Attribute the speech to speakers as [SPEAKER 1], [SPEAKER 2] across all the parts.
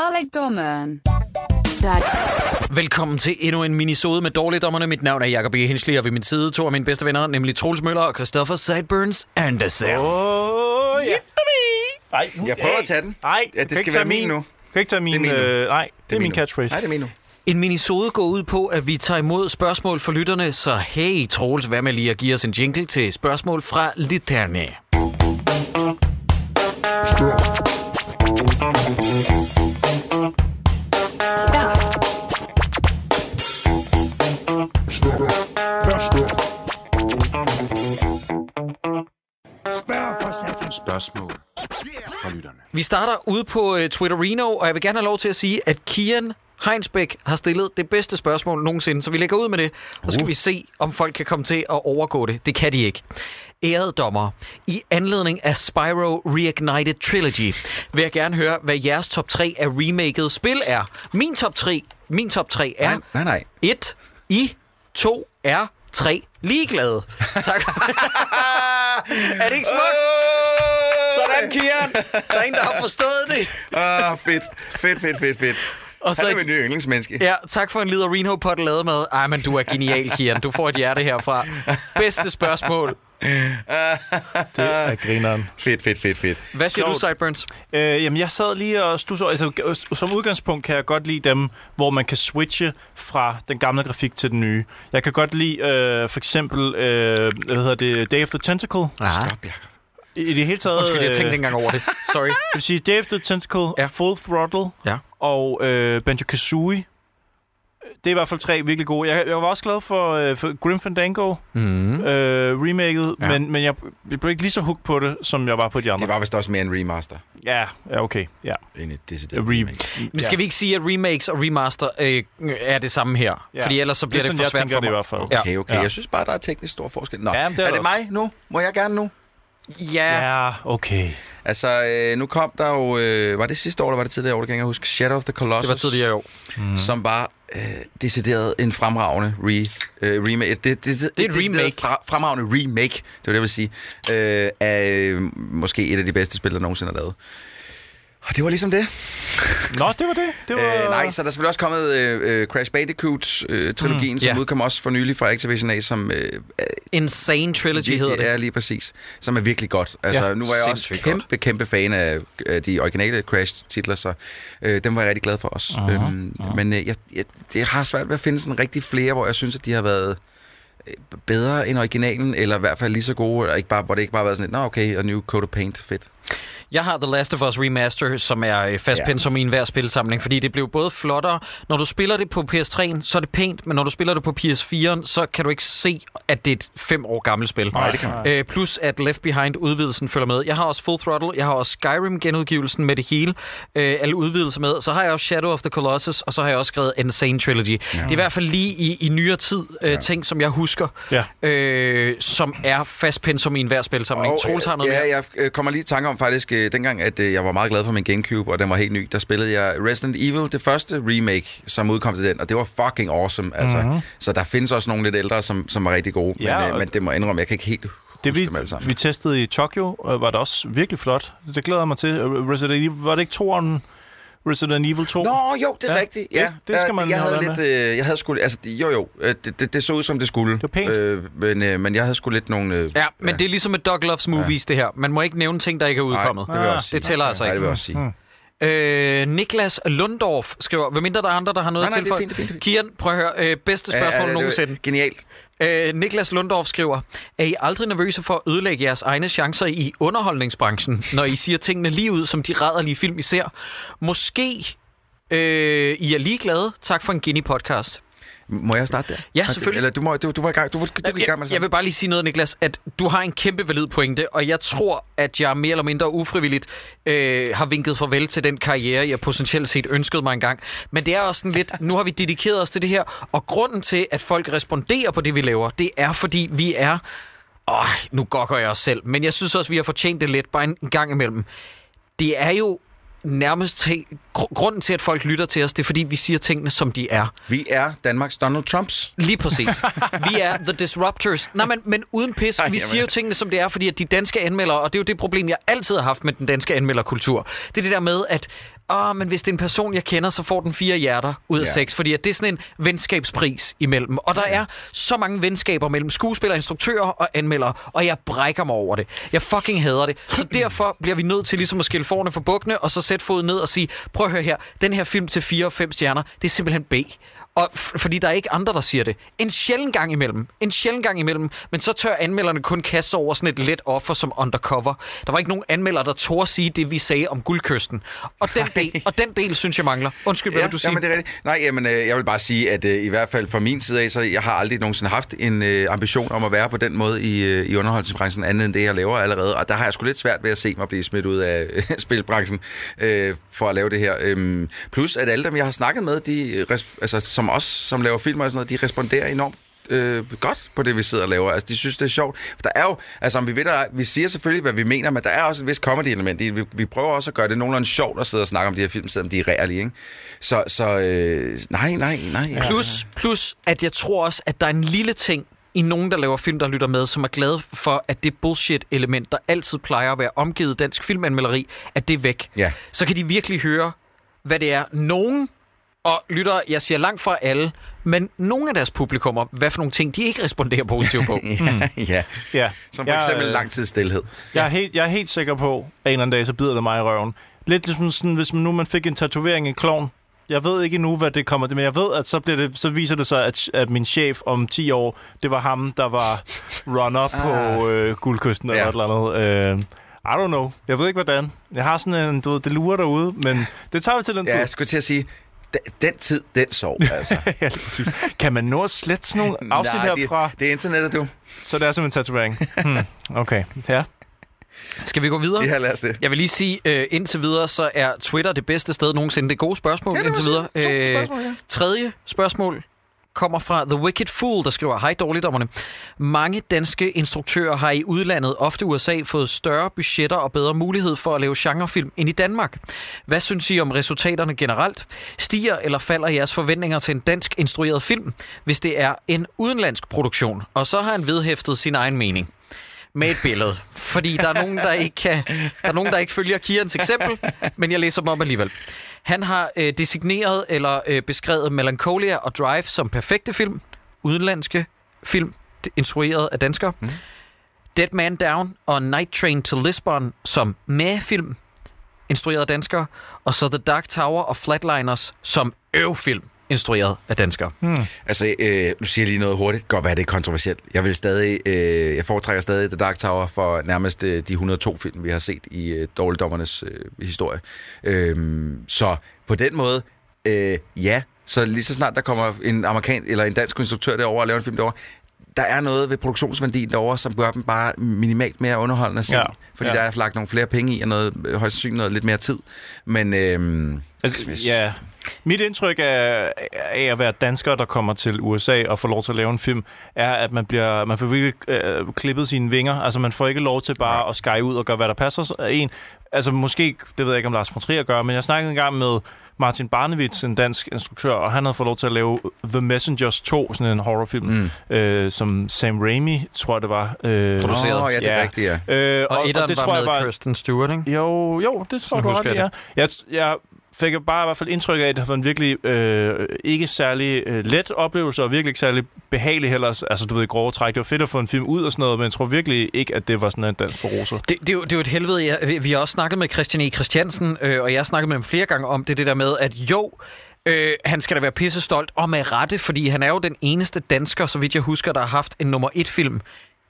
[SPEAKER 1] Dalekdommeren.
[SPEAKER 2] Velkommen til endnu en minisode med dårligdommerne. Mit navn er Jacob E. Hensley, og ved min side to af mine bedste venner, nemlig Troels Møller og Christopher Sideburns Andersen. Oh.
[SPEAKER 3] Åh, ja. Ej, nu,
[SPEAKER 4] Jeg prøver at tage den.
[SPEAKER 3] Nej,
[SPEAKER 4] Ja, det skal være min nu.
[SPEAKER 3] Du kan ikke tage min...
[SPEAKER 4] min nu.
[SPEAKER 3] øh, nej, det, det er min
[SPEAKER 4] nu.
[SPEAKER 3] catchphrase.
[SPEAKER 4] Nej, det er min nu.
[SPEAKER 2] En minisode går ud på, at vi tager imod spørgsmål fra lytterne, så hey Troels, hvad med lige at give os en jingle til spørgsmål fra lytterne?
[SPEAKER 5] Spørgsmål fra lytterne.
[SPEAKER 2] Vi starter ude på øh, Twitterino, og jeg vil gerne have lov til at sige, at Kian Heinsbæk har stillet det bedste spørgsmål nogensinde, så vi lægger ud med det, og så
[SPEAKER 4] Uh.
[SPEAKER 2] skal vi se, om folk kan komme til at overgå det. Det kan de ikke. Ærede dommer, i anledning af Spyro Reignited Trilogy, vil jeg gerne høre, hvad jeres top 3 af remaket spil er. Min top 3, min top 3 er...
[SPEAKER 4] Nej, nej, nej.
[SPEAKER 2] 1, I, 2, er, 3, ligeglade. Tak. er det ikke smukt? Sådan, Kian. Der er en, der har forstået det.
[SPEAKER 4] Åh, Ah, fedt. Fedt, fedt, fedt, fedt.
[SPEAKER 2] Og så
[SPEAKER 4] Han er
[SPEAKER 2] et-
[SPEAKER 4] min nye yndlingsmenneske.
[SPEAKER 2] Ja, tak for en lille Reno pot lavet med. Ej, men du er genial, Kian. Du får et hjerte herfra. Bedste spørgsmål.
[SPEAKER 3] Det er grineren.
[SPEAKER 4] Fedt, fedt, fedt, fedt.
[SPEAKER 2] Hvad siger du,
[SPEAKER 3] Sjovt.
[SPEAKER 2] Sideburns?
[SPEAKER 3] Øh, jamen, jeg sad lige og stussede over- altså, øh, Som udgangspunkt kan jeg godt lide dem, hvor man kan switche fra den gamle grafik til den nye. Jeg kan godt lide øh, for eksempel, øh, hvad hedder det, Day of the Tentacle.
[SPEAKER 2] Stop.
[SPEAKER 3] I, i det hele taget...
[SPEAKER 2] Undskyld, jeg tænkte ikke
[SPEAKER 3] øh,
[SPEAKER 2] engang over det. Sorry.
[SPEAKER 3] Det vil sige Day of the Tentacle,
[SPEAKER 2] Ja.
[SPEAKER 3] ja. Full Throttle
[SPEAKER 2] Ja.
[SPEAKER 3] og øh, Banjo-Kazooie. Det er i hvert fald tre virkelig gode. Jeg, jeg var også glad for, øh, for Grim Fandango,
[SPEAKER 2] Mm.
[SPEAKER 3] øh, remaket,
[SPEAKER 2] Ja.
[SPEAKER 3] ja. men, men jeg, jeg blev ikke lige så hooked på det, som jeg var på de andre.
[SPEAKER 4] Det var vist også mere en remaster,
[SPEAKER 3] Ja, ja, okay. Ja.
[SPEAKER 4] end et decideret
[SPEAKER 3] Re-
[SPEAKER 4] remake.
[SPEAKER 2] Men skal
[SPEAKER 3] ja.
[SPEAKER 2] vi ikke sige, at remakes og remaster øh, er det samme her?
[SPEAKER 3] Ja.
[SPEAKER 2] Fordi ellers så bliver
[SPEAKER 3] Det
[SPEAKER 2] det, for
[SPEAKER 3] er sådan, jeg
[SPEAKER 2] svært
[SPEAKER 3] tænker
[SPEAKER 2] for
[SPEAKER 3] det
[SPEAKER 2] mig.
[SPEAKER 3] i hvert fald.
[SPEAKER 2] Ja.
[SPEAKER 4] Okay, okay.
[SPEAKER 3] Ja.
[SPEAKER 4] Jeg synes bare, der er teknisk stor forskel. Nå,
[SPEAKER 3] Ja, men det er
[SPEAKER 4] er
[SPEAKER 3] der
[SPEAKER 4] det mig nu? Må jeg gerne nu?
[SPEAKER 2] Ja.
[SPEAKER 3] Ja, okay.
[SPEAKER 4] Altså, øh, nu kom der jo... Øh, var det sidste år, eller var det tidligere år? Det kan jeg ikke huske. Shadow of the Colossus.
[SPEAKER 2] Det var tidligere jo.
[SPEAKER 4] Mm. Som var øh, decideret en fremragende re, øh, remake. Det, det, det,
[SPEAKER 2] Det er et
[SPEAKER 4] decideret
[SPEAKER 2] remake.
[SPEAKER 4] Fra, fremragende remake, det var det, jeg ville sige. Øh, af øh, måske et af de bedste spil, der nogensinde er lavet. Og det var ligesom det.
[SPEAKER 3] Nå, det var det. det var...
[SPEAKER 4] Øh, nej, så er der er selvfølgelig også kommet øh, øh, Crash Bandicoot-trilogien, øh, mm, som
[SPEAKER 2] ja.
[SPEAKER 4] yeah. udkom også for nylig fra Activision A, som øh,
[SPEAKER 2] Insane Trilogy hedder det.
[SPEAKER 4] er lige præcis, som er virkelig godt. Altså,
[SPEAKER 3] Ja,
[SPEAKER 4] ja, nu var jeg også
[SPEAKER 2] sindssygt
[SPEAKER 4] kæmpe, godt. kæmpe fan af, af de originale Crash-titler, så øh, dem var jeg rigtig glad for også. Uh-huh, øhm, uh-huh. Men øh, jeg, jeg, det har svært ved at finde sådan rigtig flere, hvor jeg synes, at de har været øh, bedre end originalen, eller i hvert fald lige så gode, eller ikke bare, hvor det ikke bare har været sådan et, nå okay, og new coat of paint, fedt.
[SPEAKER 2] Jeg har The Last of Us Remaster, som er øh, fast
[SPEAKER 4] Ja.
[SPEAKER 2] pensum i enhver spilsamling, fordi det blev både flottere. Når du spiller det på PS3'en, så er det pænt, men når du spiller det på PS4'en, så kan du ikke se, at det er et fem år gammelt spil.
[SPEAKER 4] Nej, det kan man.
[SPEAKER 2] Øh, plus at Left Behind-udvidelsen følger med. Jeg har også Full Throttle, jeg har også Skyrim-genudgivelsen med det hele, øh, alle udvidelser med. Så har jeg også Shadow of the Colossus, og så har jeg også skrevet Insane Trilogy. Ja. Det er i hvert fald lige i, i nyere tid øh, ting, som jeg husker,
[SPEAKER 3] Ja.
[SPEAKER 2] øh, som er fast pensum i enhver spilsamling.
[SPEAKER 4] Og,
[SPEAKER 2] Troels har
[SPEAKER 4] øh,
[SPEAKER 2] noget
[SPEAKER 4] ja,
[SPEAKER 2] mere.
[SPEAKER 4] jeg øh, kommer lige i tanke om faktisk, øh, dengang, at øh, jeg var meget glad for min Gamecube, og den var helt ny, der spillede jeg Resident Evil, det første remake, som udkom til den, og det var fucking awesome. Altså. Mm-hmm. Så der findes også nogle lidt ældre, som, som var rigtig gode,
[SPEAKER 3] Mhm. Ja,
[SPEAKER 4] men, øh,
[SPEAKER 3] og-
[SPEAKER 4] men det må jeg indrømme, jeg kan ikke helt huske
[SPEAKER 3] Det vi,
[SPEAKER 4] dem alle sammen.
[SPEAKER 3] vi testede i Tokyo, øh, var det også virkelig flot. Det glæder jeg mig til. Resident Evil, var det ikke toeren Resident Evil 2?
[SPEAKER 4] Nå, jo, det
[SPEAKER 3] Ja,
[SPEAKER 4] er ja, rigtigt.
[SPEAKER 3] det-
[SPEAKER 4] Ja,
[SPEAKER 3] det skal
[SPEAKER 4] Ja,
[SPEAKER 3] man
[SPEAKER 4] jeg
[SPEAKER 3] holde
[SPEAKER 4] havde
[SPEAKER 3] øje
[SPEAKER 4] lidt, øh, jeg havde sgu, altså, det- jo jo, øh, det, det, det så ud som det skulle. Det
[SPEAKER 3] var pænt.
[SPEAKER 4] Øh, men, øh, men jeg havde sgu lidt nogle... Øh,
[SPEAKER 2] Ja, men ja. det er ligesom med Doug Loves Movies, ja. det her. Man må ikke nævne ting, der ikke er udkommet.
[SPEAKER 4] Nej, det vil jeg også sige.
[SPEAKER 2] Det tæller altså
[SPEAKER 4] Nej, det vil jeg
[SPEAKER 2] ikke.
[SPEAKER 4] også sige. Mm.
[SPEAKER 2] Øh, Niklas Lundorf skriver, hvad mindre der er andre, der har noget
[SPEAKER 4] Nej,
[SPEAKER 2] til
[SPEAKER 4] nej, det er fint, det er fint,
[SPEAKER 2] Kian, prøv at høre. Øh, bedste spørgsmål ja, nogensinde.
[SPEAKER 4] Genialt.
[SPEAKER 2] Øh, Niklas Lundorf skriver, er I aldrig nervøse for at ødelægge jeres egne chancer i underholdningsbranchen, når I siger tingene lige ud, som de rædderlige film, I ser? Måske øh, I er ligeglade. Tak for en Guinea-podcast.
[SPEAKER 4] Må jeg starte der?
[SPEAKER 2] Ja, selvfølgelig.
[SPEAKER 4] Eller du, må, du, du var i gang, du, du, du, du i gang med
[SPEAKER 2] Jeg,
[SPEAKER 4] det
[SPEAKER 2] jeg
[SPEAKER 4] samme.
[SPEAKER 2] vil bare lige sige noget, Niklas, at du har en kæmpe valid pointe, og jeg tror, at jeg mere eller mindre ufrivilligt øh, har vinket farvel til den karriere, jeg potentielt set ønskede mig engang. Men det er også sådan lidt, nu har vi dedikeret os til det her, og grunden til, at folk responderer på det, vi laver, det er, fordi vi er... Åh, nu gokker jeg os selv, men jeg synes også, vi har fortjent det lidt, bare en en gang imellem. Det er jo nærmest til, gr- grunden til, at folk lytter til os, det er, fordi vi siger tingene, som de er.
[SPEAKER 4] Vi er Danmarks Donald Trumps.
[SPEAKER 2] Lige præcis. Vi er The Disruptors. Nej, men, men uden pis.
[SPEAKER 4] Ej,
[SPEAKER 2] vi
[SPEAKER 4] jamen.
[SPEAKER 2] siger jo tingene, som det er, fordi at de danske anmeldere, og det er jo det problem, jeg altid har haft med den danske anmelderkultur, det er det der med, at åh, men hvis det er en person, jeg kender, så får den fire hjerter ud af
[SPEAKER 4] Ja.
[SPEAKER 2] seks. Fordi at det er sådan en venskabspris imellem. Og der er så mange venskaber mellem skuespillere, instruktører og anmeldere, og jeg brækker mig over det. Jeg fucking hader det. Så derfor bliver vi nødt til ligesom at skille forne for bukkene, og så sætte foden ned og sige, prøv at høre her, den her film til 4 og 5 stjerner, det er simpelthen B. Og f- fordi der er ikke andre, der siger det. En sjælden gang imellem. En sjælden gang imellem. Men så tør anmelderne kun kaste sig over sådan et let offer som undercover. Der var ikke nogen anmelder, der torde sige det, vi sagde om guldkysten. Og den, del, og den del, synes jeg mangler. Undskyld, hvad ja, du sige?
[SPEAKER 4] jamen, det er rigtigt. Nej, jamen, øh, jeg vil bare sige, at øh, i hvert fald fra min side af, så jeg har aldrig nogensinde haft en øh, ambition om at være på den måde i, øh, i underholdelsesbranchen, andet end det, jeg laver allerede. Og der har jeg sgu lidt svært ved at se mig blive smidt ud af øh, spilbranchen øh, for at lave det her. Øhm, plus, at alle dem, jeg har snakket med, de, øh, res- altså, som os, som laver film og sådan noget, de responderer enormt øh, godt på det, vi sidder og laver. Altså, de synes, det er sjovt. For der er jo, altså, om vi, ved, der, er- vi siger selvfølgelig, hvad vi mener, men der er også et vist comedy-element. i det. Vi, vi prøver også at gøre det nogenlunde sjovt at sidde og snakke om de her film, selvom de er rærlige, ikke? Så, så øh, nej, nej, nej.
[SPEAKER 2] Plus, plus, at jeg tror også, at der er en lille ting i nogen, der laver film, der lytter med, som er glade for, at det bullshit-element, der altid plejer at være omgivet dansk filmanmelderi, at det er væk.
[SPEAKER 4] Ja.
[SPEAKER 2] Så kan de virkelig høre, hvad det er, nogen og lytter, jeg siger langt fra alle, men nogle af deres publikummer, hvad for nogle ting, de ikke responderer positivt på.
[SPEAKER 4] Ja, ja.
[SPEAKER 3] Ja.
[SPEAKER 4] Som for
[SPEAKER 3] Jeg,
[SPEAKER 4] eksempel
[SPEAKER 3] øh,
[SPEAKER 4] lang tid stillhed.
[SPEAKER 3] Jeg er, helt, jeg er helt sikker på, at en eller anden dag, så bider det mig i røven. Lidt ligesom sådan, hvis man nu man fik en tatovering i en klovn. Jeg ved ikke endnu, hvad det kommer til, men jeg ved, at så, bliver det, så viser det sig, at, at min chef om 10 år, det var ham, der var runner ah. på øh, guldkysten eller
[SPEAKER 4] Ja.
[SPEAKER 3] ja. et eller andet. Øh, I don't know. Jeg ved ikke, hvordan. Jeg har sådan en, du ved, det lurer derude, men det tager vi til den
[SPEAKER 4] Ja,
[SPEAKER 3] tid.
[SPEAKER 4] jeg skulle til at sige, d- den tid, den sov, altså.
[SPEAKER 3] ja, lige præcis. Kan man nå at slette sådan nogle afsnit
[SPEAKER 4] Nej,
[SPEAKER 3] herfra?
[SPEAKER 4] det, det er internettet, du.
[SPEAKER 3] Så det er som en tatovering. Hmm. Okay, ja.
[SPEAKER 2] Skal vi gå videre?
[SPEAKER 4] Ja, lad os det.
[SPEAKER 2] Jeg vil lige sige, øh, indtil videre, så er Twitter det bedste sted nogensinde. Det er gode spørgsmål ja,
[SPEAKER 4] det var
[SPEAKER 2] indtil videre. Øh,
[SPEAKER 4] sådan to spørgsmål, ja.
[SPEAKER 2] Tredje spørgsmål kommer fra The Wicked Fool, der skriver, Hej dårligdommerne. Mange danske instruktører har i udlandet, ofte USA, fået større budgetter og bedre mulighed for at lave genrefilm end i Danmark. Hvad synes I om resultaterne generelt? Stiger eller falder jeres forventninger til en dansk instrueret film, hvis det er en udenlandsk produktion? Og så har han vedhæftet sin egen mening med et billede. Fordi der er nogen, der ikke, kan, der er nogen, der ikke følger Kirans eksempel, men jeg læser dem op alligevel. Han har øh, designeret eller øh, beskrevet Melancholia og Drive som perfekte film, udenlandske film, d- instrueret af danskere. Mm. Dead Man Down og Night Train to Lisbon som med-film, instrueret af danskere. Og så The Dark Tower og Flatliners som øvfilm, instrueret af danskere. Mm.
[SPEAKER 4] Altså, øh, nu siger jeg lige noget hurtigt. Godt være, det er kontroversielt. Jeg vil stadig, øh, jeg foretrækker stadig The Dark Tower for nærmest øh, de 102 film, vi har set i øh, dårligdommernes øh, historie. Øhm, så på den måde, øh, ja. Så lige så snart der kommer en amerikan eller en dansk instruktør derover og laver en film derover, der er noget ved produktionsværdien derover, som gør dem bare minimalt mere underholdende at se. Ja,
[SPEAKER 3] Ja,
[SPEAKER 4] fordi
[SPEAKER 3] ja.
[SPEAKER 4] der er lagt nogle flere penge i, og noget, øh, højst sandsynligt noget lidt mere tid. Men øhm,
[SPEAKER 3] Altså,
[SPEAKER 4] Christmas.
[SPEAKER 3] ja. Mit indtryk af, af at være dansker, der kommer til USA og får lov til at lave en film, er, at man, bliver, man får virkelig øh, klippet sine vinger. Altså, man får ikke lov til bare at skære ud og gøre, hvad der passer sig- en. Altså, måske, det ved jeg ikke, om Lars von Trier gør, men jeg snakkede engang med Martin Barnevits, en dansk instruktør, og han havde fået lov til at lave The Messengers 2, sådan en horrorfilm, mm. øh, som Sam Raimi, tror jeg, det var. Øh,
[SPEAKER 2] Produceret.
[SPEAKER 4] Nå, ja, det er rigtigt, ja.
[SPEAKER 3] Øh,
[SPEAKER 2] Og, og etteren var med Kirsten Stewart, ikke?
[SPEAKER 3] jo, jo, det tror
[SPEAKER 2] Sådan
[SPEAKER 3] jeg, du har
[SPEAKER 2] husker
[SPEAKER 3] ret i, ja.
[SPEAKER 2] jeg
[SPEAKER 3] Jeg, jeg fik jo bare i hvert fald indtryk af, at det var en virkelig øh, ikke særlig øh, let oplevelse, og virkelig ikke særlig behagelig heller. Altså, du ved, i grove træk. Det var fedt at få en film ud og sådan noget, men jeg tror virkelig ikke, at det var sådan en dans for roser.
[SPEAKER 2] Det, det, er jo, det er jo et helvede. Jeg, vi- vi har også snakket med Christian E. Christiansen, øh, og jeg har snakket med ham flere gange om det, det der med, at jo, øh, han skal da være pisse stolt, og med rette, fordi han er jo den eneste dansker, så vidt jeg husker, der har haft en nummer et film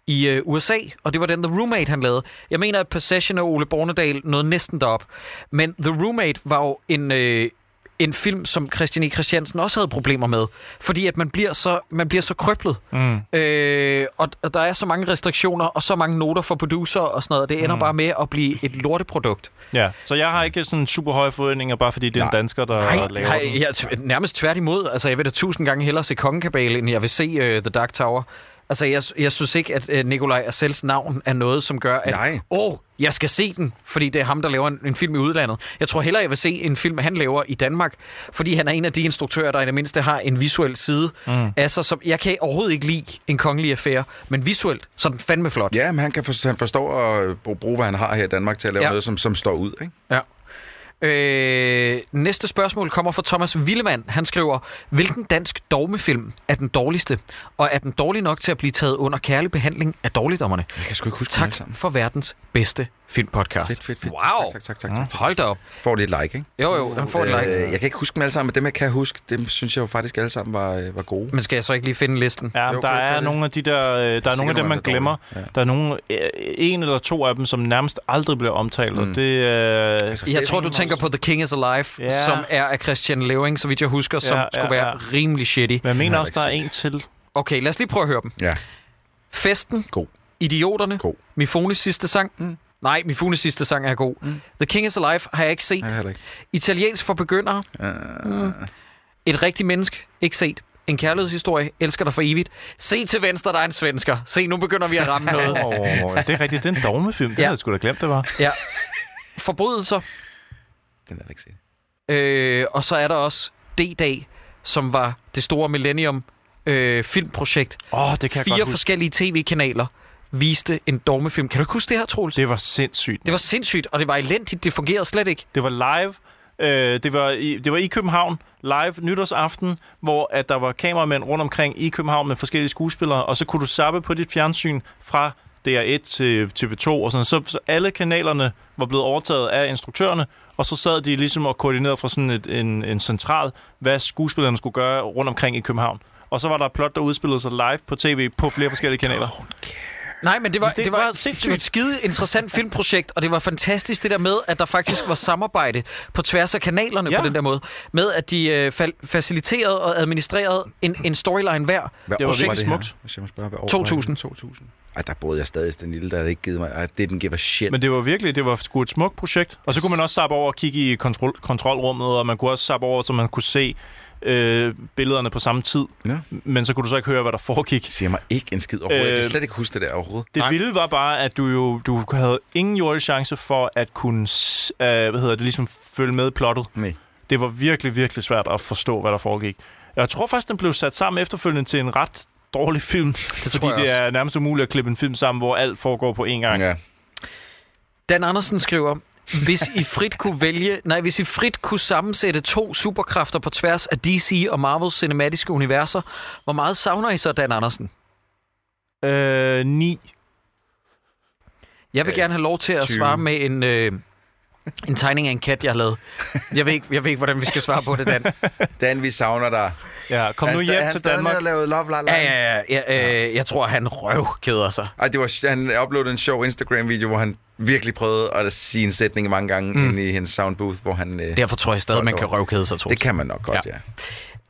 [SPEAKER 2] i øh, USA, og det var den The Roommate, han lavede. Jeg mener, at Possession og Ole Bornedal nåede næsten derop, men The Roommate var jo en... Øh, en film, som Christian E. Christiansen også havde problemer med. Fordi at man bliver så, man bliver så krøblet. Mm. Øh, og, og der er så mange restriktioner, og så mange noter for producer og sådan noget. og Det ender mm. bare med at blive et lorteprodukt.
[SPEAKER 3] Ja, så jeg har ikke sådan super høje forventninger, bare fordi det er en dansker, der
[SPEAKER 2] Nej,
[SPEAKER 3] laver
[SPEAKER 2] nej
[SPEAKER 3] den.
[SPEAKER 2] jeg, er t- nærmest tværtimod. Altså, jeg vil da tusind gange hellere se Kongekabale, end jeg vil se uh, The Dark Tower. Altså, jeg, jeg synes ikke, at uh, Nikolaj Arcells navn er noget, som gør, at
[SPEAKER 4] Nej.
[SPEAKER 2] åh, jeg skal se den, fordi det er ham, der laver en, en film i udlandet. Jeg tror hellere, jeg vil se en film, han laver i Danmark, fordi han er en af de instruktører, der i det mindste har en visuel side. Mm. Altså, som, jeg kan overhovedet ikke lide en kongelig affære, men visuelt, så er den fandme flot.
[SPEAKER 4] ja, men han, kan for, han forstår at bruge, hvad han har her i Danmark til at lave
[SPEAKER 2] Ja.
[SPEAKER 4] ja. noget, som, som står ud, ikke?
[SPEAKER 2] Ja. Øh, næste spørgsmål kommer fra Thomas Willemann. Han skriver, hvilken dansk dogmefilm er den dårligste, og er den dårlig nok til at blive taget under kærlig behandling af dårligdommerne?
[SPEAKER 4] Jeg kan sgu ikke huske dem
[SPEAKER 2] Tak
[SPEAKER 4] alle sammen.
[SPEAKER 2] for verdens bedste filmpodcast.
[SPEAKER 4] Fedt, fedt, fedt.
[SPEAKER 2] Wow.
[SPEAKER 4] Tak, tak, tak, tak, tak, tak.
[SPEAKER 2] Hold da op.
[SPEAKER 4] Mm. Får det et like, ikke?
[SPEAKER 2] Jo, jo, den får en like.
[SPEAKER 4] Øh, jeg kan ikke huske dem alle sammen, men dem jeg kan huske, dem synes jeg jo faktisk alle sammen var, øh, var gode.
[SPEAKER 2] Men skal jeg så ikke lige finde listen?
[SPEAKER 3] Ja,
[SPEAKER 4] Jo,
[SPEAKER 3] jo, der
[SPEAKER 4] kan du ikke
[SPEAKER 3] er
[SPEAKER 4] det?
[SPEAKER 3] nogle af de der, øh, der er nogle af dem, man glemmer. Ja. Der er nogle, øh, en eller to af dem, som nærmest aldrig bliver omtalt, mm. og det... Øh, altså,
[SPEAKER 2] Jeg tror, du tænker på The King is Alive,
[SPEAKER 3] Ja.
[SPEAKER 2] yeah. som er af Christian Leving, så vidt jeg husker, som
[SPEAKER 3] Ja,
[SPEAKER 2] yeah,
[SPEAKER 3] ja,
[SPEAKER 2] skulle være
[SPEAKER 3] ja.
[SPEAKER 2] rimelig shitty.
[SPEAKER 3] men jeg mener
[SPEAKER 4] har
[SPEAKER 3] også,
[SPEAKER 4] jeg
[SPEAKER 3] der er
[SPEAKER 4] ikke
[SPEAKER 3] en til.
[SPEAKER 2] Okay, lad os lige prøve at høre dem.
[SPEAKER 4] Ja,
[SPEAKER 2] Festen.
[SPEAKER 4] God.
[SPEAKER 2] Idioterne.
[SPEAKER 4] God.
[SPEAKER 2] Mifones sidste sang. Mm. Nej, Mifones sidste sang er god. Mm. The King is Alive har jeg ikke set.
[SPEAKER 4] nej, heller ikke. Øh,
[SPEAKER 2] Italiensk for begyndere. Mm. Et rigtigt menneske. Ikke set. En kærlighedshistorie. Elsker dig for evigt. Se til venstre, der er en svensker. Se, nu begynder vi at ramme noget.
[SPEAKER 3] Oh, det er rigtigt, det er en dogmefilm. Det
[SPEAKER 2] Ja.
[SPEAKER 3] havde jeg sgu da glemt, det var.
[SPEAKER 2] Ja. Forbrydelser.
[SPEAKER 4] Den er der ikke set.
[SPEAKER 2] Øh, og så er der også D-Dag, som var det store Millennium øh, filmprojekt.
[SPEAKER 3] Åh, oh, det kan jeg
[SPEAKER 2] Fire
[SPEAKER 3] godt huske.
[SPEAKER 2] forskellige tv-kanaler viste en dogmefilm. Kan du ikke huske det her, Troels?
[SPEAKER 3] Det var sindssygt.
[SPEAKER 2] Det var sindssygt, og det var elendigt. Det fungerede slet ikke.
[SPEAKER 3] Det var live. Øh, det, var i, det var i København, live nytårsaften, hvor at der var kameramænd rundt omkring i København med forskellige skuespillere, og så kunne du zappe på dit fjernsyn fra DR1 til TV2 og sådan så, så alle kanalerne var blevet overtaget af instruktørerne, og så sad de ligesom og koordinerede fra sådan et, en, en central, hvad skuespillerne skulle gøre rundt omkring i København. Og så var der et plot, der udspillede sig live på tv på flere forskellige kanaler.
[SPEAKER 2] Nej, men det var,
[SPEAKER 3] Det
[SPEAKER 2] det, det var,
[SPEAKER 3] var
[SPEAKER 2] det var
[SPEAKER 3] sindssygt.
[SPEAKER 2] et skide interessant filmprojekt, og det var fantastisk det der med, at der faktisk var samarbejde på tværs af kanalerne ja.
[SPEAKER 3] Ja.
[SPEAKER 2] på den der måde. Med at de øh, fal- faciliterede og administrerede en, en storyline hver.
[SPEAKER 4] Hvad
[SPEAKER 3] Det var
[SPEAKER 4] år
[SPEAKER 3] virkelig
[SPEAKER 4] her?
[SPEAKER 3] smukt.
[SPEAKER 4] Hvis jeg må spørge, hvad år
[SPEAKER 2] 2000.
[SPEAKER 4] Var det? 2000. Ej, der boede jeg stadig i den lille, der havde ikke givet mig... Ej, det den give a shit.
[SPEAKER 3] Men det var virkelig, det var sgu et smukt projekt. Og så kunne man også sappe over og kigge i kontrol, kontrolrummet, og man kunne også sappe over, så man kunne se øh, billederne på samme tid.
[SPEAKER 4] Ja.
[SPEAKER 3] Men så kunne du så ikke høre, hvad der foregik.
[SPEAKER 4] Det siger mig ikke en skid overhovedet. Øh, jeg
[SPEAKER 3] Øh,
[SPEAKER 4] kan slet ikke huske det der overhovedet.
[SPEAKER 3] Det
[SPEAKER 2] Nej.
[SPEAKER 3] vilde var bare, at du jo du havde ingen jordisk chance for at kunne s- øh, hvad hedder det, ligesom følge med i plottet.
[SPEAKER 4] Nej.
[SPEAKER 3] Det var virkelig, virkelig svært at forstå, hvad der foregik. Jeg tror faktisk, den blev sat sammen efterfølgende til en ret dårlig film. Det fordi
[SPEAKER 2] tror jeg
[SPEAKER 3] det
[SPEAKER 2] også.
[SPEAKER 3] er nærmest umuligt at klippe en film sammen, hvor alt foregår på én gang. Ja.
[SPEAKER 4] Ja.
[SPEAKER 2] Dan Andersen skriver, hvis I frit kunne vælge, nej, hvis I frit kunne sammensætte to superkræfter på tværs af DC og Marvels cinematiske universer, hvor meget savner I så Dan Andersen?
[SPEAKER 3] Øh, ni.
[SPEAKER 2] Jeg vil gerne have lov til at
[SPEAKER 4] 20.
[SPEAKER 2] svare med en, øh, en tegning af en kat, jeg har lavet. Jeg ved, ikke, jeg ved ikke, hvordan vi skal svare på det, Dan.
[SPEAKER 4] Dan, vi savner dig.
[SPEAKER 3] Ja, kom
[SPEAKER 4] Han
[SPEAKER 3] nu
[SPEAKER 4] sta-
[SPEAKER 3] hjem
[SPEAKER 4] han
[SPEAKER 3] til
[SPEAKER 4] stadig
[SPEAKER 3] Danmark.
[SPEAKER 4] med at lave Love La La.
[SPEAKER 2] Ja, ja, ja. Jeg, øh, jeg tror, han røvkeder sig.
[SPEAKER 4] Ej, det var, han uploadede en sjov Instagram-video, hvor han virkelig prøvede at sige en sætning mange gange mm. inde i hendes soundbooth, hvor han... Øh, det,
[SPEAKER 2] Derfor tror jeg stadig, man kan røvkede sig, Troels.
[SPEAKER 4] det kan man nok godt, ja.
[SPEAKER 2] Ja.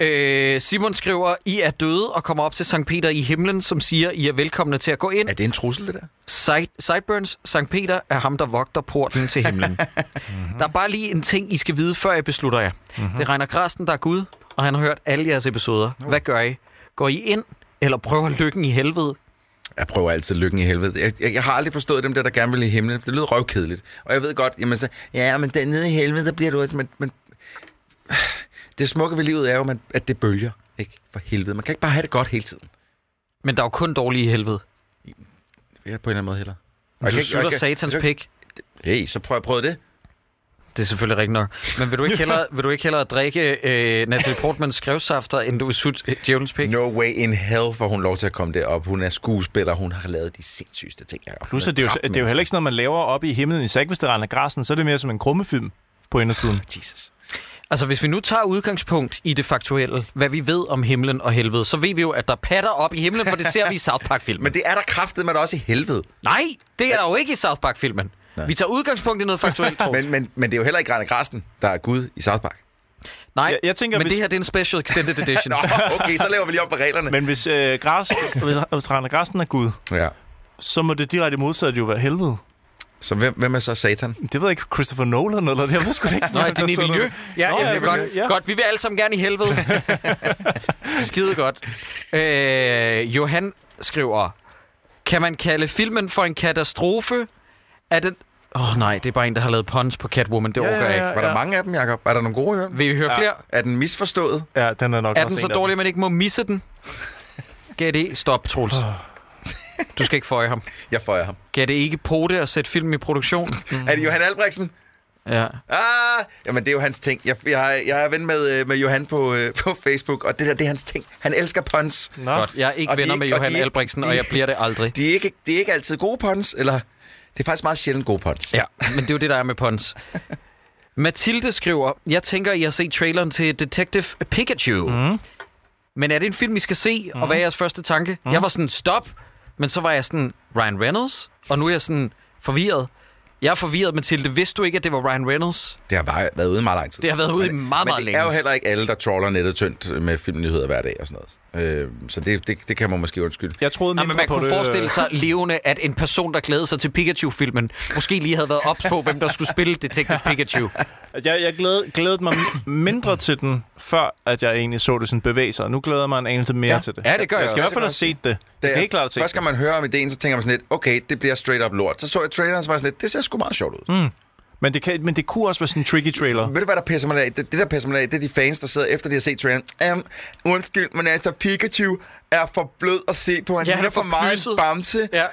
[SPEAKER 4] ja.
[SPEAKER 2] Øh, Simon skriver, I er døde og kommer op til Sankt Peter i himlen, som siger, I er velkomne til at gå ind.
[SPEAKER 4] Er det en trussel, det der?
[SPEAKER 2] Side- Sideburns, Sankt Peter er ham, der vogter porten til himlen. der er bare lige en ting, I skal vide, før jeg beslutter jer. Det regner Græsten, der er Gud, og han har hørt alle jeres episoder. Hvad gør I? Går I ind, eller prøver lykken i helvede?
[SPEAKER 4] Jeg prøver altid lykken i helvede. Jeg, jeg, jeg har aldrig forstået dem der, der gerne vil i himlen. Det lyder røvkedeligt. Og jeg ved godt, jamen så, ja, men der nede i helvede, der bliver du også... Men, men, det smukke ved livet er jo, man- at det bølger. Ikke? For helvede. Man kan ikke bare have det godt hele tiden.
[SPEAKER 2] Men der er jo kun dårlige i helvede.
[SPEAKER 4] Det vil jeg på en eller anden måde hellere. Og jeg
[SPEAKER 2] Du
[SPEAKER 4] kan ikke- og jeg
[SPEAKER 2] sutter
[SPEAKER 4] kan-
[SPEAKER 2] satans
[SPEAKER 4] jeg kan-
[SPEAKER 2] pik.
[SPEAKER 4] Hey, så prøver jeg prøve det.
[SPEAKER 2] Det er selvfølgelig rigtigt nok. Men vil du ikke hellere, vil du ikke hellere drikke øh, Natalie Portmans skrevsafter, end du vil sutte øh, djævelens pik?
[SPEAKER 4] No way in hell får hun lov til at komme derop. Hun er skuespiller, hun har lavet de sindssygeste ting. Jeg har
[SPEAKER 3] Plus,
[SPEAKER 4] Hun
[SPEAKER 3] at det, er jo, det er jo heller ikke sådan noget, man laver oppe i himlen i sækvesteran af græsen, så er det mere som en krummefilm på indersiden.
[SPEAKER 4] Jesus.
[SPEAKER 2] Altså, hvis vi nu tager udgangspunkt i det faktuelle, hvad vi ved om himlen og helvede, så ved vi jo, at der er patter op i himlen, for det ser vi i South Park-filmen.
[SPEAKER 4] Men det er der kraftet med også i helvede.
[SPEAKER 2] Nej, det er der jo ikke i South Park-filmen. Vi tager udgangspunkt i noget faktuelt, tror
[SPEAKER 4] Men, men, men det er jo heller ikke Rane Grasten, der er Gud i South Park.
[SPEAKER 2] Nej,
[SPEAKER 3] Jeg- jeg tænker,
[SPEAKER 2] men
[SPEAKER 3] hvis-
[SPEAKER 2] det her det er en special extended edition.
[SPEAKER 4] Nå, okay, så laver vi lige op på reglerne.
[SPEAKER 3] Men hvis, øh, græs, hvis, hvis Rane Græsen er Gud,
[SPEAKER 4] Ja.
[SPEAKER 3] så må det direkte modsatte jo være helvede.
[SPEAKER 4] Så hvem, hvem er så satan?
[SPEAKER 3] Det ved jeg ikke, Christopher Nolan eller det, jeg ved sgu da ikke.
[SPEAKER 2] Nej,
[SPEAKER 3] hvordan
[SPEAKER 2] det er
[SPEAKER 3] sådan
[SPEAKER 2] Neville
[SPEAKER 3] noget.
[SPEAKER 2] Ja,
[SPEAKER 3] Nå,
[SPEAKER 2] Nå, ja,
[SPEAKER 3] ja,
[SPEAKER 2] godt,
[SPEAKER 3] Villeneuve,
[SPEAKER 2] ja.
[SPEAKER 3] ja.
[SPEAKER 2] godt. Vi vil alle sammen gerne i helvede. Skide godt. Øh, Johan skriver, kan man kalde filmen for en katastrofe? Er den... Åh oh, nej, det er bare en, der har lavet puns på Catwoman. Det
[SPEAKER 3] Ja,
[SPEAKER 2] ja, orker
[SPEAKER 3] ja,
[SPEAKER 2] jeg
[SPEAKER 3] ja.
[SPEAKER 2] ikke.
[SPEAKER 4] Var der mange af dem, Jacob? Er der nogle gode i dem?
[SPEAKER 2] Vil I høre ja. flere?
[SPEAKER 4] Er den misforstået?
[SPEAKER 3] Ja, den er nok
[SPEAKER 2] Er
[SPEAKER 3] også
[SPEAKER 2] den så
[SPEAKER 3] en af
[SPEAKER 2] dårlig,
[SPEAKER 3] dem.
[SPEAKER 2] at man ikke må misse den? Gav det... Stop, Troels. Du skal ikke føje ham.
[SPEAKER 4] Jeg føjer ham.
[SPEAKER 2] Gav det ikke pote at sætte film i produktion?
[SPEAKER 3] Mhm.
[SPEAKER 4] Mm. Er det Johan Albrechtsen?
[SPEAKER 2] Ja.
[SPEAKER 4] Ah, jamen det er jo hans ting. Jeg, jeg, jeg er ven med, øh, med Johan på, øh, på Facebook, og det der, det er hans ting. Han elsker puns.
[SPEAKER 3] Nå.
[SPEAKER 2] Godt. Jeg er ikke
[SPEAKER 4] Og de
[SPEAKER 2] venner
[SPEAKER 4] er
[SPEAKER 2] med
[SPEAKER 4] ikke- og
[SPEAKER 2] Johan
[SPEAKER 4] de er-
[SPEAKER 2] Albrechtsen,
[SPEAKER 4] de-
[SPEAKER 2] og jeg bliver det aldrig.
[SPEAKER 4] De er, ikke, de er ikke altid gode puns, eller... Det er faktisk meget sjældent gode puns.
[SPEAKER 2] Ja, men det er jo det, der er med Pons. Mathilde skriver, jeg tænker, I har set traileren til Detective Pikachu. Mm.
[SPEAKER 4] Mhm.
[SPEAKER 2] Men er det en film, I skal se, og hvad er jeres første tanke?
[SPEAKER 4] Mhm.
[SPEAKER 2] Mm. Jeg var sådan, stop, men så var jeg sådan, Ryan Reynolds, og nu er jeg sådan forvirret. Jeg er forvirret, Mathilde. Vidste du ikke, at det var Ryan Reynolds?
[SPEAKER 4] Det har bare været ude i meget lang tid.
[SPEAKER 2] Det har været ude i
[SPEAKER 4] Men-
[SPEAKER 2] meget, meget
[SPEAKER 4] Men det
[SPEAKER 2] længe.
[SPEAKER 4] er jo heller ikke alle, der trawler nettet tyndt med filmnyheder hver dag og sådan noget. Øh, så det, det, det kan man måske undskylde.
[SPEAKER 3] Jeg troede
[SPEAKER 2] Nej,
[SPEAKER 3] mindre
[SPEAKER 2] men man
[SPEAKER 3] på
[SPEAKER 2] kunne
[SPEAKER 3] det,
[SPEAKER 2] forestille
[SPEAKER 3] øh,
[SPEAKER 2] sig levende, at en person, der glædede sig til Pikachu-filmen, måske lige havde været ops på, hvem der skulle spille Detective Pikachu.
[SPEAKER 3] at Jeg, jeg glæd, glædede mig mindre til den, før at jeg egentlig så det sådan bevæge sig. Nu glæder jeg mig en anelse mere
[SPEAKER 4] Ja.
[SPEAKER 3] til det.
[SPEAKER 2] Ja, det gør jeg
[SPEAKER 3] jeg skal i
[SPEAKER 2] også.
[SPEAKER 3] hvert fald have set det. Jeg skal
[SPEAKER 4] Det er-
[SPEAKER 3] helt klart have set
[SPEAKER 4] Først
[SPEAKER 3] det.
[SPEAKER 4] kan man høre om ideen, så tænker man sådan lidt, okay, det bliver straight up lort. Så så jeg traileren, så var jeg sådan lidt, det ser sgu meget sjovt ud. Mm.
[SPEAKER 3] Men det, kan, men det kunne også være sådan en tricky trailer.
[SPEAKER 4] Ved du, hvad der pisser mig af? Det, det, der pisser mig af, det er de fans, der sidder efter, de har set traileren. Um, undskyld, men altså, Pikachu er for blød at se på. Han,
[SPEAKER 2] Ja,
[SPEAKER 4] ja,
[SPEAKER 2] han
[SPEAKER 4] han
[SPEAKER 2] er
[SPEAKER 4] for
[SPEAKER 2] for
[SPEAKER 4] meget
[SPEAKER 2] pysset.
[SPEAKER 4] en bamse.
[SPEAKER 2] Ja.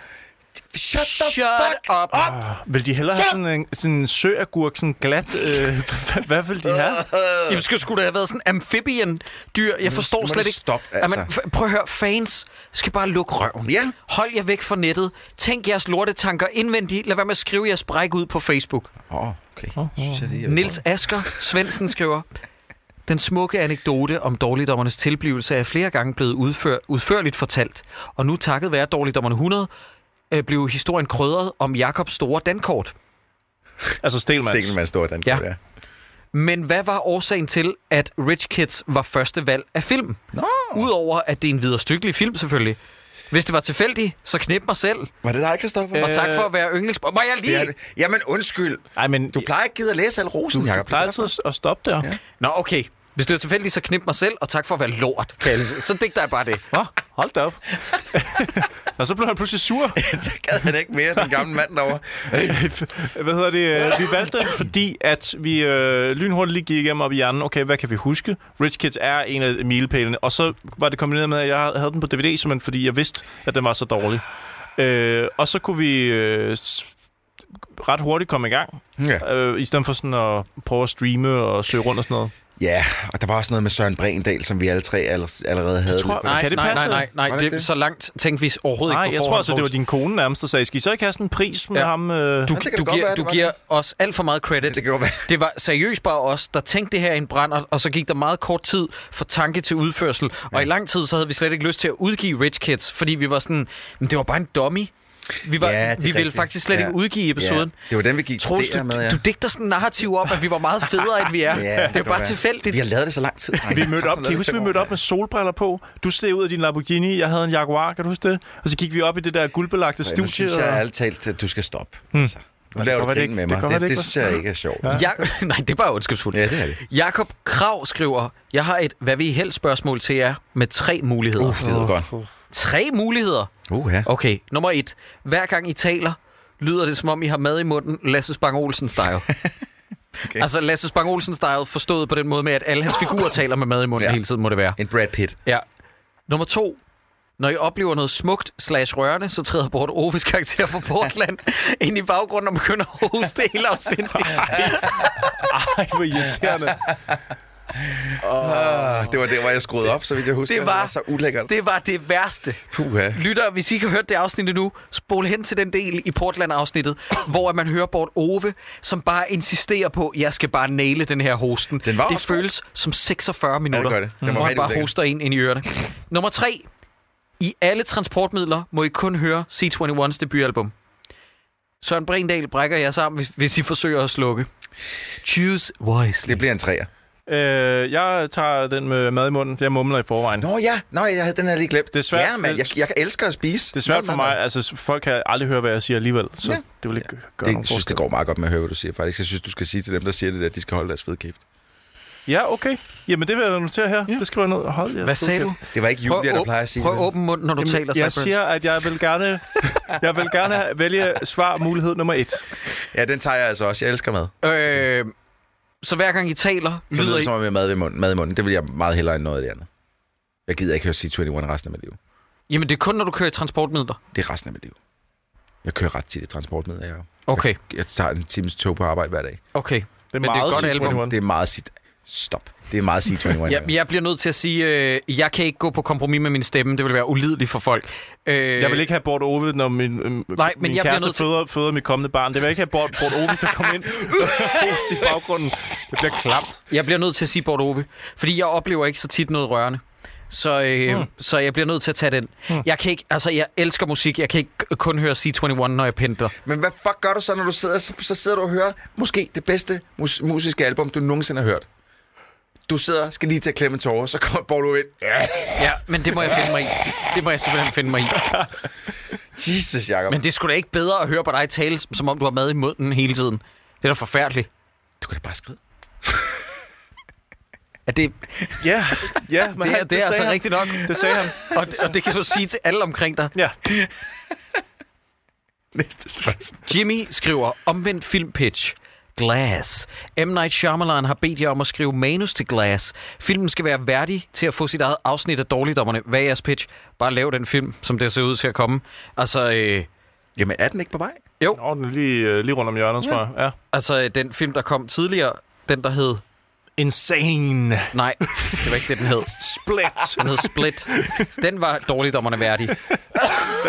[SPEAKER 4] Shut the
[SPEAKER 2] Shut
[SPEAKER 4] fuck
[SPEAKER 2] up.
[SPEAKER 4] up.
[SPEAKER 3] Vil de hellere have sådan en, sådan en søagurk, sådan glat... Øh, hvad, hvad vil de have?
[SPEAKER 2] Jamen, skulle, skulle det have været sådan amfibian dyr? Jeg forstår
[SPEAKER 4] må
[SPEAKER 2] slet
[SPEAKER 4] det
[SPEAKER 2] ikke.
[SPEAKER 4] stoppe,
[SPEAKER 2] Jamen,
[SPEAKER 4] altså.
[SPEAKER 2] f- prøv at høre, fans skal bare lukke røven.
[SPEAKER 4] Ja.
[SPEAKER 2] Hold jer væk fra nettet. Tænk jeres lortetanker indvendigt. Lad være med at skrive jeres bræk ud på Facebook.
[SPEAKER 4] Åh, oh, okay. Synes jeg, det er
[SPEAKER 2] Nils Asker Svendsen skriver... Den smukke anekdote om dårligdommernes tilblivelse er flere gange blevet udfør- udførligt fortalt, og nu takket være dårligdommerne 100, øh, blev historien krydret om Jakobs store dankort.
[SPEAKER 3] Altså Stelmans.
[SPEAKER 4] Stikkelmand står i den.
[SPEAKER 2] Ja.
[SPEAKER 4] Ja.
[SPEAKER 2] Men hvad var årsagen til, at Rich Kids var første valg af film?
[SPEAKER 4] Nå,
[SPEAKER 2] Udover at det er en viderstykkelig film, selvfølgelig. Hvis det var tilfældigt, så knip mig selv.
[SPEAKER 4] var det dig, Christoffer?
[SPEAKER 3] Øh,
[SPEAKER 2] Og tak for at være yndlings... Må jeg
[SPEAKER 4] Det
[SPEAKER 2] lige...
[SPEAKER 4] er det. Jamen undskyld.
[SPEAKER 3] Ej, men
[SPEAKER 4] Du plejer ikke givet at læse al rosen, Jacob.
[SPEAKER 3] plejer altid at- at stoppe der. Ja.
[SPEAKER 2] Nå, okay. Hvis det var tilfældigt, så knip mig selv, og tak for at være lort. Kan jeg lige- så digter jeg bare det.
[SPEAKER 3] Nå, hold da op. Og så blev han pludselig sur.
[SPEAKER 4] så gad han ikke mere, den gamle mand derovre.
[SPEAKER 3] Hvad hedder det? øh, Vi valgte den, fordi at vi øh, lynhurtigt lige gik igennem op i hjernen. Okay, hvad kan vi huske? Rich Kids er en af milepælene. Og så var det kombineret med, at jeg havde den på DVD, simpelthen fordi jeg vidste, at den var så dårlig. Øh, og så kunne vi øh, s- ret hurtigt komme i gang.
[SPEAKER 4] Ja.
[SPEAKER 3] Øh, I stedet for sådan at prøve at streame og søge rundt og sådan noget.
[SPEAKER 4] ja, og der var også noget med Søren Brendal, som vi alle tre all- allerede havde.
[SPEAKER 3] tror-
[SPEAKER 4] lidt på.
[SPEAKER 3] Nej, Kan det
[SPEAKER 2] nej, nej,
[SPEAKER 3] passe?
[SPEAKER 2] nej, nej.
[SPEAKER 4] Var
[SPEAKER 2] Det,
[SPEAKER 4] det
[SPEAKER 2] det,
[SPEAKER 4] det?
[SPEAKER 2] så langt tænkte vi overhovedet
[SPEAKER 3] Nej,
[SPEAKER 2] ikke på
[SPEAKER 3] jeg tror
[SPEAKER 2] forhånd,
[SPEAKER 3] altså, det var
[SPEAKER 2] Troels.
[SPEAKER 3] din kone nærmest, der sagde, skal I så ikke have sådan en pris med
[SPEAKER 2] Ja.
[SPEAKER 3] ja. ham? Øh?
[SPEAKER 2] Du,
[SPEAKER 4] Ja, det kan
[SPEAKER 2] du,
[SPEAKER 4] det godt
[SPEAKER 2] giver,
[SPEAKER 4] være,
[SPEAKER 2] du
[SPEAKER 4] det var
[SPEAKER 2] giver os alt for meget credit.
[SPEAKER 4] Det kan godt være.
[SPEAKER 2] Det var seriøst bare os, der tænkte det her i en brand, og, og så gik der meget kort tid fra tanke til udførsel. Og i lang tid, så havde vi slet ikke lyst til at udgive Rich Kids, fordi vi var sådan, men det var bare en dummy. Vi, var,
[SPEAKER 4] Ja, det er
[SPEAKER 2] ja, vi ville
[SPEAKER 4] rigtigt.
[SPEAKER 2] faktisk slet ja.
[SPEAKER 4] Ja.
[SPEAKER 2] ikke udgive episoden.
[SPEAKER 4] Ja, det var den, vi gik
[SPEAKER 2] Troels, du,
[SPEAKER 4] der med, ja.
[SPEAKER 2] du digter sådan en narrativ om, at vi var meget federe, end vi er.
[SPEAKER 4] Ja,
[SPEAKER 2] ja, det er
[SPEAKER 4] kan
[SPEAKER 2] jo bare
[SPEAKER 4] være.
[SPEAKER 2] tilfældigt.
[SPEAKER 4] Vi har lavet det så lang tid.
[SPEAKER 3] Vi mødte op, kan I huske, vi mødte op med solbriller på? Du steg ud af din Lamborghini, jeg havde en Jaguar, kan du huske det? Og så gik vi op i det der guldbelagte
[SPEAKER 4] studiet. Nu
[SPEAKER 3] studie.
[SPEAKER 4] synes jeg ærligt talt, at du skal stoppe. Altså, nu laver
[SPEAKER 3] tror,
[SPEAKER 4] du
[SPEAKER 3] Hmm. det
[SPEAKER 4] grin
[SPEAKER 3] ikke-
[SPEAKER 4] med
[SPEAKER 3] det
[SPEAKER 4] mig.
[SPEAKER 3] kommer
[SPEAKER 4] Det,
[SPEAKER 3] det
[SPEAKER 4] det,
[SPEAKER 3] ikke-
[SPEAKER 4] synes jeg ikke er sjovt. Ja,
[SPEAKER 2] Ja, nej, det er bare ondskabsfuldt.
[SPEAKER 4] det er det.
[SPEAKER 2] Jakob Krav skriver, jeg har et hvad vi helst spørgsmål til jer med tre muligheder.
[SPEAKER 4] Uff, det lyder godt.
[SPEAKER 2] Tre muligheder?
[SPEAKER 4] Uh, ja.
[SPEAKER 2] Okay, nummer et. Hver gang I taler, lyder det som om I har mad i munden Lasse Spang Olsen style. okay. Altså Lasse Spang Olsen style forstået på den måde med, at alle hans figurer taler med mad i munden ja.
[SPEAKER 4] Ja.
[SPEAKER 2] hele tiden, må det være.
[SPEAKER 4] En Brad Pitt.
[SPEAKER 2] Ja. Nummer to. Når I oplever noget smukt slash rørende, så træder Bort Oves karakter fra Portland ind i baggrunden og begynder at hoste helt afsindigt.
[SPEAKER 3] Ej, hvor irriterende.
[SPEAKER 4] Ah, det var der, hvor jeg skruede op, så vidt jeg husker.
[SPEAKER 2] det var-
[SPEAKER 4] det var så ulækkert.
[SPEAKER 2] Det var det værste.
[SPEAKER 4] Puha.
[SPEAKER 2] Lytter, hvis I ikke har hørt det afsnit endnu, spol hen til den del i Portland-afsnittet, hvor at man hører Bort Ove, som bare insisterer på, jeg skal bare næle den her hosten.
[SPEAKER 4] Den var
[SPEAKER 2] det
[SPEAKER 4] også god.
[SPEAKER 2] føles som 46 minutter,
[SPEAKER 4] gør det. Den var
[SPEAKER 2] hvor han
[SPEAKER 4] rigtig
[SPEAKER 2] bare
[SPEAKER 4] ulækker.
[SPEAKER 2] hoster ind, ind i ørerne. Nummer 3. I alle transportmidler må I kun høre C21's debutalbum. Søren Brindal brækker jer sammen, hvis, hvis I forsøger at slukke. Choose wisely.
[SPEAKER 4] Det bliver en træer.
[SPEAKER 3] Øh, jeg tager den med mad i munden, for jeg mumler i forvejen.
[SPEAKER 4] Nå ja, Nå, jeg havde den her lige glemt.
[SPEAKER 3] Det er svært.
[SPEAKER 4] Ja, man. Jeg, jeg elsker at spise.
[SPEAKER 3] Det er svært
[SPEAKER 4] Mad,
[SPEAKER 3] for
[SPEAKER 4] mad, mad.
[SPEAKER 3] mig, altså folk kan aldrig høre, hvad jeg siger alligevel, så
[SPEAKER 4] Ja.
[SPEAKER 3] det vil ikke gøre
[SPEAKER 4] Det,
[SPEAKER 3] nogen
[SPEAKER 4] jeg synes,
[SPEAKER 3] forskel.
[SPEAKER 4] det går meget godt med at høre, hvad du siger, faktisk. Jeg synes, du skal sige til dem, der siger det, der, at de skal holde deres fedkæft.
[SPEAKER 3] Ja, okay. Jamen, det vil jeg notere her. Det skriver jeg ned. Hold, jeg
[SPEAKER 2] Hvad sagde du?
[SPEAKER 4] Det var ikke
[SPEAKER 2] Prøv,
[SPEAKER 4] Julia, der
[SPEAKER 2] åb-
[SPEAKER 4] plejer at sige
[SPEAKER 2] prøv at
[SPEAKER 4] det.
[SPEAKER 2] åbne munden, når du Jamen, taler.
[SPEAKER 3] Jeg
[SPEAKER 2] Cyburns.
[SPEAKER 3] siger, at jeg vil gerne, jeg vil gerne vælge svar mulighed nummer et.
[SPEAKER 4] Ja, den tager jeg altså også. Jeg elsker mad.
[SPEAKER 2] Øh, så hver gang I taler,
[SPEAKER 4] Så lyder
[SPEAKER 2] lyder
[SPEAKER 4] det
[SPEAKER 2] I...
[SPEAKER 4] som om, jeg har mad i munden. Mad i munden. Det vil jeg meget hellere end noget af det andet. Jeg gider ikke høre C21 resten af mit liv.
[SPEAKER 2] Jamen, det er kun, når du kører i transportmidler.
[SPEAKER 4] Det er resten af mit liv. Jeg kører ret tit i transport med. Jeg,
[SPEAKER 2] Okay,
[SPEAKER 4] jeg tager en times tog på arbejde hver dag.
[SPEAKER 2] okay.
[SPEAKER 3] Det er
[SPEAKER 2] Men det er
[SPEAKER 3] meget
[SPEAKER 2] et godt
[SPEAKER 3] C21.
[SPEAKER 2] album.
[SPEAKER 4] Det er meget sit... Stop. Det er meget C21.
[SPEAKER 2] Jeg, jeg bliver nødt til at sige, øh, jeg kan ikke gå på kompromis med min stemme. Det vil være ulideligt for folk. Øh,
[SPEAKER 3] Jeg vil ikke have Bort Ove, når min, øhm,
[SPEAKER 2] Nej, men
[SPEAKER 3] min
[SPEAKER 2] jeg bliver
[SPEAKER 3] kæreste
[SPEAKER 2] nødt til-
[SPEAKER 3] føder, føder mit kommende barn. Det vil jeg ikke have Bort, Bort Ove til at komme ind i baggrunden. Det bliver klamt.
[SPEAKER 2] Jeg bliver nødt til at sige Bort Ove, fordi jeg oplever ikke så tit noget rørende. Så, øh, hmm. så jeg bliver nødt til at tage den. Hmm. Jeg kan ikke, altså jeg elsker musik, jeg kan ikke k- kun høre C21, når jeg pendler.
[SPEAKER 4] Men hvad fuck gør du så, når du sidder, så, så sidder du og hører måske det bedste mus- musiske album, du nogensinde har hørt? Du sidder, skal lige til at klemme en tårer, så kommer Borlo ind. Ja.
[SPEAKER 2] Ja, men det må jeg finde mig i. Det må jeg simpelthen finde mig i.
[SPEAKER 4] Jesus, Jacob.
[SPEAKER 2] Men det skulle da ikke bedre at høre på dig tale, som om du har mad i munden hele tiden. Det er da forfærdeligt.
[SPEAKER 4] du kan da bare skride.
[SPEAKER 2] Er det,
[SPEAKER 3] Ja, ja. Men
[SPEAKER 2] det, er, det er altså
[SPEAKER 3] sagde
[SPEAKER 2] rigtigt nok.
[SPEAKER 3] Han. Det sagde han.
[SPEAKER 2] Og, det- og det kan du sige til alle omkring dig.
[SPEAKER 3] Ja.
[SPEAKER 4] Næste spørgsmål.
[SPEAKER 2] Jimmy skriver omvendt filmpitch. Glass. M. Night Shyamalan har bedt jer om at skrive manus til Glass. Filmen skal være værdig til at få sit eget afsnit af Dårligdommerne. Hvad er jeres pitch? Bare lav den film, som det ser ud til at komme. Altså, øh,
[SPEAKER 4] Jamen, er den ikke på vej?
[SPEAKER 3] Nå, den er lige, øh, lige rundt om hjørnet, tror jeg. Ja.
[SPEAKER 2] altså øh, den film, der kom tidligere, den der hed...
[SPEAKER 3] Insane.
[SPEAKER 2] Nej, det var ikke det, den hed.
[SPEAKER 3] Split.
[SPEAKER 2] Den hed Split. Den var Dårligdommerne værdig.
[SPEAKER 3] Det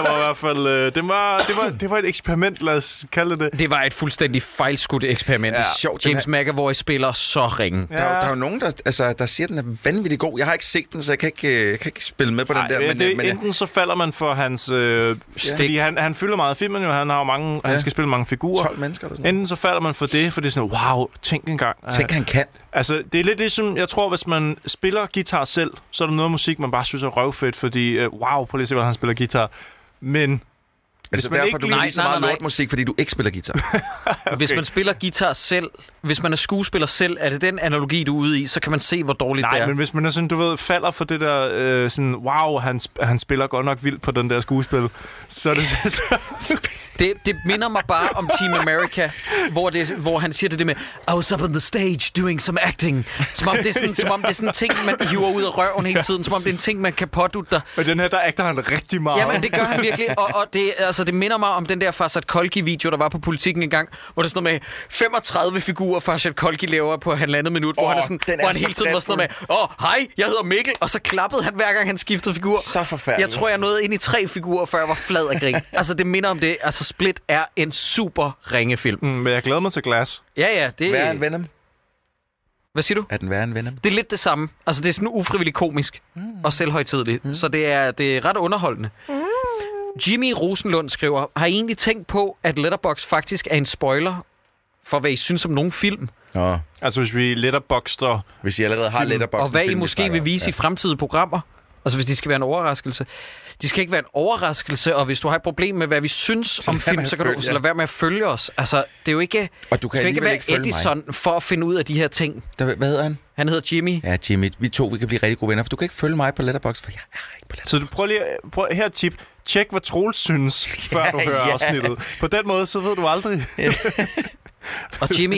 [SPEAKER 3] var i hvert fald... Øh, det, var, det, var, det var et eksperiment, lad os kalde det det.
[SPEAKER 2] Det var et fuldstændig fejlskudt eksperiment.
[SPEAKER 4] Det er sjovt, den
[SPEAKER 2] James McAvoy spiller så ringe.
[SPEAKER 4] Der, er, jo- der er jo nogen, der, altså, der siger, at den er vanvittig god. Jeg har ikke set den, så jeg kan ikke, øh, jeg kan ikke spille med på den
[SPEAKER 3] Nej,
[SPEAKER 4] der.
[SPEAKER 3] det,
[SPEAKER 4] Men,
[SPEAKER 3] det,
[SPEAKER 4] øh, men,
[SPEAKER 3] enten så falder man for hans... Øh, fordi han, han fylder meget i filmen jo, han har jo mange... Ja. Han skal spille mange figurer.
[SPEAKER 4] 12 øh, mennesker eller sådan noget.
[SPEAKER 3] Enten så falder man for det, for det er sådan, wow, tænk engang. at
[SPEAKER 4] Tænk, han kan.
[SPEAKER 3] Altså, det er lidt ligesom, jeg tror, hvis man spiller guitar selv, så er der noget musik, man bare synes er røvfedt, fordi, øh, wow, prøv lige at se, hvordan han spiller guitar. Men
[SPEAKER 4] Altså,
[SPEAKER 3] man
[SPEAKER 4] derfor,
[SPEAKER 3] ikke
[SPEAKER 4] du
[SPEAKER 3] lige-
[SPEAKER 4] kan lide så
[SPEAKER 2] Nej, nej,
[SPEAKER 4] meget
[SPEAKER 2] nej, nej.
[SPEAKER 4] lortmusik, fordi du ikke spiller guitar.
[SPEAKER 2] Hvis man spiller guitar selv, hvis man er skuespiller selv, er det den analogi, du er ude i, så kan man se, hvor dårligt det
[SPEAKER 3] nej,
[SPEAKER 2] er.
[SPEAKER 3] men hvis man er sådan, du ved, falder for det der, øh, sådan, wow, han, sp- han spiller godt nok vildt på den der skuespil, så er det... så,
[SPEAKER 2] Det, det minder mig bare om Team America, hvor, det, hvor han siger det, det med, I was up on the stage doing some acting. Som om det er sådan, som om det er sådan en ting, man hiver ud af røven hele tiden. Som om det er en ting, man kan pådutte dig.
[SPEAKER 3] og den her, der akter han rigtig meget.
[SPEAKER 2] Jamen, det gør han virkelig, og, og det, altså, det minder mig om den der Farsad Kolki-video, der var på Politiken engang, hvor det er sådan noget med 35 figurer, Farsad Kolki laver på halvandet minut, hvor
[SPEAKER 4] Åh,
[SPEAKER 2] han, er sådan,
[SPEAKER 4] den er
[SPEAKER 2] hvor han
[SPEAKER 4] så
[SPEAKER 2] hele tiden var sådan noget med, åh, hej, jeg hedder Mikkel, og så klappede han hver gang, han skiftede figur.
[SPEAKER 4] Så forfærdeligt.
[SPEAKER 2] Jeg tror, jeg nåede ind i tre figurer, før jeg var flad af grin. altså, det minder om det. Altså, Split er en super ringefilm.
[SPEAKER 3] Mm, men jeg glæder mig til Glass.
[SPEAKER 2] Ja, ja, det...
[SPEAKER 4] Værre end Venom.
[SPEAKER 2] Hvad siger du?
[SPEAKER 4] Er den værre end Venom?
[SPEAKER 2] Det er lidt det samme. Altså, det er sådan ufrivilligt komisk mm. og selvhøjtidligt. Mm. Så det er, det er ret underholdende. Mm. Jimmy Rosenlund skriver, har I egentlig tænkt på, at Letterbox faktisk er en spoiler for, hvad I synes om nogle film?
[SPEAKER 4] Nå,
[SPEAKER 3] Altså, hvis vi letterboxter...
[SPEAKER 4] hvis I allerede har letterboxen.
[SPEAKER 2] og hvad I
[SPEAKER 4] film, vi
[SPEAKER 2] måske
[SPEAKER 4] snakker
[SPEAKER 2] vil
[SPEAKER 4] om.
[SPEAKER 2] vise ja. i fremtidige programmer? Altså, hvis de skal være en overraskelse. De skal ikke være en overraskelse, og hvis du har et problem med, hvad vi synes så om
[SPEAKER 4] lad
[SPEAKER 2] film,
[SPEAKER 4] være
[SPEAKER 2] så
[SPEAKER 4] at
[SPEAKER 2] kan du
[SPEAKER 4] følge,
[SPEAKER 2] så
[SPEAKER 4] ja.
[SPEAKER 2] lade være med at følge os. Altså, det er jo ikke...
[SPEAKER 4] Og du kan
[SPEAKER 2] du ikke
[SPEAKER 4] alligevel
[SPEAKER 2] være
[SPEAKER 4] ikke følge mig.
[SPEAKER 2] Edison for at finde ud af de her ting.
[SPEAKER 4] Der, hvad hedder han?
[SPEAKER 2] Han hedder Jimmy.
[SPEAKER 4] Ja, Jimmy, vi to vi kan blive rigtig gode venner, for du kan ikke følge mig på Letterboxd, for jeg er ikke på Letterboxd.
[SPEAKER 3] Så du prøv lige... Prøv, her er et tip. Tjek, hvad Troels synes, før du
[SPEAKER 4] Ja,
[SPEAKER 3] hører
[SPEAKER 4] ja.
[SPEAKER 3] afsnittet. På den måde, så ved du aldrig.
[SPEAKER 2] Og Jimmy,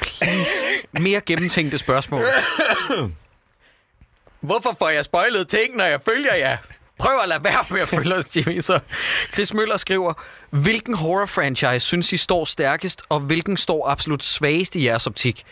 [SPEAKER 2] please, mere gennemtænkte spørgsmål. Hvorfor får jeg spoilet ting, når jeg følger jer? Prøv at lade være med at følge os, Jimmy. Så Chris Møller skriver, hvilken horror-franchise synes I står stærkest, og hvilken står absolut svagest i jeres optik?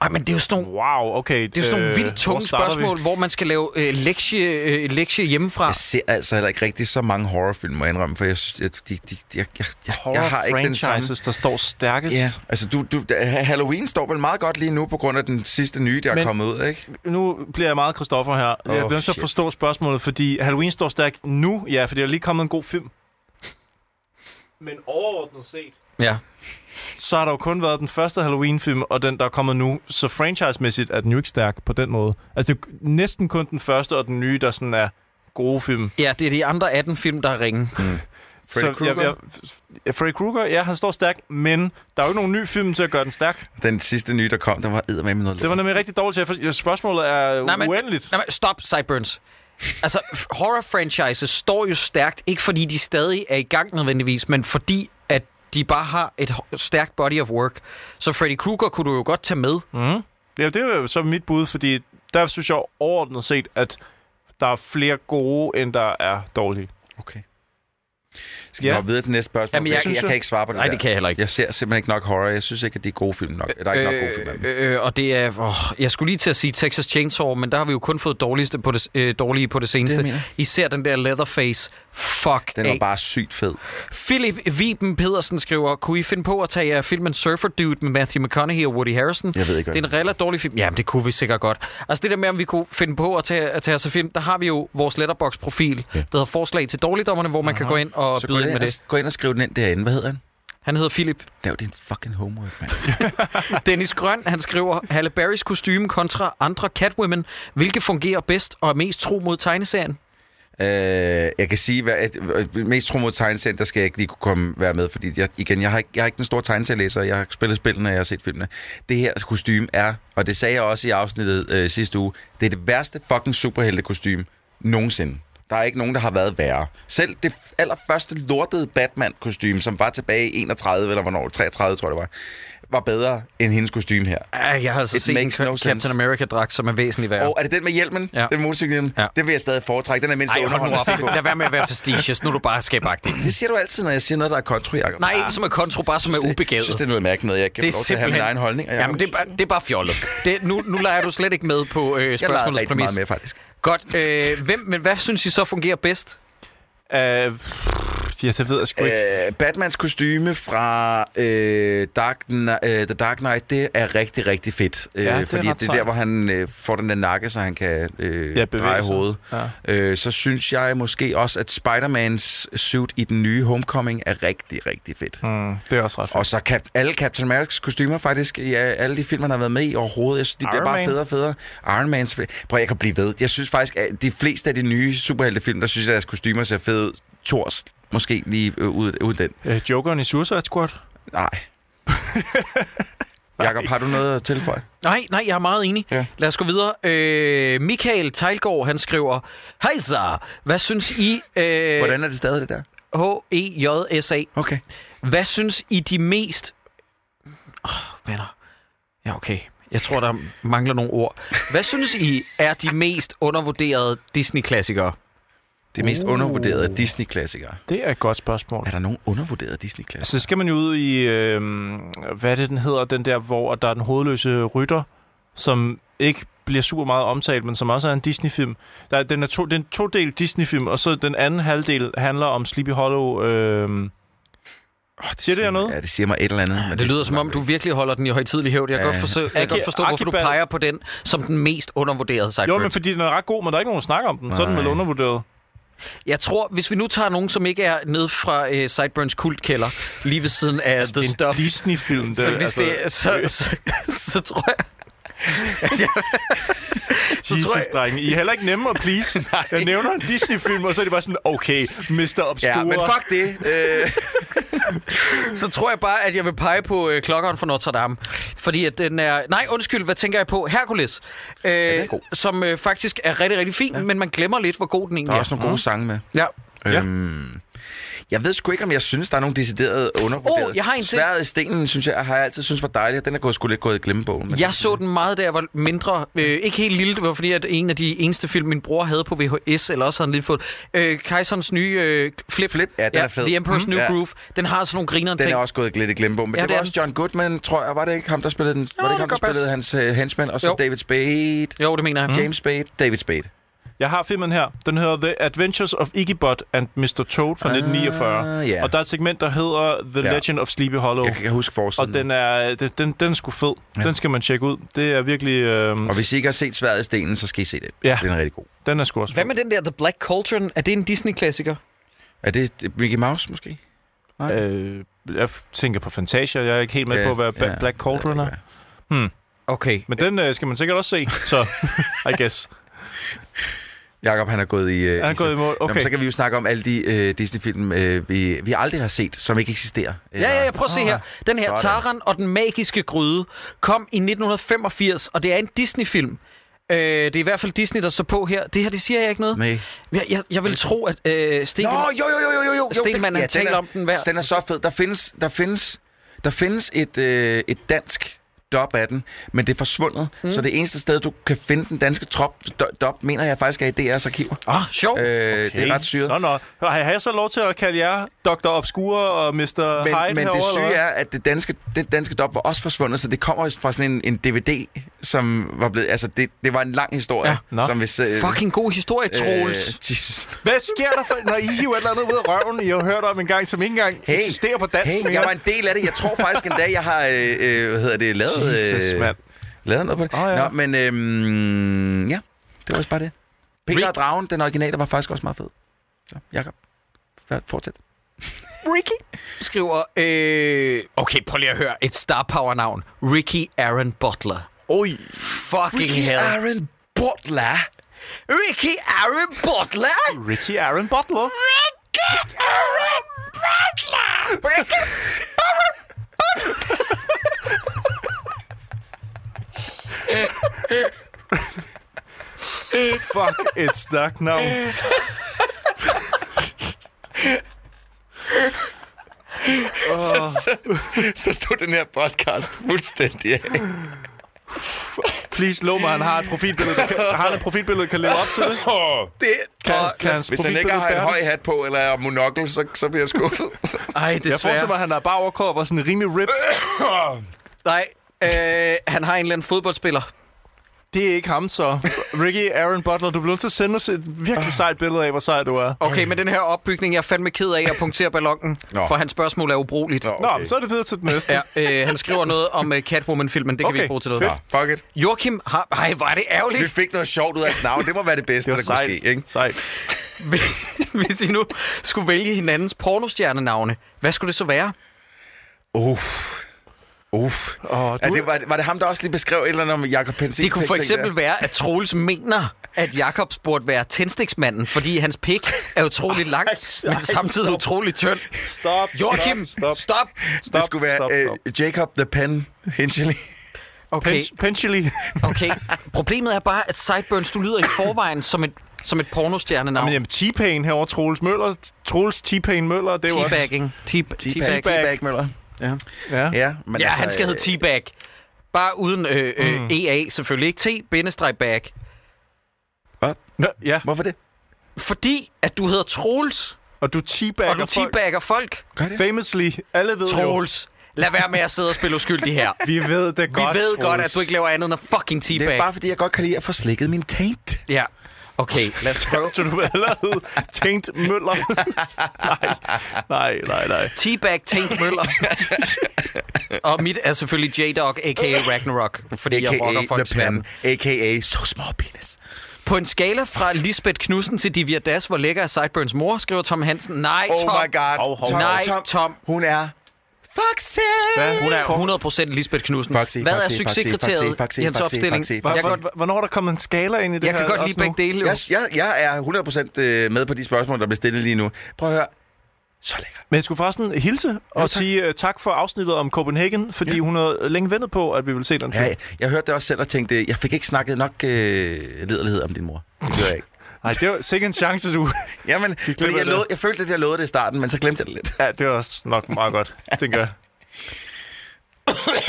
[SPEAKER 2] Ej, men det er jo sådan nogle,
[SPEAKER 3] Wow, okay.
[SPEAKER 2] det er jo sådan nogle
[SPEAKER 3] øh,
[SPEAKER 2] vildt
[SPEAKER 3] hvor
[SPEAKER 2] tunge
[SPEAKER 3] starter vi?
[SPEAKER 2] spørgsmål, hvor man skal lave øh, lektie, øh, lektie hjemmefra.
[SPEAKER 4] Jeg ser altså heller ikke rigtig så mange horrorfilm, må jeg indrømme, for jeg, sy- jeg, de, de, jeg, jeg, jeg, jeg har ikke den samme...
[SPEAKER 3] Horror-franchises, der står stærkest.
[SPEAKER 4] Ja, altså du, du, da- Halloween står vel meget godt lige nu på grund af den sidste nye, der
[SPEAKER 3] Men-
[SPEAKER 4] er kommet ud, ikke?
[SPEAKER 3] Nu bliver jeg meget Christoffer her. Oh, jeg
[SPEAKER 4] Åh,
[SPEAKER 3] bliver nødt til at
[SPEAKER 4] shit.
[SPEAKER 3] forstå spørgsmålet, fordi Halloween står stærkt nu, ja, fordi der er lige kommet en god film. Men overordnet set,
[SPEAKER 2] Ja.
[SPEAKER 3] så har der jo kun været den første Halloween-film, og den, der er kommet nu. Så franchise-mæssigt er den jo ikke stærk på den måde. Altså, det er næsten kun den første og den nye, der sådan er gode film.
[SPEAKER 2] ja, det er de andre 18 film, der er ringe.
[SPEAKER 4] Freddy Krueger?
[SPEAKER 3] Jeg, jeg, Freddy Krueger, ja, han står stærk, men der er jo ikke nogen ny film til at gøre den stærk.
[SPEAKER 4] Den sidste nye, der kom, den var eddermame med noget
[SPEAKER 3] Det var nemlig rigtig dårligt til at forstå. Spørgsmålet er
[SPEAKER 2] Nej,
[SPEAKER 3] nej,
[SPEAKER 2] men-
[SPEAKER 3] uendeligt.
[SPEAKER 2] Nej, men stop, Cyburns. Altså, f- horror-franchises står jo stærkt, ikke fordi de stadig er i gang nødvendigvis, men fordi, at de bare har et h- stærkt body of work. Så Freddy Krueger kunne du jo godt tage med.
[SPEAKER 3] Mm. Ja, det er jo så mit bud, fordi der synes jeg overordnet set, at der er flere gode, end der er dårlige.
[SPEAKER 4] Okay. Skal vi
[SPEAKER 3] Ja.
[SPEAKER 4] ja. videre til næste spørgsmål?
[SPEAKER 2] Jamen,
[SPEAKER 4] Jamen,
[SPEAKER 2] jeg-
[SPEAKER 4] jeg, jeg,
[SPEAKER 3] synes
[SPEAKER 4] jeg
[SPEAKER 3] jo-
[SPEAKER 4] kan ikke svare på det
[SPEAKER 2] Nej,
[SPEAKER 4] der.
[SPEAKER 2] det kan jeg heller ikke.
[SPEAKER 4] Jeg ser simpelthen ikke nok horror. Jeg synes ikke, at det er gode film nok. Der er ikke nok gode film af dem.
[SPEAKER 2] øh, øh, og det er... Åh, jeg skulle lige til at sige Texas Chainsaw, men der har vi jo kun fået dårligste på det, øh, dårlige på det seneste.
[SPEAKER 4] mener jeg.
[SPEAKER 2] Især den der Leatherface. Fuck
[SPEAKER 4] Den
[SPEAKER 2] af.
[SPEAKER 4] var bare sygt fed.
[SPEAKER 2] Philip Viben Pedersen skriver, kunne I finde på at tage jer filmen Surfer Dude med Matthew McConaughey og Woody Harrison?
[SPEAKER 4] Jeg ved ikke, hvad
[SPEAKER 2] Det er en relativt dårlig film. Jamen, det kunne vi sikkert godt. Altså det der med, om vi kunne finde på at tage, at tage os af film, der har vi jo vores letterbox-profil, ja. der hedder Forslag til Dårligdommerne, hvor man kan gå ind og
[SPEAKER 4] Så gå
[SPEAKER 2] byde ind
[SPEAKER 4] ind,
[SPEAKER 2] med
[SPEAKER 4] og,
[SPEAKER 2] det.
[SPEAKER 4] gå ind og skriv den ind derinde. Hvad hedder han?
[SPEAKER 2] Han hedder Philip.
[SPEAKER 4] Lav din fucking homework, mand.
[SPEAKER 2] Dennis Grøn, han skriver, Halle Berrys kostume kontra andre Catwomen, hvilket fungerer bedst og er mest tro mod tegneserien?
[SPEAKER 4] Øh, jeg kan sige, hvad, at, at mest tro mod tegneserien, der skal jeg ikke lige kunne komme, være med, fordi jeg, igen, jeg har, ikke, jeg har ikke den store tegneserielæser, jeg har spillet spillene, jeg har set filmene. Det her kostume er, og det sagde jeg også i afsnittet øh, sidste uge, det er det værste fucking superhelte kostume nogensinde. Der er ikke nogen, der har været værre. Selv det f- allerførste lortede Batman-kostume, som var tilbage i 31, eller hvornår, 33 tror jeg det var, var bedre end hendes kostume her.
[SPEAKER 2] Ah, jeg har altså
[SPEAKER 4] It
[SPEAKER 2] set en
[SPEAKER 4] makes no sense.
[SPEAKER 2] Captain America-dragt, som er væsentligt værre.
[SPEAKER 4] Og er det den med hjelmen?
[SPEAKER 2] Ja.
[SPEAKER 4] Ja. Den med motorcyklen?
[SPEAKER 2] Ja.
[SPEAKER 4] Ja. Det vil jeg stadig foretrække. Den er mindst
[SPEAKER 2] Ej, hold nu
[SPEAKER 4] underholdende at se på.
[SPEAKER 2] op. Lad være med at være fastidious. Nu er du bare skabagtig.
[SPEAKER 4] Det siger du altid, når jeg siger noget, der er kontro, Jacob.
[SPEAKER 2] Nej, ikke Ah, som er kontro, bare som er ubegavet.
[SPEAKER 4] Jeg synes, det er noget mærkeligt noget. Jeg kan
[SPEAKER 2] det
[SPEAKER 4] det
[SPEAKER 2] er
[SPEAKER 4] få lov til at have min egen holdning. og jeg-
[SPEAKER 2] Jamen, det er, bare, det er bare fjollet. Det, nu, nu leger du slet ikke med på øh,
[SPEAKER 4] jeg legede
[SPEAKER 2] spørgsmålets
[SPEAKER 4] rigtig
[SPEAKER 2] præmis.
[SPEAKER 4] meget med, faktisk.
[SPEAKER 2] Godt. Øh, hvem, men hvad synes I så fungerer bedst?
[SPEAKER 3] Øh, pff, ja, det ved jeg sgu ikke.
[SPEAKER 4] Øh, Batmans kostyme fra øh, Dark, Kn- øh, The Dark Knight, det er rigtig, rigtig fedt. Øh,
[SPEAKER 3] det er
[SPEAKER 4] fordi
[SPEAKER 3] ret
[SPEAKER 4] det er
[SPEAKER 3] sejt.
[SPEAKER 4] der, hvor han øh, får den der nakke, så han kan øh,
[SPEAKER 3] Ja,
[SPEAKER 4] ja,
[SPEAKER 3] bevæge
[SPEAKER 4] dreje
[SPEAKER 3] sig.
[SPEAKER 4] hovedet.
[SPEAKER 3] Ja.
[SPEAKER 4] Øh, så synes jeg måske også, at Spider-Mans suit i den nye Homecoming er rigtig, rigtig fedt.
[SPEAKER 3] Mm, det er også ret fedt.
[SPEAKER 4] Og så kap- alle Captain America's kostymer faktisk, i øh, alle de film, han har været med i overhovedet, jeg synes, de
[SPEAKER 3] Iron
[SPEAKER 4] bliver bare
[SPEAKER 3] Man.
[SPEAKER 4] federe og federe. Iron Man, prøv jeg kan blive ved. Jeg synes faktisk, at de fleste af de nye superheltefilm, der synes jeg, at deres kostymer ser fede ud. Thors, måske lige øh, ud, ud den.
[SPEAKER 3] Øh, Jokeren i Suicide Squad?
[SPEAKER 4] Nej. Jakob, har du noget at tilføje?
[SPEAKER 2] Nej, nej, jeg er meget enig. Ja.
[SPEAKER 4] Ja.
[SPEAKER 2] Lad os gå videre. Øh, Michael Tejlgaard, han skriver, Hej så, hvad synes I... Øh, E
[SPEAKER 4] Hvordan er det stadig, det der?
[SPEAKER 2] H-E-J-S-A.
[SPEAKER 4] Okay.
[SPEAKER 2] Hvad synes I de mest... Oh, venner. Ja, okay. Jeg tror, der mangler nogle ord. Hvad synes I er de mest undervurderede Disney-klassikere?
[SPEAKER 4] Det mest uh. undervurderede Disney-klassikere.
[SPEAKER 3] Det er et godt spørgsmål.
[SPEAKER 4] Er der nogen undervurderede Disney-klassikere?
[SPEAKER 3] Så skal man jo ud i, øh, hvad er det, den hedder, den der, hvor der er den hovedløse rytter, som ikke bliver super meget omtalt, men som også er en Disney-film. Der, er- den er to, den to del Disney-film, og så den anden halvdel handler om Sleepy Hollow. Øh,
[SPEAKER 4] Oh, det
[SPEAKER 3] Siger det jer noget?
[SPEAKER 4] Ja, det siger mig et eller andet. men
[SPEAKER 2] Det lyder som om, du virkelig holder den i højtidlig hævd. Jeg kan
[SPEAKER 4] Ja.
[SPEAKER 2] godt forstå, jeg kan godt forstå hvorfor du
[SPEAKER 3] Archibald-
[SPEAKER 2] peger på den som den mest undervurderede, sagt
[SPEAKER 3] jo, men fordi den er ret god, men der er ikke nogen, der snakker om den. Så er den
[SPEAKER 4] Nej.
[SPEAKER 3] vel undervurderet.
[SPEAKER 2] Jeg tror, hvis vi nu tager nogen, som ikke er nede fra øh, Sideburns kultkælder, lige ved siden af
[SPEAKER 4] Altså,
[SPEAKER 2] The
[SPEAKER 3] en
[SPEAKER 2] Stuff,
[SPEAKER 3] Disney-film. Det,
[SPEAKER 2] Hvis
[SPEAKER 3] altså,
[SPEAKER 2] det er, så, så, så, så tror jeg...
[SPEAKER 3] så Jesus,
[SPEAKER 4] tror
[SPEAKER 3] jeg...
[SPEAKER 4] jeg-
[SPEAKER 3] drenge. I er heller ikke nemme at please. jeg nævner en Disney-film, og så er det bare sådan, okay, Mr. Obscure.
[SPEAKER 4] Ja, Ah, men fuck det. Øh,
[SPEAKER 2] Så tror jeg bare, at jeg vil pege på øh, klokkeren fra Notre Dame. Fordi at den er... Nej, undskyld, hvad tænker jeg på? Hercules. Øh,
[SPEAKER 4] den er god.
[SPEAKER 2] som øh, faktisk er rigtig, rigtig fin, ja. men man glemmer lidt, hvor god den
[SPEAKER 4] der
[SPEAKER 2] egentlig
[SPEAKER 4] er
[SPEAKER 2] er.
[SPEAKER 4] også nogle gode sange med.
[SPEAKER 2] Ja.
[SPEAKER 3] Ja.
[SPEAKER 4] Øhm, jeg ved sgu ikke, om jeg synes, der er nogle deciderede undervurderede.
[SPEAKER 2] Oh, jeg har en ting.
[SPEAKER 4] Sværet i stenen, synes jeg, har jeg altid synes var dejlig. og Den er gået sgu lidt gået i glemmebogen. Men
[SPEAKER 2] Jeg så den meget, da jeg var mindre. Øh, ikke helt lille, det var fordi, at en af de eneste film, min bror havde på VHS, eller også havde han lige fået... Øh, Kejserens nye øh, Flip.
[SPEAKER 4] Flip, ja, den er fed.
[SPEAKER 2] The Emperor's
[SPEAKER 4] Mm.
[SPEAKER 2] New
[SPEAKER 4] Ja.
[SPEAKER 2] Groove. Den har sådan nogle grinerende
[SPEAKER 4] Den er
[SPEAKER 2] ting.
[SPEAKER 4] også gået lidt i glemmebogen. Men
[SPEAKER 2] Ja,
[SPEAKER 4] ja, det
[SPEAKER 2] det er
[SPEAKER 4] var også John Goodman, tror jeg. Var det ikke ham, der spillede den? var
[SPEAKER 2] det
[SPEAKER 4] det ikke ham,
[SPEAKER 2] kan
[SPEAKER 4] der
[SPEAKER 2] godt
[SPEAKER 4] spillede hans uh, henchman? Og så
[SPEAKER 2] Jo. Mm.
[SPEAKER 4] jo. David Spade.
[SPEAKER 2] Jo, det mener jeg.
[SPEAKER 4] James Spade. David Spade.
[SPEAKER 3] Jeg har filmen her. Den hedder The Adventures of Iggy Bot and Mr. Toad fra 1949.
[SPEAKER 4] Ah, ja.
[SPEAKER 3] Og der er et segment, der hedder The
[SPEAKER 4] Ja.
[SPEAKER 3] Legend of Sleepy Hollow.
[SPEAKER 4] Jeg kan ikke huske
[SPEAKER 3] Og
[SPEAKER 4] forsiden.
[SPEAKER 3] den er, den, den, den er sgu fed. Ja. Den skal man tjekke ud. Det er virkelig... Øh,
[SPEAKER 4] Og hvis I ikke har set Sværet i stenen, så skal I se det.
[SPEAKER 3] Ja.
[SPEAKER 4] Den er rigtig god.
[SPEAKER 3] den er sgu også
[SPEAKER 2] Hvad
[SPEAKER 3] fed.
[SPEAKER 2] med den der The Black Cauldron? Er det en Disney-klassiker?
[SPEAKER 4] Er det Mickey Mouse, måske? Nej.
[SPEAKER 3] Øh, jeg f- tænker på Fantasia. Jeg er ikke helt med
[SPEAKER 4] Ja,
[SPEAKER 3] på, hvad ja,
[SPEAKER 4] ja,
[SPEAKER 3] Black Cauldron
[SPEAKER 4] det ved
[SPEAKER 3] er.
[SPEAKER 4] jeg ikke,
[SPEAKER 2] Okay.
[SPEAKER 3] Men den øh, skal man sikkert også se. Så, I guess.
[SPEAKER 4] Jakob, han er gået i... Uh,
[SPEAKER 3] Er han gået i mål?
[SPEAKER 4] Okay. Jamen,
[SPEAKER 3] Okay.
[SPEAKER 4] så kan vi jo snakke om alle de øh, Disney-film, øh, vi, vi aldrig har set, som ikke eksisterer.
[SPEAKER 2] Ja, ja, ja, prøv at se her. Den her,
[SPEAKER 4] Ah, Sådan.
[SPEAKER 2] Taran og den magiske gryde, kom i 1985, og det er en Disney-film. Øh, det er i hvert fald Disney, der står på her. Det her, det siger jeg ikke noget.
[SPEAKER 4] Nej.
[SPEAKER 2] Jeg, jeg, jeg vil tro, at øh, Steven...
[SPEAKER 4] Nå, jo, jo, jo, jo, jo, jo. jo.
[SPEAKER 2] Stegelmann, han taler
[SPEAKER 4] er,
[SPEAKER 2] om den hver-
[SPEAKER 4] Den er så fed. Der findes, der findes, der findes et, øh, et dansk dub af den, men det er forsvundet. Mm. Så det eneste sted, du kan finde den danske trop, do- dub, mener jeg faktisk er i DR's arkiver.
[SPEAKER 2] Åh, Ah, sjovt.
[SPEAKER 4] Øh, okay. Det er ret syret.
[SPEAKER 3] Nå, nå. Har har jeg så lov til at kalde jer Dr. Obscure og Mr. Hyde
[SPEAKER 4] men, men det
[SPEAKER 3] herovre, eller
[SPEAKER 4] syge
[SPEAKER 3] hvad?
[SPEAKER 4] er, at det danske, det danske dub var også forsvundet, så det kommer jo fra sådan en, en DVD, som var blevet... Altså, det, det var en lang historie,
[SPEAKER 3] Ja, nå.
[SPEAKER 4] ja, som hvis... Øh,
[SPEAKER 2] Fucking god historie, Troels.
[SPEAKER 4] Øh, Jesus.
[SPEAKER 3] Hvad sker der, for, når I hiver et eller andet ud af røven, I har hørt om en gang, som ikke engang hey, eksisterer på dansk?
[SPEAKER 4] Hey, jeg var en del af det. Jeg tror faktisk en dag, jeg har øh, øh, hvad hedder det, lavet,
[SPEAKER 3] Jesus,
[SPEAKER 4] øh,
[SPEAKER 3] mand.
[SPEAKER 4] lavet noget på det.
[SPEAKER 3] Åh, ja.
[SPEAKER 4] Nå, men øh, ja, det var også bare det. Peter og Dragen, den originale, var faktisk også meget fed. Så, Jacob, f- fortsæt.
[SPEAKER 2] Ricky skriver... Øh, okay, prøv lige at høre. Et star power navn. Ricky Aaron Butler. Oj. Fucking hell.
[SPEAKER 4] Aaron Butler.
[SPEAKER 2] Ricky Aaron Butler?
[SPEAKER 3] Ricky Aaron Butler.
[SPEAKER 2] Ricky Aaron Butler! Ricky
[SPEAKER 3] Fuck, et stærkt navn.
[SPEAKER 4] Så, så stod den her podcast fuldstændig af.
[SPEAKER 3] Please lov mig, han har et profilbillede, der kan, har han et profilbillede, der kan leve op til det.
[SPEAKER 4] Det,
[SPEAKER 3] Kan-
[SPEAKER 4] og,
[SPEAKER 3] kan hans
[SPEAKER 4] hvis han ikke har en
[SPEAKER 3] profilbillede
[SPEAKER 4] høj hat på, eller er monokkel, så, så bliver jeg skuffet.
[SPEAKER 2] Ej,
[SPEAKER 3] Jeg forestiller mig,
[SPEAKER 2] desværre.
[SPEAKER 3] at han har bare overkrop og sådan rimelig ripped.
[SPEAKER 2] Nej, øh, han har en eller anden fodboldspiller.
[SPEAKER 3] Det er ikke ham, så. Ricky Aaron Butler, du bliver nødt til at sende os et virkelig sejt billede af, hvor sej du er.
[SPEAKER 2] Okay, men den her opbygning, jeg er fandme ked af at punktere ballongen,
[SPEAKER 4] Nå.
[SPEAKER 2] for hans spørgsmål er ubrugeligt.
[SPEAKER 4] Nå,
[SPEAKER 3] Nå, men så er det videre til den næste.
[SPEAKER 2] Ja, øh, han skriver noget om øh, Catwoman-filmen, det kan vi
[SPEAKER 3] Okay,
[SPEAKER 2] ikke bruge til noget.
[SPEAKER 3] fedt.
[SPEAKER 4] Fuck it.
[SPEAKER 2] Joachim har... Ej, hvor er det ærgerligt.
[SPEAKER 4] Vi fik noget sjovt ud af hans navn. Det må være det bedste,
[SPEAKER 3] Det var
[SPEAKER 4] der kunne
[SPEAKER 3] sejt.
[SPEAKER 4] ske. Ikke?
[SPEAKER 3] sejt.
[SPEAKER 2] Hvis I nu skulle vælge hinandens pornostjernenavne, hvad skulle det så være?
[SPEAKER 4] Uff. Uff.
[SPEAKER 3] Åh,
[SPEAKER 4] Ja,
[SPEAKER 3] du-
[SPEAKER 4] det var, var det ham, der også lige beskrev et eller andet om Jacob Pensin?
[SPEAKER 2] Det kunne for eksempel være, at Troels mener, at Jakobs burde være tændstiksmanden, fordi hans pik er utrolig lang,
[SPEAKER 3] Ej,
[SPEAKER 2] men
[SPEAKER 3] ej,
[SPEAKER 2] samtidig
[SPEAKER 3] stop.
[SPEAKER 2] utrolig tynd.
[SPEAKER 3] Stop.
[SPEAKER 2] Joachim, stop. stop.
[SPEAKER 4] Stop, det skulle være
[SPEAKER 3] stop, stop.
[SPEAKER 4] Øh, Jacob the Pen Hinchely.
[SPEAKER 2] Okay,
[SPEAKER 3] Pen- Penchely.
[SPEAKER 2] okay. Problemet er bare, at Sideburns, du lyder i forvejen som et, som et pornostjernenavn.
[SPEAKER 3] Men jamen, T-Pain herovre, Troels Møller. Troels T-Pain Møller, det er jo også...
[SPEAKER 2] Teabagging. Te- Teabag.
[SPEAKER 4] T-Bag. T-Bag Møller.
[SPEAKER 3] Ja.
[SPEAKER 4] Ja, men
[SPEAKER 2] Ja,
[SPEAKER 4] altså,
[SPEAKER 2] han skal hedde
[SPEAKER 4] øh,
[SPEAKER 2] T-Bag. Bare uden øh, øh,
[SPEAKER 3] Mm.
[SPEAKER 2] EA selvfølgelig. Ikke T-bag.
[SPEAKER 3] Nå, ja.
[SPEAKER 4] Hvorfor det?
[SPEAKER 2] Fordi at du hedder Troels,
[SPEAKER 3] Og du
[SPEAKER 2] og
[SPEAKER 3] T-Bagger
[SPEAKER 2] du T-bagger folk.
[SPEAKER 4] Gør det?
[SPEAKER 3] Famously. Alle ved jo.
[SPEAKER 2] Troels, lad være med at sidde og spille uskyldig her.
[SPEAKER 3] Vi ved det
[SPEAKER 2] Vi
[SPEAKER 3] godt,
[SPEAKER 2] ved
[SPEAKER 3] Troels.
[SPEAKER 2] godt, at du ikke laver andet end at fucking
[SPEAKER 4] Det
[SPEAKER 2] teabag.
[SPEAKER 4] er bare, fordi jeg godt kan lide at få slikket min taint.
[SPEAKER 2] Ja. Okay, lad os prøve.
[SPEAKER 3] Så du vil hellere hedde Tænkt Møller. nej, nej, nej, nej.
[SPEAKER 2] Teabag Tank Møller. og mit er selvfølgelig J-Dog, a.k.a. Ragnarok, fordi
[SPEAKER 4] A.k.a.
[SPEAKER 2] jeg rocker
[SPEAKER 4] The
[SPEAKER 2] folks
[SPEAKER 4] Pen.
[SPEAKER 2] verden.
[SPEAKER 4] A.k.a. So Small Penis.
[SPEAKER 2] På en skala fra Lisbeth Knudsen til Divya Das, hvor lækker er Sideburns mor, skriver Tom Hansen. Nej,
[SPEAKER 4] Oh
[SPEAKER 2] Tom.
[SPEAKER 4] my god.
[SPEAKER 3] Hov, hov.
[SPEAKER 2] Nej, Tom.
[SPEAKER 4] Hun er... Foxy!
[SPEAKER 3] Hvad?
[SPEAKER 2] Hun er 100% Lisbeth Knudsen.
[SPEAKER 4] Foxy,
[SPEAKER 2] Hvad er
[SPEAKER 4] Foxy, Foxy, Foxy,
[SPEAKER 2] succeskriteriet
[SPEAKER 4] Foxy,
[SPEAKER 2] i hans
[SPEAKER 4] Foxy,
[SPEAKER 2] opstilling?
[SPEAKER 4] Foxy, Foxy.
[SPEAKER 2] Jeg,
[SPEAKER 3] Hvor,
[SPEAKER 2] godt,
[SPEAKER 3] hvor, hvornår er der kommet en skala ind i det
[SPEAKER 2] jeg
[SPEAKER 3] her?
[SPEAKER 2] kan godt
[SPEAKER 3] også
[SPEAKER 2] lide begge
[SPEAKER 3] nu?
[SPEAKER 2] dele. jo.
[SPEAKER 4] Jeg, jeg, jeg er 100% med på de spørgsmål, der bliver stillet lige nu. Prøv at høre. Så lækker.
[SPEAKER 3] Men jeg skulle forresten hilse og ja,
[SPEAKER 4] tak.
[SPEAKER 3] sige uh, tak for afsnittet om Copenhagen, fordi ja. hun har længe ventet på, at vi ville se den film.
[SPEAKER 4] Ja, jeg hørte det også selv og tænkte, jeg fik ikke snakket nok øh, lederlighed om din mor. Det gjorde jeg ikke.
[SPEAKER 3] Nej, det var sikkert en chance, du...
[SPEAKER 4] Jamen, fordi jeg,
[SPEAKER 3] det.
[SPEAKER 4] lovede, jeg følte, at jeg lovede det i starten, men så glemte jeg det lidt.
[SPEAKER 3] ja, det var også nok meget godt, tænker jeg.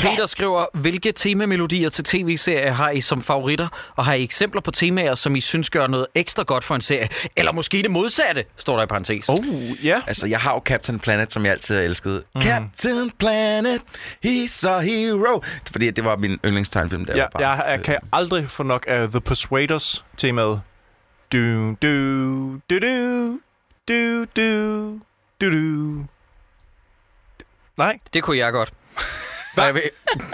[SPEAKER 2] Peter skriver, hvilke temamelodier til tv-serier har I som favoritter, og har I eksempler på temaer, som I synes gør noget ekstra godt for en serie? Eller måske det modsatte, står der i parentes. Oh.
[SPEAKER 3] Oh, ja.
[SPEAKER 4] Altså, jeg har jo Captain Planet, som jeg altid har elsket.
[SPEAKER 3] Mhm.
[SPEAKER 4] Mm. Captain Planet, he's a hero. Fordi det var min yndlingstegnfilm, der
[SPEAKER 3] Ja,
[SPEAKER 4] var bare.
[SPEAKER 3] jeg,
[SPEAKER 2] øh.
[SPEAKER 3] jeg kan aldrig få nok af The Persuaders temaet. Du, du, du, du, du, du, du, du. Nej,
[SPEAKER 2] Det kunne jeg godt. Og jeg vil-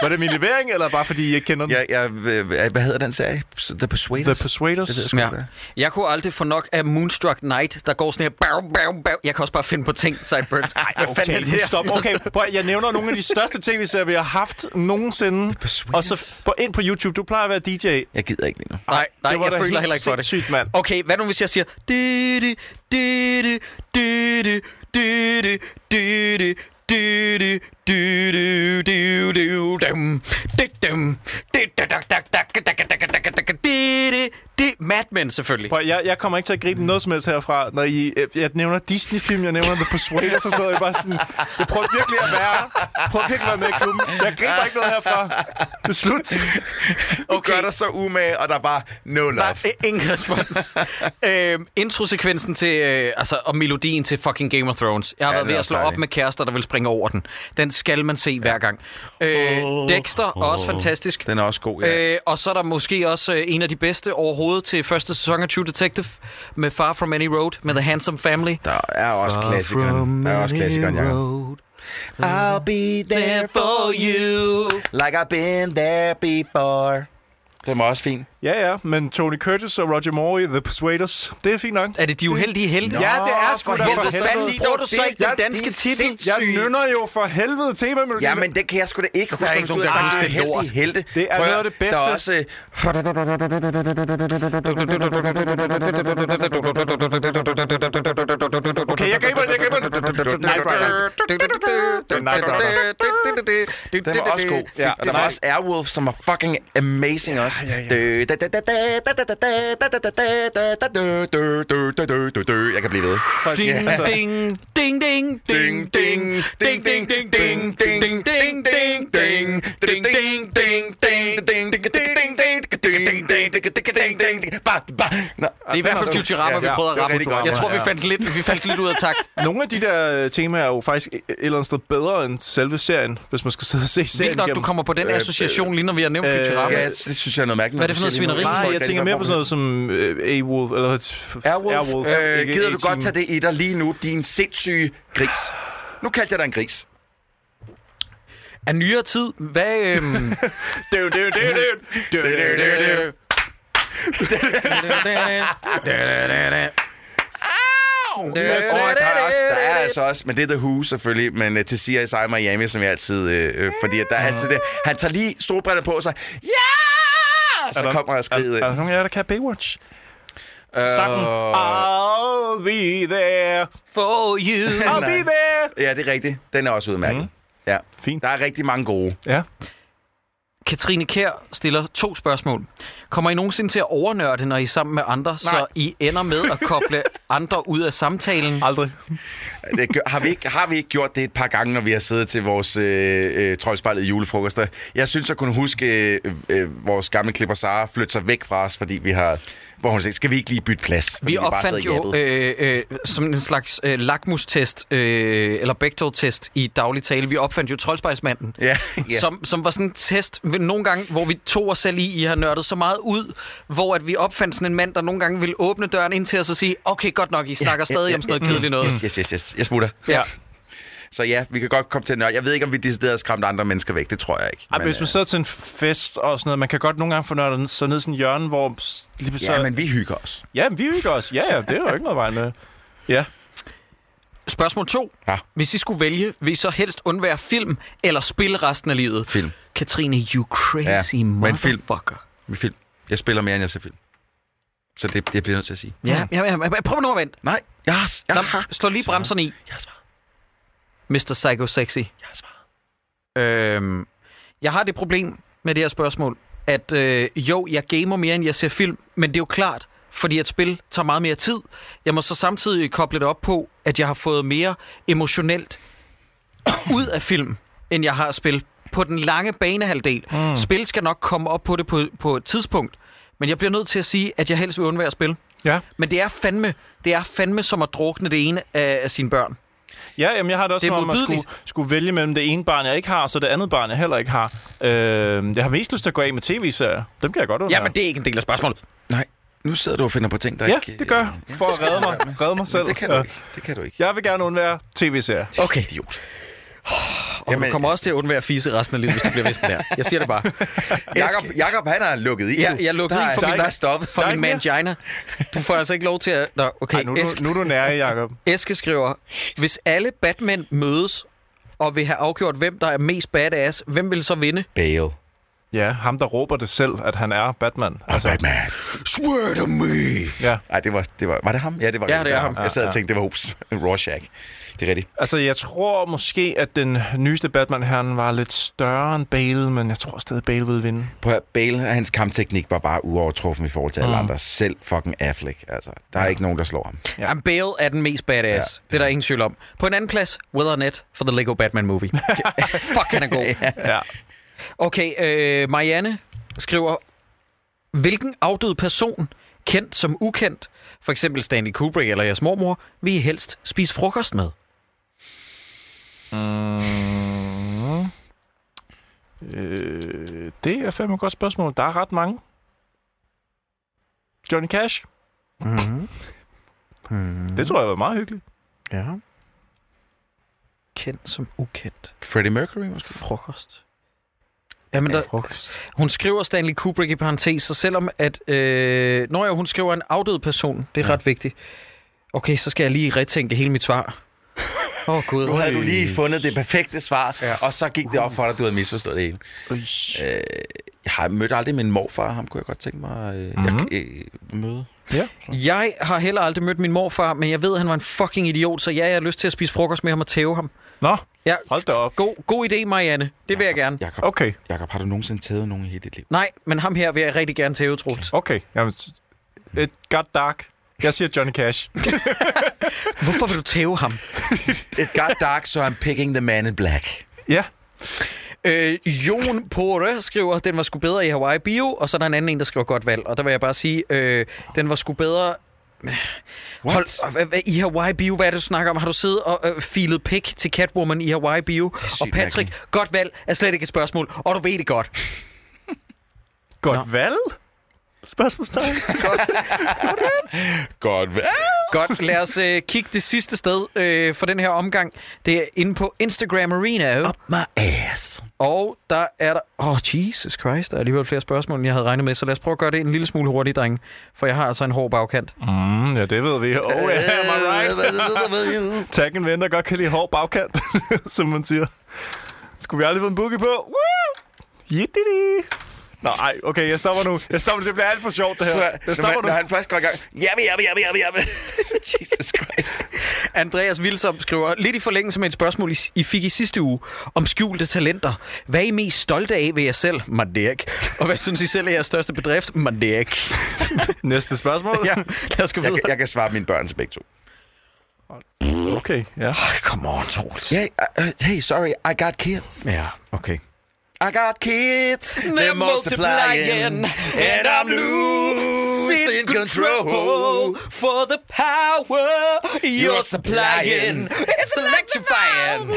[SPEAKER 3] var det min levering, eller bare fordi I ikke kender den?
[SPEAKER 4] Jeg, jeg, øh, hvad hedder den serie? The
[SPEAKER 3] The
[SPEAKER 4] Persuaders?
[SPEAKER 3] Persuaders.
[SPEAKER 4] Det ved jeg sgu
[SPEAKER 2] Ja.
[SPEAKER 4] ikke, hvad
[SPEAKER 2] Jeg kunne aldrig få nok af Moonstruck Night, der går sådan her... Bow, bow, bow. Jeg kan også bare finde på ting, Sideburns. Ej, hvad fanden er det
[SPEAKER 3] nu
[SPEAKER 2] her?
[SPEAKER 3] stop. Okay, prøv, at- jeg nævner nogle af de største tv-serier, vi har haft nogensinde. Og så gå ind på YouTube. Du plejer at være DJ. Nej,
[SPEAKER 4] Jeg gider ikke lige nu.
[SPEAKER 2] Nej, nej,
[SPEAKER 3] det var
[SPEAKER 2] jeg
[SPEAKER 3] da
[SPEAKER 2] føler
[SPEAKER 3] helt
[SPEAKER 2] heller ikke for det.
[SPEAKER 3] Sygt, mand.
[SPEAKER 2] Okay, hvad nu hvis jeg siger... Didi, didi, didi, didi, didi, didi, didi, didi, didi, dum, didi, dum, didi, dak, dak, dak, dak, dak, dak, dak, dak, dak, dak, didi, di- Mad Men selvfølgelig.
[SPEAKER 3] Prøv, jeg, jeg kommer ikke til at gribe noget som helst herfra, når I, øh, jeg nævner Disney-film, jeg nævner The Persuaders og sådan noget. Jeg, er bare sådan, jeg prøver virkelig at være, prøver virkelig at være med i klubben. Jeg griber ikke noget herfra. Det er slut.
[SPEAKER 4] Okay. Gør dig så umage, og der er bare no love.
[SPEAKER 2] Der er øh, ingen respons. øhm, introsekvensen til, øh, altså, og melodien til fucking Game of Thrones. Jeg har
[SPEAKER 4] Ja,
[SPEAKER 2] ja, været
[SPEAKER 4] den er
[SPEAKER 2] ved at
[SPEAKER 4] også
[SPEAKER 2] slå dejlig.
[SPEAKER 4] dejlig.
[SPEAKER 2] op med kærester, der vil springe over den. Den skal man se ja. hver gang. Øh, oh, Dexter, oh, også fantastisk.
[SPEAKER 4] Den er også god, ja.
[SPEAKER 2] Øh, og så er der måske også øh, en af de bedste overhovedet til første sæson af True Detective med Far From Any Road med The Handsome Family.
[SPEAKER 4] Der er også klassikeren. Der er også klassikeren, ja. I'll be there for you, like I've been there before. Den var også fin.
[SPEAKER 3] Ja, ja, men Tony Curtis og Roger Moore i The Persuaders, det er fint nok.
[SPEAKER 2] Er det de uheldige helte?
[SPEAKER 3] Ja, det er sgu da for
[SPEAKER 2] Hvorfor
[SPEAKER 3] helvede.
[SPEAKER 2] fanden bruger du så ikke den danske titel?
[SPEAKER 3] Jeg nynner jo for helvede tema, men
[SPEAKER 4] Ja, men det kan jeg sgu da ikke huske.
[SPEAKER 2] Der er ikke
[SPEAKER 4] om du
[SPEAKER 2] nogen, der
[SPEAKER 4] har
[SPEAKER 2] kan
[SPEAKER 4] sagt,
[SPEAKER 2] huske det
[SPEAKER 4] heldige
[SPEAKER 2] lort.
[SPEAKER 4] Helte.
[SPEAKER 3] Det er
[SPEAKER 4] Prøv
[SPEAKER 3] noget
[SPEAKER 4] at
[SPEAKER 3] af
[SPEAKER 4] høre,
[SPEAKER 3] det bedste.
[SPEAKER 4] Der er også... øh,
[SPEAKER 3] Okay, jeg griber den, jeg griber den.
[SPEAKER 4] Knight Rider. Den var også god.
[SPEAKER 3] Ja,
[SPEAKER 4] Ja, og der var
[SPEAKER 3] nej.
[SPEAKER 4] også Airwolf, som var fucking amazing også. Dø, da, da, da, da, da, da, da, da, da, da, da, da, da, dø, dø, dø, dø, dø, dø. Jeg kan blive ved.
[SPEAKER 2] Ding, ding, ding, ding, ding, ding, ding, ding, ding, ding, ding, ding, ding, ding, ding, ding, ding, ding, ding. Det er i hvert fald Futurama, vi
[SPEAKER 3] ja,
[SPEAKER 2] prøvede at
[SPEAKER 4] det er
[SPEAKER 2] ramme.
[SPEAKER 4] rigtig godt.
[SPEAKER 2] Jeg tror, vi
[SPEAKER 3] Ja.
[SPEAKER 2] fandt lidt, vi faldt lidt ud af takt.
[SPEAKER 3] Nogle af de der øh, temaer er jo faktisk et et eller andet sted bedre end selve serien, hvis man skal sidde og se serien
[SPEAKER 2] Vildt nok, du
[SPEAKER 3] igennem.
[SPEAKER 2] kommer på den association, lige når vi har nævnt Futurama.
[SPEAKER 4] øh, Ja, det synes jeg er noget mærkeligt.
[SPEAKER 2] Hvad er det for noget svineri?
[SPEAKER 4] Jeg forstår
[SPEAKER 3] Nej,
[SPEAKER 4] ikke
[SPEAKER 3] jeg
[SPEAKER 4] rigtig,
[SPEAKER 3] tænker
[SPEAKER 4] hvad
[SPEAKER 3] mere på sådan noget som øh, A-Wolf, eller
[SPEAKER 4] Airwolf, Airwolf. Øh,
[SPEAKER 3] ikke
[SPEAKER 4] gider du
[SPEAKER 3] A-Team.
[SPEAKER 4] godt tage det i dig lige nu, din sindssyge gris? Nu kaldte jeg dig en gris.
[SPEAKER 2] Af nyere tid, hvad... øhm,
[SPEAKER 4] Døv, døv, døv, døv. Døv, døv, døv, døv. Og der er, også, der er altså også, men det er The Who selvfølgelig, men uh, til CSI Miami, som jeg altid, øh, øh, fordi at der er altid det. Han tager lige solbriller på sig. Ja! Så
[SPEAKER 3] der-
[SPEAKER 4] kommer han skridet
[SPEAKER 3] Er, er der
[SPEAKER 4] ind. Øh.
[SPEAKER 3] nogen af jer, der kan Baywatch? Sangen. I'll be there.
[SPEAKER 2] For you.
[SPEAKER 3] I'll be there.
[SPEAKER 4] Ja, det er rigtigt. Den er også udmærket.
[SPEAKER 3] Mhm.
[SPEAKER 4] Ja.
[SPEAKER 3] Fint.
[SPEAKER 4] Der er rigtig mange gode.
[SPEAKER 3] Ja.
[SPEAKER 2] Katrine Kær stiller to spørgsmål. Kommer I nogensinde til at overnørde, når I er sammen med andre, Nej. så I ender med at koble andre ud af samtalen?
[SPEAKER 3] Aldrig.
[SPEAKER 4] Det gør, har, vi ikke, har vi ikke gjort det et par gange, når vi har siddet til vores øh, øh, troldspejlet julefrokoster? Jeg synes, jeg kunne huske øh, øh, vores gamle klipper Sara flytte sig væk fra os, fordi vi har... Hvor hun sagde, skal vi ikke lige bytte plads? Fordi
[SPEAKER 2] Vi
[SPEAKER 4] bare sidder
[SPEAKER 2] opfandt jo
[SPEAKER 4] og jabbede.
[SPEAKER 2] øh, øh, som en slags øh, lakmustest, øh, eller Bechdel-test i daglig tale, vi opfandt jo troldspejsmanden.
[SPEAKER 4] Ja, ja.
[SPEAKER 2] Yeah. Som, som var sådan en test, ved- nogle gange, hvor vi tog os selv i, I har nørdet så meget ud, hvor at vi opfandt sådan en mand, der nogle gange ville åbne døren ind til os og sige, okay, godt nok, I snakker yeah, stadig yeah, om sådan noget kedeligt noget.
[SPEAKER 4] Yes, yes, yes, yes. Jeg smutter.
[SPEAKER 2] Ja.
[SPEAKER 4] Så ja, vi kan godt komme til at nørde. Jeg ved ikke, om vi decideret har skræmt andre mennesker væk. Det tror jeg ikke.
[SPEAKER 3] Ej, men, hvis man sidder til en fest og sådan noget, man kan godt nogle gange få nørdet sig ned i sådan en hjørne, hvor... s- Lige
[SPEAKER 4] øh,
[SPEAKER 3] pludselig-
[SPEAKER 4] ja, men vi hygger os.
[SPEAKER 3] Ja, men vi hygger os. Ja, ja, det er jo ikke noget øh. vej med. Ja.
[SPEAKER 2] Spørgsmål 2.
[SPEAKER 4] Ja.
[SPEAKER 2] Hvis I skulle vælge, vil I så helst undvære film eller spille resten af livet?
[SPEAKER 4] Film.
[SPEAKER 2] Katrine, you crazy ja,
[SPEAKER 4] Ja, men film.
[SPEAKER 2] motherfucker.
[SPEAKER 4] Vi film. Jeg spiller mere, end jeg ser film. Så det, det bliver jeg nødt til at sige.
[SPEAKER 2] Ja, ja, ja, ja, prøv nu at vente.
[SPEAKER 4] Nej, jeg har, jeg
[SPEAKER 2] Nå,
[SPEAKER 4] har,
[SPEAKER 2] slå lige bremserne i,
[SPEAKER 4] jeg har svaret.
[SPEAKER 2] Mr. Psycho Sexy.
[SPEAKER 4] Jeg har svaret.
[SPEAKER 2] Øhm, jeg har det problem med det her spørgsmål, at øh, jo, jeg gamer mere, end jeg ser film, men det er jo klart, fordi at spil tager meget mere tid. Jeg må så samtidig koble det op på, at jeg har fået mere emotionelt ud af film, end jeg har at spille på den lange banehalvdel. Mm. Spil skal nok komme op på det på, på et tidspunkt, men jeg bliver nødt til at sige, at jeg helst vil undvære spil.
[SPEAKER 3] Ja.
[SPEAKER 2] Men det er fandme, det er fandme som at drukne det ene af, af sine børn.
[SPEAKER 3] Ja, jamen, jeg har det også
[SPEAKER 2] Det er
[SPEAKER 3] som om, at skulle,
[SPEAKER 2] modbydeligt.
[SPEAKER 3] skulle vælge mellem det ene barn, jeg ikke har, og så det andet barn, jeg heller ikke har. Øh, jeg har mest lyst til at gå af med tv-serier. Dem kan jeg godt undvære.
[SPEAKER 2] Ja, men det er ikke en del af spørgsmålet.
[SPEAKER 4] Nej, nu sidder du og finder på ting, der ikke...
[SPEAKER 3] ja, det gør jeg,
[SPEAKER 4] øh,
[SPEAKER 3] for at redde mig, redde mig selv.
[SPEAKER 4] Det kan du
[SPEAKER 3] Ja.
[SPEAKER 4] ikke. Det kan du ikke.
[SPEAKER 3] Jeg vil gerne undvære tv-serier.
[SPEAKER 2] Okay.
[SPEAKER 4] Idiot.
[SPEAKER 2] Og Jamen, du kommer også til at undvære fise resten af livet, hvis det bliver vist der. Jeg siger det bare.
[SPEAKER 4] Jakob, Jakob, han er lukket i.
[SPEAKER 2] Ja,
[SPEAKER 4] nu.
[SPEAKER 2] jeg er lukket
[SPEAKER 4] der
[SPEAKER 2] i for
[SPEAKER 4] er,
[SPEAKER 2] min-
[SPEAKER 4] der er stoppet.
[SPEAKER 2] For
[SPEAKER 3] Der er
[SPEAKER 2] min
[SPEAKER 3] ikke
[SPEAKER 2] mangina. Du får altså ikke lov til at... Nå, okay.
[SPEAKER 3] Ej, nu, er
[SPEAKER 2] Eske,
[SPEAKER 3] du, nu er du nære, Jacob.
[SPEAKER 2] Eske skriver, hvis alle Batman mødes og vil have afgjort, hvem der er mest badass, hvem vil så vinde?
[SPEAKER 4] Bale.
[SPEAKER 3] Ja, ham der råber det selv, at han er Batman. Altså,
[SPEAKER 4] Batman, swear to me!
[SPEAKER 3] ja.
[SPEAKER 4] Nej, det var, det var, var det ham? Ja, det var,
[SPEAKER 2] Ja, det er ham.
[SPEAKER 4] Jeg sad og tænkte, det var Hoops. Rorschach. Det er rigtigt.
[SPEAKER 3] altså, jeg tror måske, at den nyeste Batman, han var lidt større end Bale, men jeg tror stadig, Bale ville vinde.
[SPEAKER 4] Prøv at Bale, hans kampteknik var bare uovertruffen i forhold til alle andre. Selv fucking Affleck. Altså, der er ikke nogen, der slår ham.
[SPEAKER 2] Ja. Jamen, Bale er den mest badass. Ja, det, det er der ingen tvivl om. På en anden plads, Will Arnett for The Lego Batman Movie. Fuck, han er god.
[SPEAKER 3] Ja.
[SPEAKER 2] Okay, øh, Marianne skriver, hvilken afdød person, kendt som ukendt, for eksempel Stanley Kubrick eller jeres mormor, vil I helst spise frokost med?
[SPEAKER 3] Øh, det er fandme et godt spørgsmål. Der er ret mange. Johnny Cash?
[SPEAKER 2] Mm-hmm.
[SPEAKER 4] Mm-hmm.
[SPEAKER 3] Mm. Det tror jeg var meget hyggeligt.
[SPEAKER 2] Ja. Kendt som ukendt.
[SPEAKER 4] Freddie Mercury måske?
[SPEAKER 2] Frokost. Jamen, der,
[SPEAKER 3] Frokost.
[SPEAKER 2] hun skriver Stanley Kubrick i parentes, så selvom at... Øh, når jeg, hun skriver en afdød person, det er ja. ret vigtigt. Okay, så skal jeg lige retænke hele mit svar. Åh, oh, Gud.
[SPEAKER 4] Nu havde du lige fundet det perfekte svar, ja. og så gik det op for dig, at du havde misforstået det hele. Øh, jeg har mødt aldrig min morfar, ham kunne jeg godt tænke mig øh, mm-hmm. jeg, øh, møde.
[SPEAKER 3] Ja.
[SPEAKER 2] Jeg har heller aldrig mødt min morfar, men jeg ved, at han var en fucking idiot, så ja, jeg har lyst til at spise frokost med ham og tæve ham.
[SPEAKER 3] Nå,
[SPEAKER 2] Ja,
[SPEAKER 3] hold da op.
[SPEAKER 2] god, god idé, Marianne. Det vil jeg gerne.
[SPEAKER 4] Jakob, okay.
[SPEAKER 3] Okay,
[SPEAKER 4] Jakob, har du nogensinde taget nogen i hele dit liv?
[SPEAKER 2] Nej, men ham her vil jeg rigtig gerne tæve, Troels.
[SPEAKER 3] okay. Jamen, s- it got dark. Jeg siger Johnny Cash.
[SPEAKER 2] Hvorfor vil du tæve ham?
[SPEAKER 4] It got dark, so I'm picking the man in black.
[SPEAKER 3] ja.
[SPEAKER 2] Øh, Jon Pore skriver, den var sgu bedre i Hawaii Bio, og så er der en anden en, der skriver godt valg. Og der vil jeg bare sige, øh, den var sgu bedre...
[SPEAKER 4] What?
[SPEAKER 2] og hvad- hvad- I Hawaii Bio, hvad er det, du snakker om? Har du siddet og øh, filet pik til Catwoman i Hawaii Bio?
[SPEAKER 4] sygt
[SPEAKER 2] Og Patrick,
[SPEAKER 4] mærkeligt.
[SPEAKER 2] godt valg er slet ikke et spørgsmål, og du ved det godt.
[SPEAKER 3] Godt valg? Spørgsmålstegn.
[SPEAKER 4] Godt, hvad?
[SPEAKER 2] Godt, lad os øh, kigge det sidste sted øh, for den her omgang. Det er inde på Instagram Arena. Up
[SPEAKER 4] My ass.
[SPEAKER 2] Og der er der... Åh, oh, Jesus Christ, der er alligevel flere spørgsmål, end jeg havde regnet med, så lad os prøve at gøre det en lille smule hurtigt, drenge. For jeg har altså en hård bagkant.
[SPEAKER 3] Mm, ja, det ved vi. Oh,
[SPEAKER 4] Øh,
[SPEAKER 3] yeah, am I right? Tag en ven, der godt kan lide hård bagkant, som man siger. Skulle vi aldrig få en boogie på? Woo! Yittidi! Nå, ej, okay, jeg stopper nu. Jeg stopper, det bliver alt for sjovt, det her. Jeg
[SPEAKER 4] når,
[SPEAKER 3] stopper
[SPEAKER 4] han,
[SPEAKER 3] nu.
[SPEAKER 4] når han først går i gang. Jamme, jamme, jamme, jamme, jamme. Jesus Christ.
[SPEAKER 2] Andreas Vilsom skriver, lidt i forlængelse med et spørgsmål, I- I fik i sidste uge, om skjulte talenter. Hvad er I mest stolte af ved jer selv? Mandek. Og hvad synes I selv er jeres største bedrift? Mandek.
[SPEAKER 3] Næste spørgsmål?
[SPEAKER 2] Ja, lad os gå
[SPEAKER 4] Jeg,
[SPEAKER 2] videre.
[SPEAKER 4] kan- jeg kan svare mine børn til begge to.
[SPEAKER 3] Okay, ja.
[SPEAKER 2] Ej, Come on, Troels.
[SPEAKER 4] Yeah, uh, uh, hey, sorry, I got kids.
[SPEAKER 2] Ja, okay.
[SPEAKER 4] I got kids. They're multiplying. And I'm losing control.
[SPEAKER 2] for the power
[SPEAKER 4] you're supplying.
[SPEAKER 2] It's electrifying.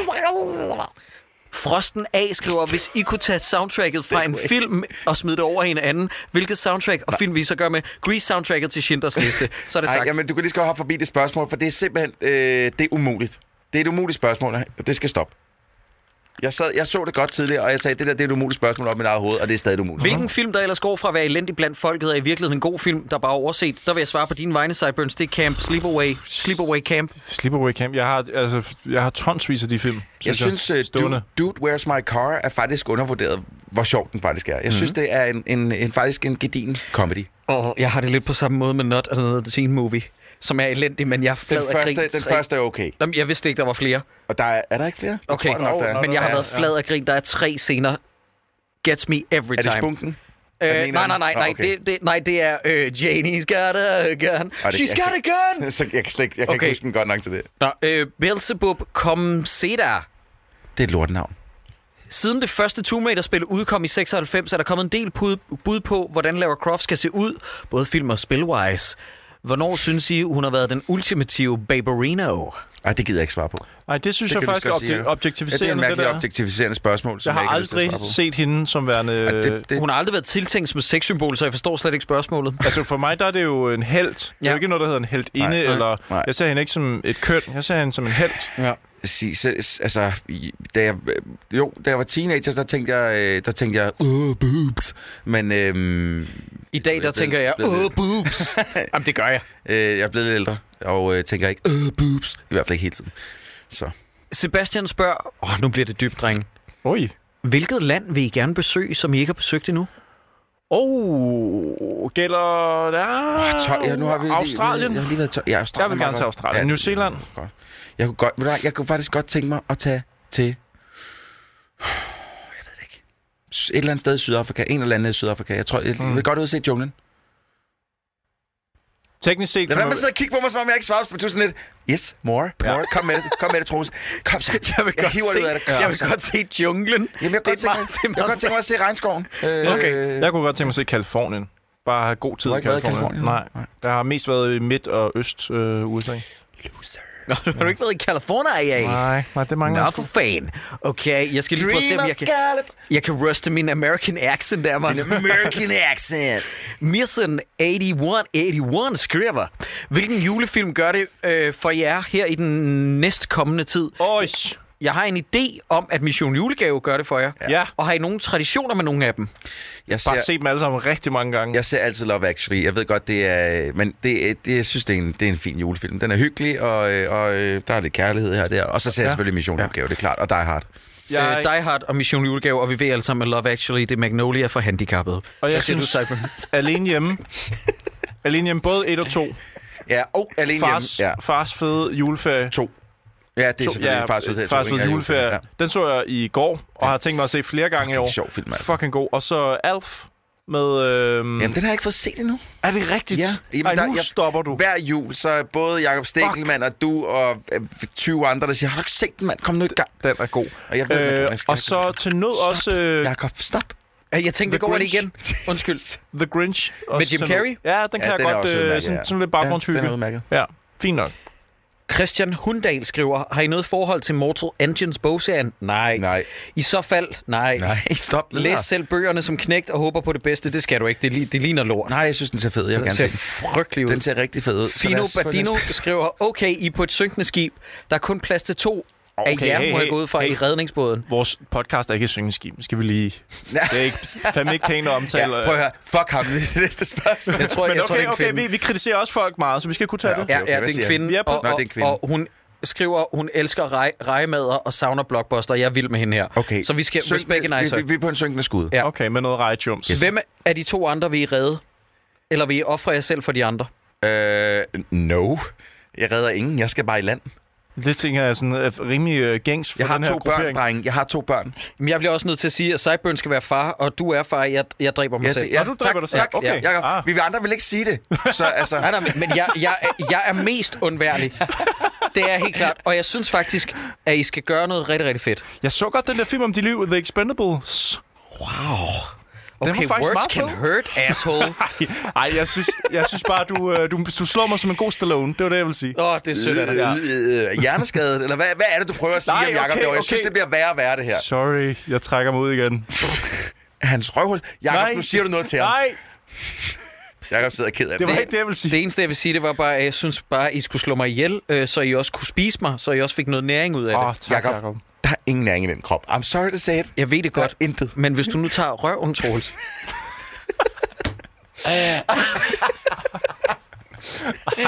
[SPEAKER 2] Frosten A skriver, hvis I kunne tage soundtracket fra en film og smide det over i en anden, hvilket soundtrack og film vi så gør med Grease soundtracket til Schindlers liste, så er det
[SPEAKER 4] Ej,
[SPEAKER 2] sagt.
[SPEAKER 4] jamen, du kan lige så godt hoppe forbi det spørgsmål, for det er simpelthen øh, det er umuligt. Det er et umuligt spørgsmål, og det skal stoppe. Jeg, sad, jeg så det godt tidligere, og jeg sagde, det der det er et umuligt spørgsmål op i mit eget hoved, og det er stadig et umuligt.
[SPEAKER 2] Hvilken film, der ellers går fra at være elendig blandt folket, er i virkeligheden en god film, der bare er overset? Der vil jeg svare på dine vegne, Sideburns. Det er Camp Sleepaway, Sleepaway Camp.
[SPEAKER 3] Sleepaway Camp. Jeg har, altså, jeg har tonsvis af de film.
[SPEAKER 4] Jeg synes, øh,
[SPEAKER 3] Altså, Stående.
[SPEAKER 4] Dude, Dude Where's My Car er faktisk undervurderet, hvor sjov den faktisk er.
[SPEAKER 3] Mhm.
[SPEAKER 4] Jeg synes, det er en, en, en faktisk en gedin comedy.
[SPEAKER 2] Og jeg har det lidt på samme måde med Not Another Teen Movie, som er elendig, men jeg er flad
[SPEAKER 4] Den,
[SPEAKER 2] af
[SPEAKER 4] første,
[SPEAKER 2] grin.
[SPEAKER 4] den
[SPEAKER 2] tre-
[SPEAKER 4] første er okay.
[SPEAKER 2] Jamen, jeg vidste ikke, der var flere.
[SPEAKER 4] Og der er, er der ikke flere? Jeg
[SPEAKER 2] Okay,
[SPEAKER 4] tror jeg nok, der er.
[SPEAKER 2] men jeg har
[SPEAKER 3] Ja,
[SPEAKER 2] været
[SPEAKER 3] ja.
[SPEAKER 2] flad af grin. Der er tre scener. Gets me every
[SPEAKER 4] Er det
[SPEAKER 2] time.
[SPEAKER 4] spunken? Er den
[SPEAKER 2] Øh,
[SPEAKER 4] en
[SPEAKER 2] nej,
[SPEAKER 4] af
[SPEAKER 2] nej,
[SPEAKER 4] dem?
[SPEAKER 2] nej,
[SPEAKER 4] Nå,
[SPEAKER 2] nej,
[SPEAKER 4] okay.
[SPEAKER 2] det, det, nej, det er øh, Janie's got a gun.
[SPEAKER 4] Og det-
[SPEAKER 2] She's
[SPEAKER 4] jeg
[SPEAKER 2] got a
[SPEAKER 4] kan-
[SPEAKER 2] gun!
[SPEAKER 4] Så jeg kan, slet, ikke- jeg kan okay.
[SPEAKER 2] Okay.
[SPEAKER 4] ikke huske den godt nok til det.
[SPEAKER 2] Nå, øh, Beelzebub, kom se dig.
[SPEAKER 4] Det er et lortenavn.
[SPEAKER 2] Siden det første Tomb Raider-spil udkom i 96, er der kommet en del bud, bud på, hvordan Lara Croft skal se ud, både film og spilwise. Hvornår synes I, hun har været den ultimative Baberino?
[SPEAKER 4] Ej, det gider jeg ikke svare på.
[SPEAKER 3] Nej, det synes
[SPEAKER 4] Det
[SPEAKER 3] jeg
[SPEAKER 4] kan vi
[SPEAKER 3] faktisk
[SPEAKER 4] lige
[SPEAKER 3] er
[SPEAKER 4] så godt
[SPEAKER 3] obje-
[SPEAKER 4] sige, ja. Ja, det er en
[SPEAKER 3] objektiviserende,
[SPEAKER 4] mærkelig
[SPEAKER 3] der.
[SPEAKER 4] objektiviserende spørgsmål, som
[SPEAKER 3] Jeg har
[SPEAKER 4] jeg ikke
[SPEAKER 3] aldrig
[SPEAKER 4] har lyst til at svare
[SPEAKER 3] set øh, hende som værende...
[SPEAKER 4] på. Ej, det, det,
[SPEAKER 2] Hun har aldrig været tænkt som sexsymbol, så jeg forstår slet ikke spørgsmålet.
[SPEAKER 3] Altså for mig, der er det jo en held. Det er
[SPEAKER 2] Ja.
[SPEAKER 3] jo ikke noget, der hedder en heldinde,
[SPEAKER 4] Nej,
[SPEAKER 2] nej,
[SPEAKER 3] eller...
[SPEAKER 4] nej.
[SPEAKER 3] Jeg ser hende ikke som et køn, jeg ser hende som en held.
[SPEAKER 2] Ja.
[SPEAKER 4] sige, så- s- altså, i- da jeg, øh, jo, da jeg var teenager, der tænkte jeg, øh, der tænkte jeg, uh, boobs. Men øhm,
[SPEAKER 2] I dag, der
[SPEAKER 4] Blevet-
[SPEAKER 2] tænker jeg,
[SPEAKER 4] blevet-
[SPEAKER 2] åh, boobs. Jamen, det gør jeg.
[SPEAKER 4] øh, jeg er blevet lidt ældre, og øh, tænker ikke, uh, boobs. I hvert fald ikke hele tiden. Så.
[SPEAKER 2] Sebastian spørger, åh, oh, nu bliver det dybt, dreng.
[SPEAKER 3] Oj.
[SPEAKER 2] Hvilket land vil I gerne besøge, som I ikke har besøgt endnu?
[SPEAKER 3] Oh, gælder... Ja,
[SPEAKER 4] Ah, tøj, ja, nu har vi lige,
[SPEAKER 3] Australien.
[SPEAKER 4] Jeg, har lige været tøj. Ja, Australien.
[SPEAKER 3] Jeg vil
[SPEAKER 4] er
[SPEAKER 3] gerne
[SPEAKER 4] meget
[SPEAKER 3] til
[SPEAKER 4] godt.
[SPEAKER 3] Australien. New Zealand.
[SPEAKER 4] Godt. Jeg kunne, godt, ved du hvad, jeg kunne faktisk godt tænke mig at tage til... Jeg ved det ikke. Et eller andet sted i Sydafrika. En eller anden i Sydafrika. Jeg tror, jeg mm. vil godt ud og se junglen.
[SPEAKER 3] Teknisk set...
[SPEAKER 4] Lad
[SPEAKER 3] kan
[SPEAKER 4] være
[SPEAKER 3] man-
[SPEAKER 4] med at sidde og kigge på mig, som om jeg ikke svarer på tusind lidt. Yes, more, more. Ja. Kom med det, kom med det, Troels. Kom så.
[SPEAKER 2] Jeg vil, godt,
[SPEAKER 4] hiver det
[SPEAKER 2] se,
[SPEAKER 4] ud af det.
[SPEAKER 2] jeg
[SPEAKER 4] Kom
[SPEAKER 2] vil
[SPEAKER 4] så.
[SPEAKER 2] godt se junglen.
[SPEAKER 4] Jamen, jeg kan godt
[SPEAKER 2] Det er
[SPEAKER 4] tænke
[SPEAKER 2] meget-
[SPEAKER 4] mig,
[SPEAKER 2] det er
[SPEAKER 4] jeg kan
[SPEAKER 2] meget-
[SPEAKER 4] godt tænke mig at se regnskoven. Øh,
[SPEAKER 3] Okay. Jeg kunne godt tænke mig at se Kalifornien. Bare have god tid
[SPEAKER 4] Du har
[SPEAKER 3] i
[SPEAKER 4] ikke været i
[SPEAKER 3] Kalifornien. Nej.
[SPEAKER 4] Californien?
[SPEAKER 3] Jeg
[SPEAKER 4] Nej.
[SPEAKER 3] har mest været i Midt- og Øst øh, USA.
[SPEAKER 2] Nå, du har du ikke været i California i dag?
[SPEAKER 3] Nej, nej, det mangler
[SPEAKER 2] Nå,
[SPEAKER 3] jeg
[SPEAKER 2] for
[SPEAKER 3] sgu.
[SPEAKER 2] fan. Okay, jeg skal lige prøve at se,
[SPEAKER 4] Dream
[SPEAKER 2] om
[SPEAKER 4] of
[SPEAKER 2] jeg kan,
[SPEAKER 4] Calif-
[SPEAKER 2] jeg kan ruste min American accent der, mand.
[SPEAKER 4] American accent.
[SPEAKER 2] Mirsen 8181 skriver, hvilken julefilm gør det øh, for jer her i den næstkommende tid?
[SPEAKER 3] Oish.
[SPEAKER 2] Jeg har en idé om, at Mission Julegave gør det for jer.
[SPEAKER 3] Ja.
[SPEAKER 2] Og har I nogle traditioner med nogle af dem?
[SPEAKER 4] Jeg ser,
[SPEAKER 3] Bare set dem alle sammen rigtig mange gange.
[SPEAKER 4] jeg ser altid Love Actually. Jeg ved godt, det er... Men det, er- det, jeg synes, det er, en, det er en fin julefilm. Den er hyggelig, og, øh, og øh, der er lidt kærlighed her og der. Og så ser jeg
[SPEAKER 3] Ja.
[SPEAKER 4] selvfølgelig Mission ja. det er klart. Og Die Hard.
[SPEAKER 2] Jeg... Øh, Die Hard og Mission Julegave, og vi ved alle sammen, at Love Actually, det er Magnolia for handicappede.
[SPEAKER 3] Og jeg
[SPEAKER 2] Hvad siger
[SPEAKER 3] synes,
[SPEAKER 2] du, Simon?
[SPEAKER 3] alene hjemme... alene hjemme, både et og to.
[SPEAKER 4] Ja, og alene
[SPEAKER 3] Fars,
[SPEAKER 4] hjemme. Ja,
[SPEAKER 3] fars fede juleferie.
[SPEAKER 4] to. Ja, det er
[SPEAKER 3] To-
[SPEAKER 4] selvfølgelig fars udhed.
[SPEAKER 3] Fars ved juleferie. Mm. Ja. Den så jeg i går, og har tænkt mig at se flere gange i år.
[SPEAKER 4] Fucking sjov film, altså.
[SPEAKER 3] Fucking god. Og så Alf med... Øhm,
[SPEAKER 4] Jamen, den har jeg ikke fået set endnu.
[SPEAKER 3] er det rigtigt?
[SPEAKER 4] Jamen,
[SPEAKER 3] Ej,
[SPEAKER 4] der-
[SPEAKER 3] nu
[SPEAKER 4] jeg-
[SPEAKER 3] stopper du.
[SPEAKER 4] Hver jul, så både Jakob Stikkelmann og du og øh, 20 andre, der siger, har du ikke set den, mand? Kom nu i gang.
[SPEAKER 3] Den er god.
[SPEAKER 4] Og jeg ved, man- man
[SPEAKER 3] øh,
[SPEAKER 4] skal
[SPEAKER 3] og
[SPEAKER 4] ikke-
[SPEAKER 3] så til nød
[SPEAKER 4] Stop.
[SPEAKER 3] også øh,
[SPEAKER 4] Jakob, stop.
[SPEAKER 2] Øh, Jeg tænkte,
[SPEAKER 3] The
[SPEAKER 2] det går det
[SPEAKER 3] Grinch.
[SPEAKER 2] igen. Undskyld.
[SPEAKER 3] The Grinch. Også
[SPEAKER 2] Jim
[SPEAKER 3] til nød.
[SPEAKER 2] Carrey?
[SPEAKER 3] Ja, den kan
[SPEAKER 4] den er
[SPEAKER 3] jeg godt...
[SPEAKER 4] også udmærket,
[SPEAKER 3] Øh, sådan,
[SPEAKER 4] ja.
[SPEAKER 3] sådan lidt
[SPEAKER 4] Ja,
[SPEAKER 3] baggrundshygge.
[SPEAKER 4] den er udmærket.
[SPEAKER 3] Ja, fint nok.
[SPEAKER 2] Christian Hundal skriver, har I noget forhold til Mortal Engines bogserien? Nej.
[SPEAKER 4] Nej.
[SPEAKER 2] I så fald, nej.
[SPEAKER 4] Nej, stop. videre.
[SPEAKER 2] Læs selv bøgerne som knægt og håber på det bedste. Det skal du ikke. Det, li- det ligner lort.
[SPEAKER 4] Nej, jeg synes, den ser fed ud. Jeg vil
[SPEAKER 2] Den
[SPEAKER 4] gerne se
[SPEAKER 2] ser
[SPEAKER 4] den.
[SPEAKER 2] frygtelig ud.
[SPEAKER 4] Den ser rigtig fed ud. Så lad
[SPEAKER 2] Fino
[SPEAKER 4] os få
[SPEAKER 2] Badino
[SPEAKER 4] den.
[SPEAKER 2] skriver, okay, I er på et synkende skib. Der er kun plads til to okay, af
[SPEAKER 3] Okay,
[SPEAKER 2] jer,
[SPEAKER 3] hey,
[SPEAKER 2] må jeg
[SPEAKER 3] hey,
[SPEAKER 2] gå ud fra,
[SPEAKER 3] hey.
[SPEAKER 2] i redningsbåden.
[SPEAKER 3] Vores podcast er ikke et syngeskib. Skal vi lige... Det er ikke, fandme ikke pænt at
[SPEAKER 4] Ja,
[SPEAKER 3] omtale. øh.
[SPEAKER 4] prøv at høre. Fuck ham. Det er det næste spørgsmål.
[SPEAKER 2] Jeg tror,
[SPEAKER 3] Men
[SPEAKER 2] jeg tror, det
[SPEAKER 3] okay,
[SPEAKER 2] er en
[SPEAKER 3] okay,
[SPEAKER 2] kvinde.
[SPEAKER 3] vi, vi kritiserer også folk meget, så vi skal kunne tage
[SPEAKER 4] Ja,
[SPEAKER 3] det.
[SPEAKER 4] okay.
[SPEAKER 2] Ja, ja, det
[SPEAKER 4] hvad
[SPEAKER 2] er
[SPEAKER 4] siger
[SPEAKER 2] en
[SPEAKER 4] han?
[SPEAKER 2] kvinde,
[SPEAKER 3] Ja, på-
[SPEAKER 2] og,
[SPEAKER 4] Nå, det er
[SPEAKER 2] og,
[SPEAKER 4] en kvinde.
[SPEAKER 2] og hun skriver, hun elsker rej, rejemader og savner blockbuster. Jeg er vild med hende her.
[SPEAKER 4] Okay.
[SPEAKER 2] Så vi skal
[SPEAKER 4] Synkende-
[SPEAKER 2] respect and
[SPEAKER 4] vi, vi, vi er på en synkende skud.
[SPEAKER 2] Ja.
[SPEAKER 3] Okay, med noget rejtjums.
[SPEAKER 2] Hvem af de to andre vil I redde? Eller vil I ofre jer selv for de andre?
[SPEAKER 4] Øh, no. Jeg redder ingen. Jeg skal bare i land.
[SPEAKER 3] Det tænker jeg er sådan er rimelig øh, gængs for
[SPEAKER 4] Jeg har
[SPEAKER 3] den her
[SPEAKER 4] to børn,
[SPEAKER 3] gruppering.
[SPEAKER 4] drenge. Jeg har to børn.
[SPEAKER 2] Men jeg bliver også nødt til at sige, at Cyburn skal være far, og du er far. Jeg, jeg dræber mig selv.
[SPEAKER 4] det- ja,
[SPEAKER 3] Nå, du dræber dig selv.
[SPEAKER 4] Tak,
[SPEAKER 3] Okay.
[SPEAKER 4] okay. Jacob,
[SPEAKER 3] Ah.
[SPEAKER 4] ah. Vi andre vil ikke sige det. Så altså...
[SPEAKER 2] Nej, nej, men- men jeg, jeg, er- jeg er mest undværlig. Det er helt klart. Og jeg synes faktisk, at I skal gøre noget rigtig, rigtig fedt.
[SPEAKER 3] Jeg så godt den der film om de liv, The Expendables. var
[SPEAKER 2] Okay,
[SPEAKER 3] faktisk
[SPEAKER 2] words
[SPEAKER 3] meget
[SPEAKER 2] can
[SPEAKER 3] fed.
[SPEAKER 2] hurt, asshole.
[SPEAKER 3] Ej, jeg synes, jeg synes bare, du, øh, du, du slår mig som en god Stallone. Det var det, jeg ville sige.
[SPEAKER 2] Åh, oh, det er sødt af dig.
[SPEAKER 4] Øh, øh, hjerneskadet, eller hvad, hvad er det, du prøver at sige
[SPEAKER 3] Nej,
[SPEAKER 4] om Jacob?
[SPEAKER 3] okay,
[SPEAKER 4] Okay, Jeg
[SPEAKER 3] okay.
[SPEAKER 4] synes, det bliver værre og værre, det her.
[SPEAKER 3] Sorry, jeg trækker mig ud igen.
[SPEAKER 4] Hans røvhul.
[SPEAKER 3] Nej.
[SPEAKER 4] Jacob, nu siger du noget til ham.
[SPEAKER 3] Nej,
[SPEAKER 4] Jacob sidder ked af
[SPEAKER 3] det
[SPEAKER 4] det.
[SPEAKER 3] var ikke det, jeg ville sige.
[SPEAKER 2] Det eneste, jeg vil sige, det var bare, at jeg synes bare, at I skulle slå mig ihjel, øh, så I også kunne spise mig, så I også fik noget næring ud af
[SPEAKER 3] Åh,
[SPEAKER 2] det.
[SPEAKER 3] oh, tak,
[SPEAKER 4] Jakob.
[SPEAKER 3] Jacob.
[SPEAKER 4] Der er ingen næring i den krop. I'm sorry to say it.
[SPEAKER 2] Jeg ved det
[SPEAKER 4] Der
[SPEAKER 2] godt,
[SPEAKER 4] er intet.
[SPEAKER 2] men hvis du nu tager røven, Troels,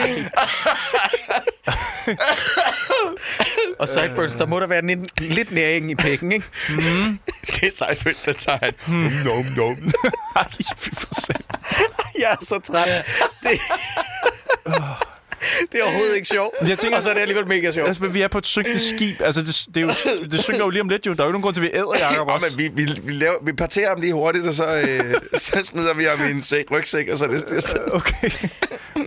[SPEAKER 2] og sideburns, der må der være en, lidt næring i pikken, ikke?
[SPEAKER 4] Det er Seinfeld, der tager han.
[SPEAKER 2] Hmm.
[SPEAKER 4] Mm. Nom, nom.
[SPEAKER 3] Ej, fy for satan.
[SPEAKER 2] Jeg er så træt. Det, det er overhovedet ikke sjovt,
[SPEAKER 3] Jeg tænker-
[SPEAKER 2] og så er det alligevel mega sjovt.
[SPEAKER 3] Altså, men vi er på et synkende skib. Altså, det, det, er jo, det synker jo lige om lidt, jo. Der er jo ikke nogen grund til, at vi æder Jacob
[SPEAKER 4] Nå,
[SPEAKER 3] også.
[SPEAKER 4] men vi, vi, vi, laver, vi parterer ham lige hurtigt, og så, øh, så smider vi ham i en sæk, rygsæk, og så er det, det, det,
[SPEAKER 3] Okay. okay.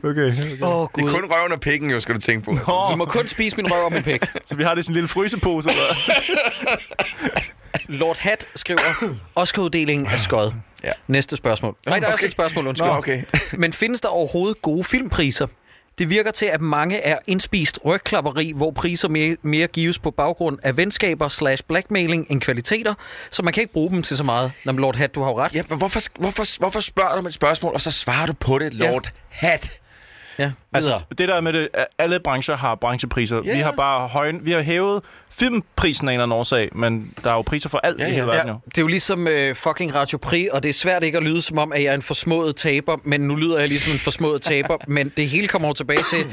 [SPEAKER 3] okay.
[SPEAKER 2] Åh, oh,
[SPEAKER 4] det er
[SPEAKER 2] Gud.
[SPEAKER 4] kun røven og pikken, jo, skal du tænke på.
[SPEAKER 3] Nå.
[SPEAKER 2] I må kun spise min røv og min pik.
[SPEAKER 3] Så vi har det i sådan en lille frysepose, eller hvad?
[SPEAKER 2] Lord Hat skriver, Oscar-uddelingen er skød.
[SPEAKER 4] Ja.
[SPEAKER 2] Næste spørgsmål. Nej, der er også et spørgsmål, undskyld.
[SPEAKER 4] Nå, okay.
[SPEAKER 2] Men findes der overhovedet gode filmpriser? Det virker til, at mange er indspist rygklapperi, hvor priser mere, mere gives på baggrund af venskaber slash blackmailing end kvaliteter, så man kan ikke bruge dem til så meget. Nå, men Lord Hat, du har jo ret.
[SPEAKER 4] Ja, men hvorfor, hvorfor, hvorfor spørger du om et spørgsmål, og så svarer du på det, Lord ja. Hat?
[SPEAKER 2] Ja.
[SPEAKER 3] Altså, det der med det, at alle brancher har branchepriser. Yeah. Vi
[SPEAKER 4] Ja.
[SPEAKER 3] har bare højen, vi har hævet filmprisen af en eller anden årsag, men der er jo priser for alt yeah, i hele verden
[SPEAKER 2] Ja,
[SPEAKER 3] jo.
[SPEAKER 2] det er jo ligesom øh, fucking Radio Prix, og det er svært ikke at lyde som om, at jeg er en forsmået taber, men nu lyder jeg ligesom en forsmået taber, men det hele kommer jo tilbage til,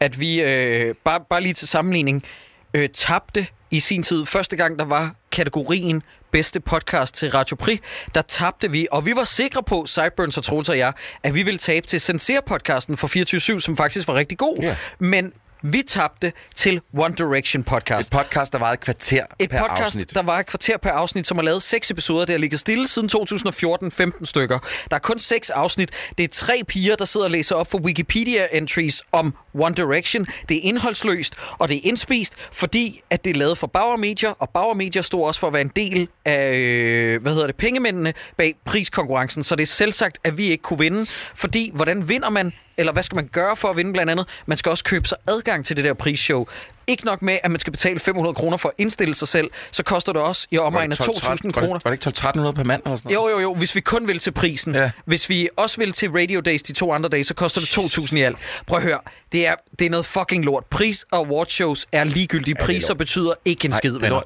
[SPEAKER 2] at vi, øh, bare, bare lige til sammenligning, øh, tabte i sin tid. Første gang, der var kategorien bedste podcast til Radio Prix, der tabte vi, og vi var sikre på, Sideburns og Troels og jeg, at vi ville tabe til Sincere-podcasten fra 24-7, som faktisk var rigtig god.
[SPEAKER 4] Ja.
[SPEAKER 2] Men vi tabte til One Direction podcast.
[SPEAKER 4] Et podcast, der varede et kvarter
[SPEAKER 2] Et
[SPEAKER 4] per
[SPEAKER 2] podcast,
[SPEAKER 4] afsnit.
[SPEAKER 2] der var et kvarter per afsnit, som har lavet seks episoder, der ligger stille siden 2014-15 stykker. Der er kun seks afsnit. Det er tre piger, der sidder og læser op for Wikipedia-entries om One Direction. Det er indholdsløst, og det er indspist, fordi at det er lavet for Bauer Media, og Bauer Media stod også for at være en del af, øh, hvad hedder det, pengemændene bag priskonkurrencen, så det er selvsagt, at vi ikke kunne vinde, fordi hvordan vinder man eller hvad skal man gøre for at vinde blandt andet? Man skal også købe sig adgang til det der prisshow. Ikke nok med, at man skal betale 500 kroner for at indstille sig selv, så koster det også i
[SPEAKER 4] Var
[SPEAKER 2] omegnen af
[SPEAKER 4] det 12-13
[SPEAKER 2] 2.000
[SPEAKER 4] var det-
[SPEAKER 2] kroner.
[SPEAKER 4] Var det ikke 12-1300 per mand eller sådan noget?
[SPEAKER 2] Jo, jo, jo, hvis vi kun vil til prisen.
[SPEAKER 4] Ja.
[SPEAKER 2] Ja. Hvis vi også vil til Radio Days de to andre dage, så koster det 2.000 i alt. Prøv at høre, det er, det er noget fucking lort. Pris og awardshows er ligegyldige.
[SPEAKER 4] er
[SPEAKER 2] Priser
[SPEAKER 4] lort.
[SPEAKER 2] betyder ikke en skid,
[SPEAKER 4] det er
[SPEAKER 2] venner.
[SPEAKER 4] lort.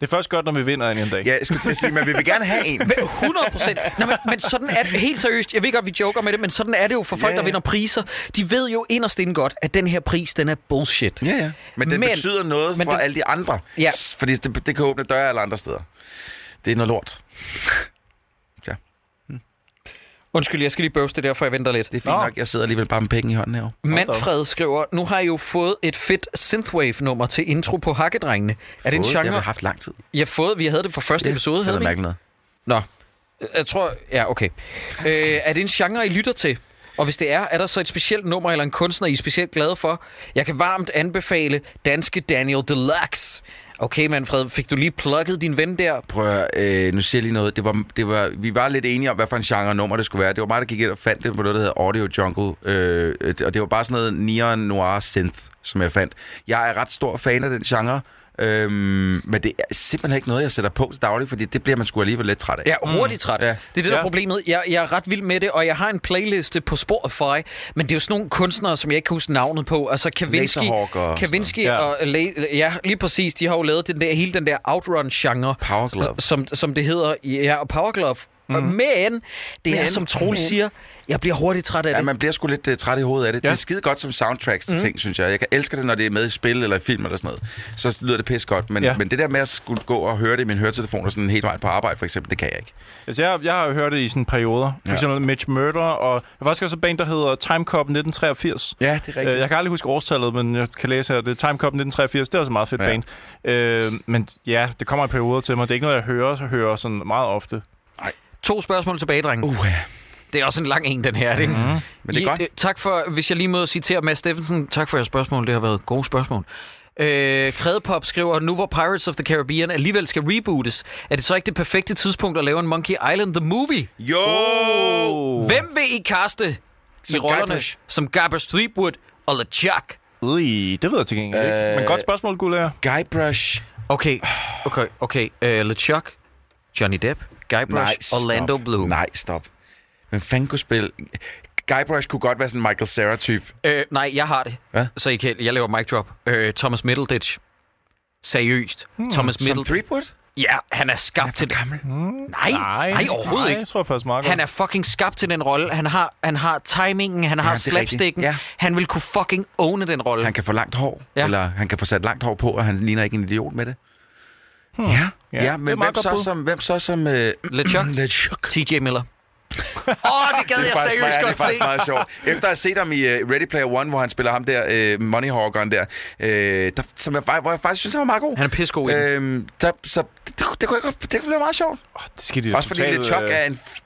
[SPEAKER 3] Det er først godt, når vi vinder en, en dag.
[SPEAKER 4] Ja, jeg skulle til at sige, men vi vil gerne have en.
[SPEAKER 2] Men 100 procent. Men, men sådan er det. Helt seriøst, jeg ved godt, vi joker med det, men sådan er det jo for folk,
[SPEAKER 4] Ja,
[SPEAKER 2] yeah.
[SPEAKER 4] ja.
[SPEAKER 2] der vinder priser. De ved jo inderst inde godt, at den her pris, den er bullshit.
[SPEAKER 4] Ja, ja. Men den men, betyder noget
[SPEAKER 2] men
[SPEAKER 4] for
[SPEAKER 2] den-
[SPEAKER 4] alle de andre.
[SPEAKER 2] Ja.
[SPEAKER 4] S- Fordi det, det kan åbne døre alle andre steder. Det er noget lort.
[SPEAKER 2] Undskyld, jeg skal lige bøvse det, derfor jeg venter lidt.
[SPEAKER 4] Det er fint
[SPEAKER 3] Nå.
[SPEAKER 4] nok, jeg sidder alligevel bare med penge i hånden herovre.
[SPEAKER 2] Manfred skriver, nu har I jo fået et fedt synthwave-nummer til intro på Hakkedrengene. Er det en
[SPEAKER 4] Fået,
[SPEAKER 2] genre?
[SPEAKER 4] Det har vi
[SPEAKER 2] Jeg
[SPEAKER 4] haft lang tid.
[SPEAKER 2] har fået, vi havde det fra første episode, havde vi. ikke?
[SPEAKER 4] mærkeligt noget.
[SPEAKER 2] Nå, jeg tror, ja, okay. Øh, er det en genre, I lytter til? Og hvis det er, er der så et specielt nummer eller en kunstner, I er specielt glade for? Jeg kan varmt anbefale danske Daniel Deluxe. Okay, Manfred, fik du lige plukket din ven der?
[SPEAKER 4] Prøv at, høre, øh, nu siger jeg lige noget. Det var, det var, vi var lidt enige om, hvad for en genre og nummer det skulle være. Det var mig, der gik ind og fandt det på noget, der hedder Audio Jungle. Øh, øh, og det var bare sådan noget neon noir synth, som jeg fandt. Jeg er ret stor fan af den genre. Øhm, men det er simpelthen ikke noget, jeg sætter på til daglig, fordi det bliver man sgu alligevel lidt træt af.
[SPEAKER 2] Ja, hurtigt træt.
[SPEAKER 4] Mm, Ja.
[SPEAKER 2] Ja. Det er det, der er
[SPEAKER 3] Ja.
[SPEAKER 2] problemet. Jeg, jeg er ret vild med det, og jeg har en playliste på Spotify, men det er jo sådan nogle kunstnere, som jeg ikke kan huske navnet på. Altså Kavinsky,
[SPEAKER 4] Laserhawk og sådan
[SPEAKER 2] Kavinsky
[SPEAKER 3] noget.
[SPEAKER 2] og La- ja, lige præcis, de har jo lavet den der, hele den der outrun-genre,
[SPEAKER 4] Power Glove.
[SPEAKER 2] som, som det hedder, ja, og Power Glove. Mm. Men, det er som Troel siger, jeg bliver hurtigt træt af
[SPEAKER 4] Ja,
[SPEAKER 2] det.
[SPEAKER 4] man bliver sgu lidt uh, træt i hovedet af det. Ja.
[SPEAKER 3] Ja. Mhm.
[SPEAKER 4] Det er skide godt som soundtracks til mm. ting, synes jeg. Jeg kan elsker det, når det er med i spil eller i film eller sådan noget. Så lyder det pis godt. Men, ja.
[SPEAKER 3] Ja.
[SPEAKER 4] men det der med at skulle gå og høre det i min høretelefon og sådan hele vejen på arbejde, for eksempel, det kan jeg ikke.
[SPEAKER 3] Altså, jeg, jeg har jo hørt det i sådan perioder. For
[SPEAKER 4] Ja.
[SPEAKER 3] eksempel Mitch Murder, og jeg har faktisk også et band, der hedder Time Cop 1983.
[SPEAKER 4] Ja, det er
[SPEAKER 3] Øh, Jeg kan aldrig huske årstallet, men jeg kan læse her. Det er Time Cop 1983. Det er også et meget fedt
[SPEAKER 4] Ja.
[SPEAKER 3] ja. band. Øh, men ja, det kommer i perioder til mig. Det er ikke noget, jeg hører, så hører sådan meget ofte.
[SPEAKER 2] To spørgsmål tilbage, drenge.
[SPEAKER 4] Uh, ja.
[SPEAKER 2] Det er også en lang en, den her. Ikke? Mm.
[SPEAKER 4] Men det er godt.
[SPEAKER 2] øh, tak for, hvis jeg lige må citere Mads Steffensen, tak for jeres spørgsmål, det har været gode spørgsmål. Øh, Kredpop skriver, nu hvor Pirates of the Caribbean alligevel skal rebootes, er det så ikke det perfekte tidspunkt at lave en Monkey Island The Movie?
[SPEAKER 4] Jo!
[SPEAKER 2] Oh. Hvem vil I kaste i
[SPEAKER 4] Som
[SPEAKER 2] rollerne
[SPEAKER 4] Guybrush.
[SPEAKER 2] som Garbage Threepwood og LeChuck?
[SPEAKER 3] Ui, det ved jeg til gengæld øh... ikke. Men godt spørgsmål, Gulær.
[SPEAKER 4] Guybrush.
[SPEAKER 2] Okay, okay, okay. Øh, LeChuck, Johnny Depp, Guybrush,
[SPEAKER 4] Nej,
[SPEAKER 2] Nej,
[SPEAKER 4] stop.
[SPEAKER 2] Orlando Bloom.
[SPEAKER 4] Nej, stop. Men fanden kunne spille... Guybrush kunne godt være sådan en Michael Cera-type.
[SPEAKER 2] Øh, nej, jeg har det.
[SPEAKER 4] Hvad?
[SPEAKER 2] Så I kan, jeg laver mic drop. Øh, Thomas Middleditch. Seriøst. Hmm, Thomas
[SPEAKER 4] Som
[SPEAKER 2] Middleditch.
[SPEAKER 4] Threepwood? Mm.
[SPEAKER 2] Ja, han er skabt til det.
[SPEAKER 4] gammel.
[SPEAKER 2] Nej, nej, nej overhovedet nej.
[SPEAKER 3] Jeg
[SPEAKER 2] ikke.
[SPEAKER 3] tror, jeg passer meget godt.
[SPEAKER 2] Han er fucking skabt til den rolle. Han har, han har timingen, han har
[SPEAKER 4] det
[SPEAKER 2] ja,
[SPEAKER 4] er rigtigt.
[SPEAKER 2] slapsticken.
[SPEAKER 4] Ja.
[SPEAKER 2] Ja. Han vil kunne fucking owne den rolle.
[SPEAKER 4] Han kan få langt hår, ja.
[SPEAKER 2] Ja.
[SPEAKER 4] eller han kan få sat langt hår på, og han ligner ikke en idiot med det. Hmm. Ja, ja,
[SPEAKER 3] Ja,
[SPEAKER 4] ja,
[SPEAKER 3] det er
[SPEAKER 4] men
[SPEAKER 3] meget
[SPEAKER 4] hvem
[SPEAKER 3] godt
[SPEAKER 4] så,
[SPEAKER 3] bud.
[SPEAKER 4] som, hvem så som... Øh,
[SPEAKER 2] LeChuck,
[SPEAKER 4] LeChuck.
[SPEAKER 2] TJ Miller. Åh, oh, det gad
[SPEAKER 4] Det er
[SPEAKER 2] jeg
[SPEAKER 4] faktisk
[SPEAKER 2] seriøst
[SPEAKER 4] meget,
[SPEAKER 2] godt
[SPEAKER 4] det er
[SPEAKER 2] se.
[SPEAKER 4] faktisk meget sjovt. Efter at have set ham i uh, Ready Player One, hvor han spiller ham der, uh, Money Hawkeren der, uh, der som jeg, fa- hvor jeg faktisk synes, han var meget god.
[SPEAKER 2] Han er pissegod i den.
[SPEAKER 4] Øhm, der, så det, det, det, kunne jeg godt, det kunne blive meget sjovt.
[SPEAKER 3] Oh, det skal de da
[SPEAKER 4] Også fordi
[SPEAKER 3] totalt,
[SPEAKER 4] lidt chok
[SPEAKER 3] øh,
[SPEAKER 4] er en f-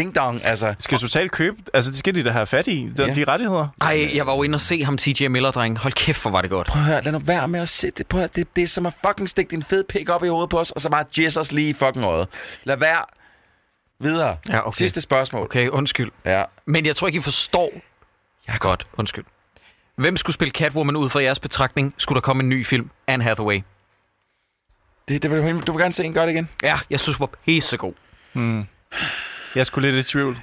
[SPEAKER 4] ding-dong, altså.
[SPEAKER 3] Skal totalt købe... Altså, det skal de da have fat i. De,
[SPEAKER 4] Ja.
[SPEAKER 3] ja. de rettigheder.
[SPEAKER 2] Ej, jeg var jo inde og se ham, TJ Miller, dreng. Hold kæft, hvor var det godt.
[SPEAKER 4] Prøv at høre, lad nu være med at se det. Prøv at høre, det, det er som at fucking stikke din fede pik op i hovedet på os, og så bare jizz os lige i fucking øjet. Lad være. Videre.
[SPEAKER 2] Ja, okay.
[SPEAKER 4] Sidste spørgsmål.
[SPEAKER 2] Okay, undskyld.
[SPEAKER 4] Ja.
[SPEAKER 2] Men jeg tror ikke, I forstår. Ja, godt. Undskyld. Hvem skulle spille Catwoman ud fra jeres betragtning? Skulle der komme en ny film? Anne Hathaway.
[SPEAKER 4] Det, det vil du, du vil gerne se en gøre det igen.
[SPEAKER 2] Ja, jeg synes, hun var pissegod.
[SPEAKER 3] Jeg skulle lidt i tvivl.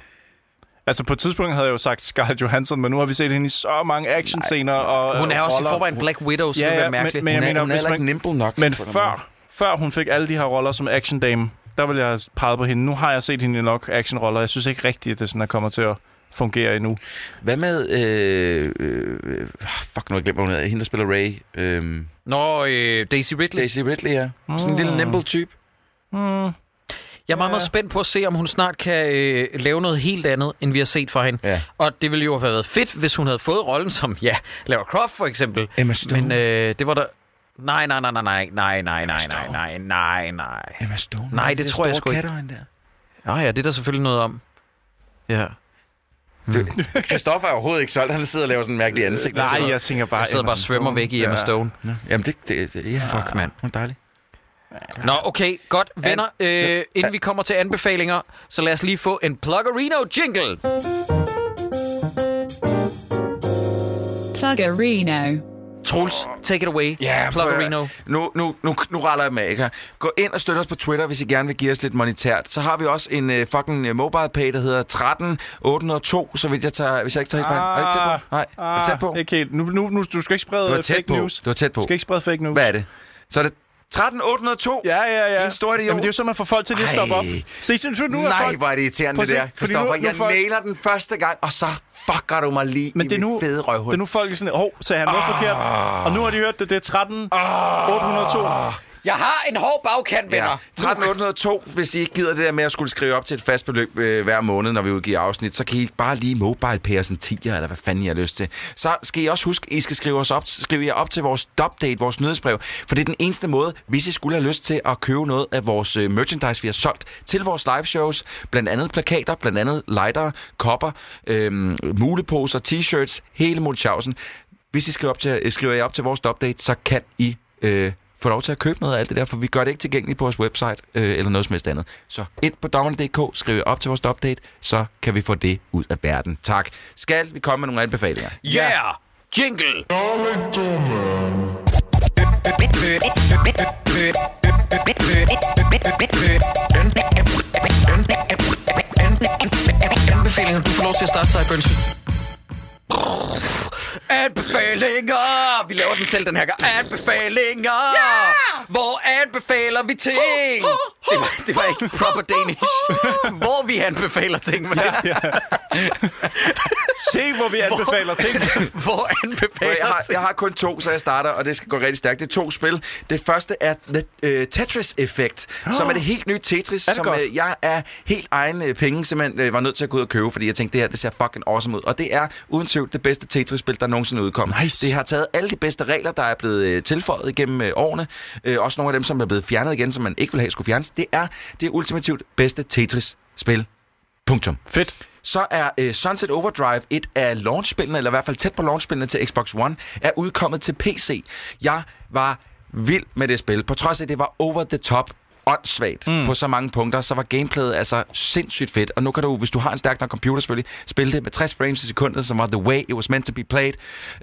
[SPEAKER 3] Altså, på et tidspunkt havde jeg jo sagt Scarlett Johansson, men nu har vi set hende i så mange actionscener og
[SPEAKER 2] Hun er
[SPEAKER 3] og
[SPEAKER 2] også i
[SPEAKER 3] Øh, roller.
[SPEAKER 2] forvejen Black Widow, så
[SPEAKER 3] Ja,
[SPEAKER 2] ja, det
[SPEAKER 3] ja,
[SPEAKER 2] vil være
[SPEAKER 3] men-
[SPEAKER 2] mærkeligt.
[SPEAKER 3] men-
[SPEAKER 4] Hun
[SPEAKER 3] Jeg
[SPEAKER 4] er,
[SPEAKER 3] mener,
[SPEAKER 4] hun er
[SPEAKER 3] hvis
[SPEAKER 4] heller ikke
[SPEAKER 3] man-
[SPEAKER 4] nimble nok.
[SPEAKER 3] Men
[SPEAKER 4] på den måde.
[SPEAKER 3] før, før hun fik alle de her roller som action dame, der ville jeg have peget på hende. Nu har jeg set hende i nok actionroller. Jeg synes ikke rigtigt, at det sådan, at kommer til at fungerer endnu.
[SPEAKER 4] Hvad med... Øh, øh, fuck, nu har jeg glemt, hvad hun hedder. Hende, der spiller Ray. Øh,
[SPEAKER 2] Nå, øh, Daisy Ridley.
[SPEAKER 4] Daisy Ridley, ja. Sådan en
[SPEAKER 2] Ah.
[SPEAKER 4] lille nimble type.
[SPEAKER 3] Mm.
[SPEAKER 2] Jeg er meget, meget spændt på at se, om hun snart kan øh, lave noget helt andet, end vi har set fra hende.
[SPEAKER 4] Ja.
[SPEAKER 2] Og det ville jo have været fedt, hvis hun havde fået rollen som, ja, Lara Croft for eksempel.
[SPEAKER 4] Emma Stone.
[SPEAKER 2] Men øh, det var der... Nej, nej, nej, nej, nej, nej, nej, nej, nej, nej, nej, nej.
[SPEAKER 4] Emma Stone.
[SPEAKER 2] Nej, det tror jeg sgu ikke.
[SPEAKER 4] ikke. Der.
[SPEAKER 2] Nå ja, det er der selvfølgelig noget om. Ja.
[SPEAKER 4] Det, Christoffer er overhovedet ikke solgt. Han sidder og laver sådan en
[SPEAKER 2] Øh,
[SPEAKER 4] mærkelig ansigt.
[SPEAKER 3] Nej,
[SPEAKER 4] ja.
[SPEAKER 3] jeg tænker bare...
[SPEAKER 2] Jeg sidder
[SPEAKER 3] Emma
[SPEAKER 2] bare og svømmer
[SPEAKER 3] Stone.
[SPEAKER 2] væk i Emma
[SPEAKER 3] Ja.
[SPEAKER 2] Stone.
[SPEAKER 4] Jamen, det, det, det ja.
[SPEAKER 2] Fuck, mand.
[SPEAKER 4] Hun er dejlig.
[SPEAKER 2] Nå, okay, godt. Venner, øh, inden vi kommer til anbefalinger, så lad os lige få en Pluggerino-jingle.
[SPEAKER 1] Pluggerino.
[SPEAKER 2] Troels, take it away.
[SPEAKER 4] Ja, prøv at høre.
[SPEAKER 2] Pluggerino.
[SPEAKER 4] Nu, nu, nu, nu raller jeg med, ikke? her? Gå ind og støt os på Twitter, hvis I gerne vil give os lidt monetært. Så har vi også en uh, fucking uh, mobile pay, der hedder 13802, så hvis jeg, tager, hvis jeg ikke tager helt fejl. Er det tæt på? Nej, ah, er det tæt på?
[SPEAKER 3] Ah, Ikke helt. Nu, nu, nu, du skal ikke sprede
[SPEAKER 4] Du var
[SPEAKER 3] øh,
[SPEAKER 4] tæt
[SPEAKER 3] fake
[SPEAKER 4] på.
[SPEAKER 3] news.
[SPEAKER 4] Du var tæt på.
[SPEAKER 3] Du skal ikke sprede fake news.
[SPEAKER 4] Hvad er det? Så er det 13802?
[SPEAKER 3] Ja, ja, ja.
[SPEAKER 4] Din store idiot.
[SPEAKER 3] Jamen, det er jo sådan, man får folk til lige at stoppe
[SPEAKER 4] Ej.
[SPEAKER 3] op. Se, synes du, nu er
[SPEAKER 4] Nej,
[SPEAKER 3] folk...
[SPEAKER 4] hvor er det irriterende,
[SPEAKER 3] Prøv
[SPEAKER 4] det
[SPEAKER 3] at se,
[SPEAKER 4] der,
[SPEAKER 3] fordi nu-
[SPEAKER 4] Christoffer.
[SPEAKER 3] nu
[SPEAKER 4] Jeg
[SPEAKER 3] folk-
[SPEAKER 4] nailer den første gang, og så fucker du mig lige
[SPEAKER 3] Men
[SPEAKER 4] i
[SPEAKER 3] det er,
[SPEAKER 4] mit
[SPEAKER 3] nu,
[SPEAKER 4] fede røvhul.
[SPEAKER 3] det er nu folk er sådan, hov, sagde han noget oh. forkert. Og nu har de hørt det, det er 13,
[SPEAKER 4] Ah.
[SPEAKER 3] 802.
[SPEAKER 2] Jeg har en hård bagkant, venner.
[SPEAKER 4] Ja. 13802, hvis I ikke gider det der med at skulle skrive op til et fast beløb øh, hver måned, når vi udgiver afsnit, så kan I bare lige mobile pay os en 10'er, eller hvad fanden I har lyst til. Så skal I også huske, I skal skrive, os op, skrive jer op til vores update, vores nyhedsbrev, for det er den eneste måde, hvis I skulle have lyst til at købe noget af vores øh, merchandise, vi har solgt til vores live shows, blandt andet plakater, blandt andet lightere, kopper, øh, muleposer, t-shirts, hele multichausen. Hvis I skriver, op til, øh, skriver jer op til vores update, så kan I øh, få lov til at købe noget af alt det der, for vi gør det ikke tilgængeligt på vores website øh, eller noget som helst andet. Så ind på dommerne.dk, skriv jer op til vores update, så kan vi få det ud af verden. Tak. Skal vi komme med nogle anbefalinger?
[SPEAKER 2] Yeah! Jingle! Anbefalinger, du får lov til at starte sig, Bønse. Anbefalinger! Vi laver den selv den her gang. Anbefalinger! Hvor anbefaler vi ting? Det var, det var ikke proper Danish. Hvor vi anbefaler ting, men det,
[SPEAKER 3] Se, hvor vi anbefaler ting.
[SPEAKER 2] hvor anbefaler
[SPEAKER 4] Jeg har,
[SPEAKER 2] ting?
[SPEAKER 4] jeg har kun to, så jeg starter, og det skal gå rigtig stærkt. Det er to spil. Det første er The uh, Tetris Effect, som er det helt nye Tetris,
[SPEAKER 3] Ah. det
[SPEAKER 4] som
[SPEAKER 3] godt?
[SPEAKER 4] øh, jeg er helt egen øh, penge simpelthen øh, var nødt til at gå ud og købe, fordi jeg tænkte, det her det ser fucking awesome ud. Og det er uden tvivl det bedste Tetris-spil, der nogensinde er udkommet.
[SPEAKER 3] Nice.
[SPEAKER 4] Det har taget alle de bedste regler, der er blevet øh, tilføjet igennem øh, årene. Øh, også nogle af dem, som er blevet fjernet igen, som man ikke ville have skulle fjernes. Det er det ultimativt bedste Tetris-spil. Punktum
[SPEAKER 3] Fedt.
[SPEAKER 4] så er øh, Sunset Overdrive et af launchspillene, eller i hvert fald tæt på launchspillene til Xbox One, er udkommet til PC. Jeg var vild med det spil, på trods af, at det var over the top åndssvagt mm. på så mange punkter, så var gameplayet altså sindssygt fedt. Og nu kan du, hvis du har en stærk nok computer selvfølgelig, spille det med 60 frames i sekundet, som var the way it was meant to be played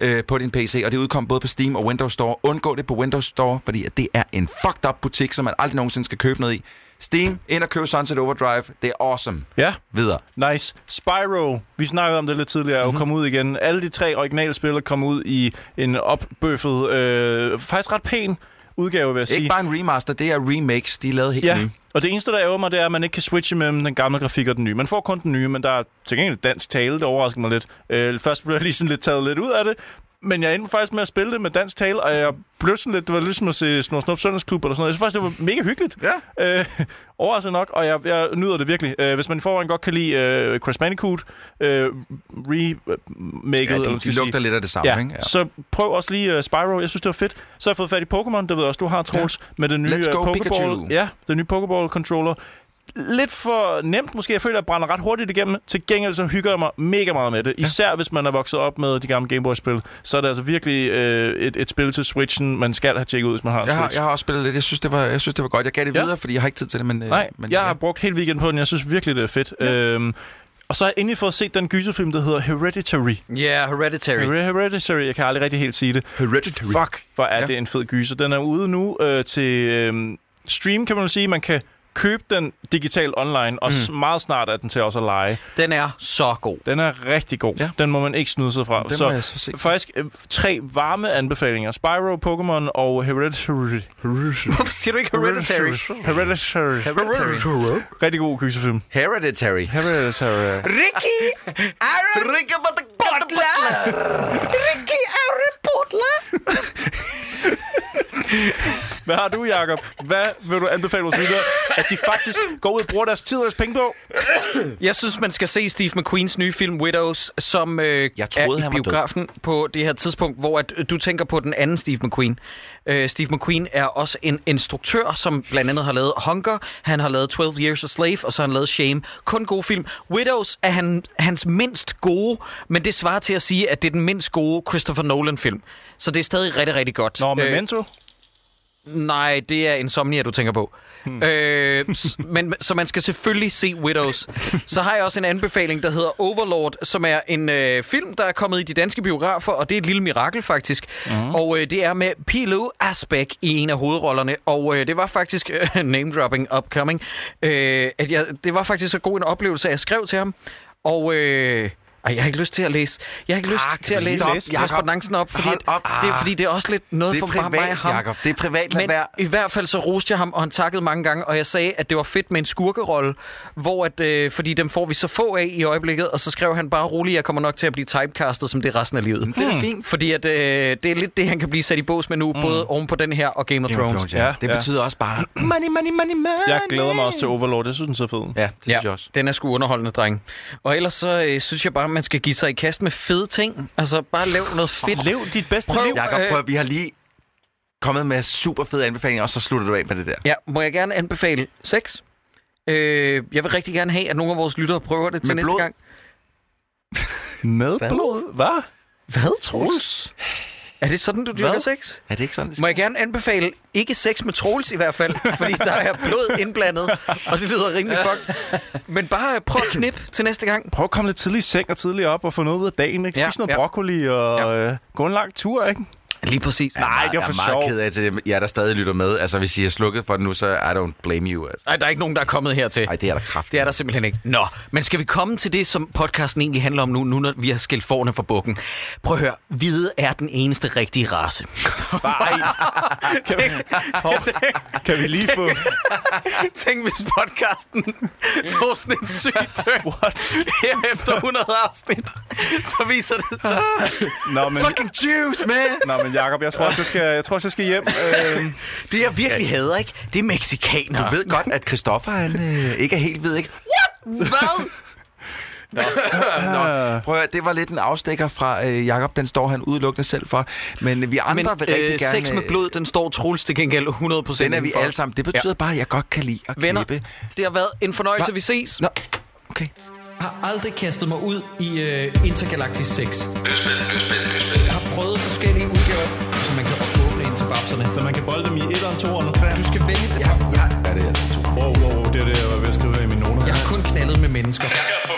[SPEAKER 4] øh, på din PC. Og det udkom både på Steam og Windows Store. Undgå det på Windows Store, fordi at det er en fucked up butik, som man aldrig nogensinde skal købe noget i. Steam, ind og køb Sunset Overdrive. Det er awesome.
[SPEAKER 3] Ja,
[SPEAKER 4] Videre.
[SPEAKER 3] nice. Spyro, vi snakkede om det lidt tidligere,
[SPEAKER 4] Mhm.
[SPEAKER 3] mm-hmm. og kom ud igen. Alle de tre originale spil kom ud i en opbøffet, øh, faktisk ret pæn udgave, vil jeg sige.
[SPEAKER 4] Ikke bare en remaster, det er remakes, de er lavet helt ja.
[SPEAKER 3] Ja,
[SPEAKER 4] nye.
[SPEAKER 3] og det eneste, der ærger mig, det er, at man ikke kan switche mellem den gamle grafik og den nye. Man får kun den nye, men der er til gengæld dansk tale, det overrasker mig lidt. Øh, først blev jeg lige sådan lidt taget lidt ud af det, men jeg endte faktisk med at spille det med dansk tale, og jeg blev sådan lidt, det var ligesom at se Snor Snop Søndagsklub eller sådan noget. Jeg synes faktisk, det var mega hyggeligt. Ja. Øh, overraskende nok, og jeg, jeg nyder det virkelig. Øh, hvis man i forvejen godt kan lide øh, Crash Bandicoot, øh, remaket,
[SPEAKER 4] Ja,
[SPEAKER 3] eller hvad
[SPEAKER 4] de,
[SPEAKER 3] man
[SPEAKER 4] de
[SPEAKER 3] skal
[SPEAKER 4] lugter
[SPEAKER 3] sige.
[SPEAKER 4] lidt af det samme,
[SPEAKER 3] Ja,
[SPEAKER 4] ikke? Ja.
[SPEAKER 3] så prøv også lige uh, Spyro. Jeg synes, det var fedt. Så har jeg fået fat i Pokémon. Det ved jeg også, du har, Troels. Ja. Med den nye
[SPEAKER 4] Let's
[SPEAKER 3] øh,
[SPEAKER 4] go, Pikachu.
[SPEAKER 3] Pokéball. Ja, den nye Pokéball-controller. Lidt for nemt måske. Jeg føler, at jeg brænder ret hurtigt igennem. Til gengæld så hygger jeg mig mega meget med det. Især ja. hvis man er vokset op med de gamle Gameboy-spil. Så er det altså virkelig øh, et, et spil til Switchen, man skal have tjekket ud, hvis man har en
[SPEAKER 4] Jeg har,
[SPEAKER 3] Switch.
[SPEAKER 4] jeg har også spillet lidt. Jeg synes, det var, jeg synes, det var godt. Jeg gav det
[SPEAKER 3] Ja.
[SPEAKER 4] videre, fordi jeg har ikke tid til det, men... øh,
[SPEAKER 3] Nej,
[SPEAKER 4] men,
[SPEAKER 3] men, jeg har brugt hele weekenden på den. Jeg synes virkelig, det er fedt. Ja. Øhm, og så har jeg endelig fået set den gyserfilm, der hedder Hereditary.
[SPEAKER 2] Yeah, Hereditary.
[SPEAKER 3] Hereditary. Hereditary. Jeg kan aldrig rigtig helt sige det.
[SPEAKER 4] Hereditary.
[SPEAKER 3] Fuck, hvor er
[SPEAKER 4] Ja.
[SPEAKER 3] ja. det en fed gyser. Den er ude nu øh, til øh, stream, kan man vel sige. Man kan Køb den digitalt online, og mm. meget snart er den til også at lege.
[SPEAKER 2] Den er så god.
[SPEAKER 3] Den er rigtig god. Ja.
[SPEAKER 4] Ja.
[SPEAKER 3] Den må man ikke snyde sig fra.
[SPEAKER 4] Den må jeg så se.
[SPEAKER 3] faktisk øh, tre varme anbefalinger. Spyro, Pokémon og Hereditary.
[SPEAKER 2] Hvorfor siger du ikke Hereditary?
[SPEAKER 3] Hereditary.
[SPEAKER 2] Hereditary.
[SPEAKER 3] Rigtig god kyssefilm.
[SPEAKER 4] Hereditary.
[SPEAKER 3] Hereditary.
[SPEAKER 2] Ricky! Aaron! Ricky Butler! Ricky Aaron Butler!
[SPEAKER 3] Hvad har du, Jacob? Hvad vil du anbefale vores lyttere, at de faktisk går ud og bruger deres tid og deres penge på?
[SPEAKER 2] Jeg synes, man skal se Steve McQueens nye film Widows, som øh,
[SPEAKER 4] Jeg troede,
[SPEAKER 2] er i
[SPEAKER 4] han var død.
[SPEAKER 2] biografen på det her tidspunkt, hvor at, øh, du tænker på den anden Steve McQueen. Øh, Steve McQueen er også en instruktør, som blandt andet har lavet Hunger, han har lavet 12 Years a Slave, og så har han lavet Shame. Kun gode film. Widows er han, hans mindst gode, men det svarer til at sige, at det er den mindst gode Christopher Nolan-film. Så det er stadig rigtig, rigtig godt.
[SPEAKER 3] Nå,
[SPEAKER 2] Øh,
[SPEAKER 3] Memento.
[SPEAKER 2] Nej, det er Insomnia, du tænker på. Hmm. Øh, s- men, så man skal selvfølgelig se Widows. Så har jeg også en anbefaling, der hedder Overlord, som er en øh, film, der er kommet i de danske biografer, og det er et lille mirakel faktisk.
[SPEAKER 4] Mhm.
[SPEAKER 2] Mm. Og øh, det er med Pilo Asbæk i en af hovedrollerne, og øh, det var faktisk øh, name-dropping upcoming. Øh, at jeg, det var faktisk så god en oplevelse, at jeg skrev til ham, og... Øh, ej, jeg har ikke lyst til at læse. Jeg har ikke lyst
[SPEAKER 4] Ah,
[SPEAKER 2] til at
[SPEAKER 4] kan du
[SPEAKER 2] læse
[SPEAKER 4] lige
[SPEAKER 2] op,
[SPEAKER 4] læse,
[SPEAKER 2] Jacob.
[SPEAKER 4] Jacob?
[SPEAKER 2] korrespondancen op, fordi,
[SPEAKER 4] Hold op.
[SPEAKER 2] det er, fordi det er også lidt noget
[SPEAKER 4] Det
[SPEAKER 2] for
[SPEAKER 4] er
[SPEAKER 2] bare mig og
[SPEAKER 4] privat,
[SPEAKER 2] ham.
[SPEAKER 4] Jacob. Det er privat. Lad
[SPEAKER 2] Men
[SPEAKER 4] være.
[SPEAKER 2] i hvert fald så roste jeg ham, og han takkede mange gange, og jeg sagde, at det var fedt med en skurkerolle, hvor at, øh, fordi dem får vi så få af i øjeblikket, og så skrev han bare roligt, jeg kommer nok til at blive typecastet som det resten af livet.
[SPEAKER 4] Mm. Det er da fint.
[SPEAKER 2] Fordi at, øh, det er lidt det, han kan blive sat i bås med nu, mm. både oven på den her og Game of
[SPEAKER 4] Game of
[SPEAKER 2] Thrones.
[SPEAKER 4] Thrones,
[SPEAKER 3] Ja,
[SPEAKER 4] ja. Det
[SPEAKER 3] ja.
[SPEAKER 4] betyder også bare money, money, money, money.
[SPEAKER 3] Jeg glæder mig også til Overlord. Jeg synes, den er så fed.
[SPEAKER 4] Ja, det synes jeg også.
[SPEAKER 2] den er sgu underholdende, dreng. Og ellers så øh, synes jeg bare, man skal give sig i kast med fede ting. Altså, bare lav noget fedt.
[SPEAKER 3] Lev dit bedste
[SPEAKER 2] Prøv.
[SPEAKER 3] liv.
[SPEAKER 4] Jakob,
[SPEAKER 2] Øh.
[SPEAKER 4] prøv at- vi har lige kommet med super fede anbefalinger, og så slutter du af med det der.
[SPEAKER 2] Ja, må jeg gerne anbefale sex? Øh, jeg vil rigtig gerne have, at nogle af vores lyttere prøver det til
[SPEAKER 4] Med
[SPEAKER 2] næste
[SPEAKER 4] blod?
[SPEAKER 2] gang.
[SPEAKER 3] Med blod. Hvad?
[SPEAKER 2] Hvad, Troels? Er det sådan, du dyrker
[SPEAKER 3] Hvad?
[SPEAKER 2] sex?
[SPEAKER 4] Er det ikke sådan, det
[SPEAKER 2] Må jeg gerne anbefale ikke sex med Troels i hvert fald, fordi der er blod indblandet, og det lyder rimelig fucked. Men bare øh, prøv at knip til næste gang.
[SPEAKER 3] Prøv at komme lidt tidligt i seng og tidligt op og få noget ud af dagen. Ikke?
[SPEAKER 2] Ja,
[SPEAKER 3] Spis noget
[SPEAKER 2] ja.
[SPEAKER 3] broccoli og
[SPEAKER 2] Ja.
[SPEAKER 3] øh, gå en lang tur. Ikke?
[SPEAKER 2] Lige præcis. Nej,
[SPEAKER 3] Nej, det var
[SPEAKER 4] jeg er
[SPEAKER 3] for
[SPEAKER 4] meget
[SPEAKER 3] sjov.
[SPEAKER 4] ked af til jer, der stadig lytter med. Altså, hvis I er slukket for den nu, så I don't blame you. Altså.
[SPEAKER 2] der er ikke nogen, der er kommet hertil.
[SPEAKER 4] Ej, det er der kraft.
[SPEAKER 2] Det er der simpelthen ikke. Nå, men skal vi komme til det, som podcasten egentlig handler om nu, nu når vi har skilt forne fra bukken? Prøv at høre, hvide er den eneste rigtige race.
[SPEAKER 3] Nej. kan, vi, kan vi lige få...
[SPEAKER 2] Tænk, hvis podcasten tog sådan en syg turn
[SPEAKER 3] What?
[SPEAKER 2] her efter 100 afsnit, så viser det sig.
[SPEAKER 3] Nå, men,
[SPEAKER 4] Fucking juice, man!
[SPEAKER 3] Nå, men Jacob, jeg tror også, jeg skal, jeg tror, også, jeg skal hjem. Øh,
[SPEAKER 2] Det, jeg virkelig hader, ikke? Det er mexikanere.
[SPEAKER 4] Jeg ved godt, at Christoffer han, øh, ikke er helt ved, ikke?
[SPEAKER 2] Hvad?
[SPEAKER 4] Nå,
[SPEAKER 2] Øh.
[SPEAKER 4] prøv at, høre, det var lidt en afstikker fra øh, Jakob, den står han udelukkende selv for. Men vi andre
[SPEAKER 2] Men
[SPEAKER 4] vil rigtig
[SPEAKER 2] øh,
[SPEAKER 4] gerne...
[SPEAKER 2] sex med blod, den står Troels til gengæld 100%
[SPEAKER 4] Den er vi
[SPEAKER 2] indenfor.
[SPEAKER 4] alle sammen. Det betyder ja. bare, at jeg godt kan lide at
[SPEAKER 2] Venner,
[SPEAKER 4] knippe.
[SPEAKER 2] det har været en fornøjelse,
[SPEAKER 4] Hva?
[SPEAKER 2] vi ses.
[SPEAKER 4] Nå, okay.
[SPEAKER 2] Jeg har aldrig kastet mig ud i øh, intergalaktisk sex. Jeg har prøvet forskellige udgaver, så man kan åbne ind til babserne.
[SPEAKER 3] så man kan bolde dem i 1'eren, 2'eren og 3'eren.
[SPEAKER 2] Du skal vælge det.
[SPEAKER 4] Ja, ja. Er det altså to?
[SPEAKER 3] Wow, wow, wow, det er det, jeg var ved at skrive her i mine noter.
[SPEAKER 2] Jeg har kun knaldet med mennesker.
[SPEAKER 1] Jeg kan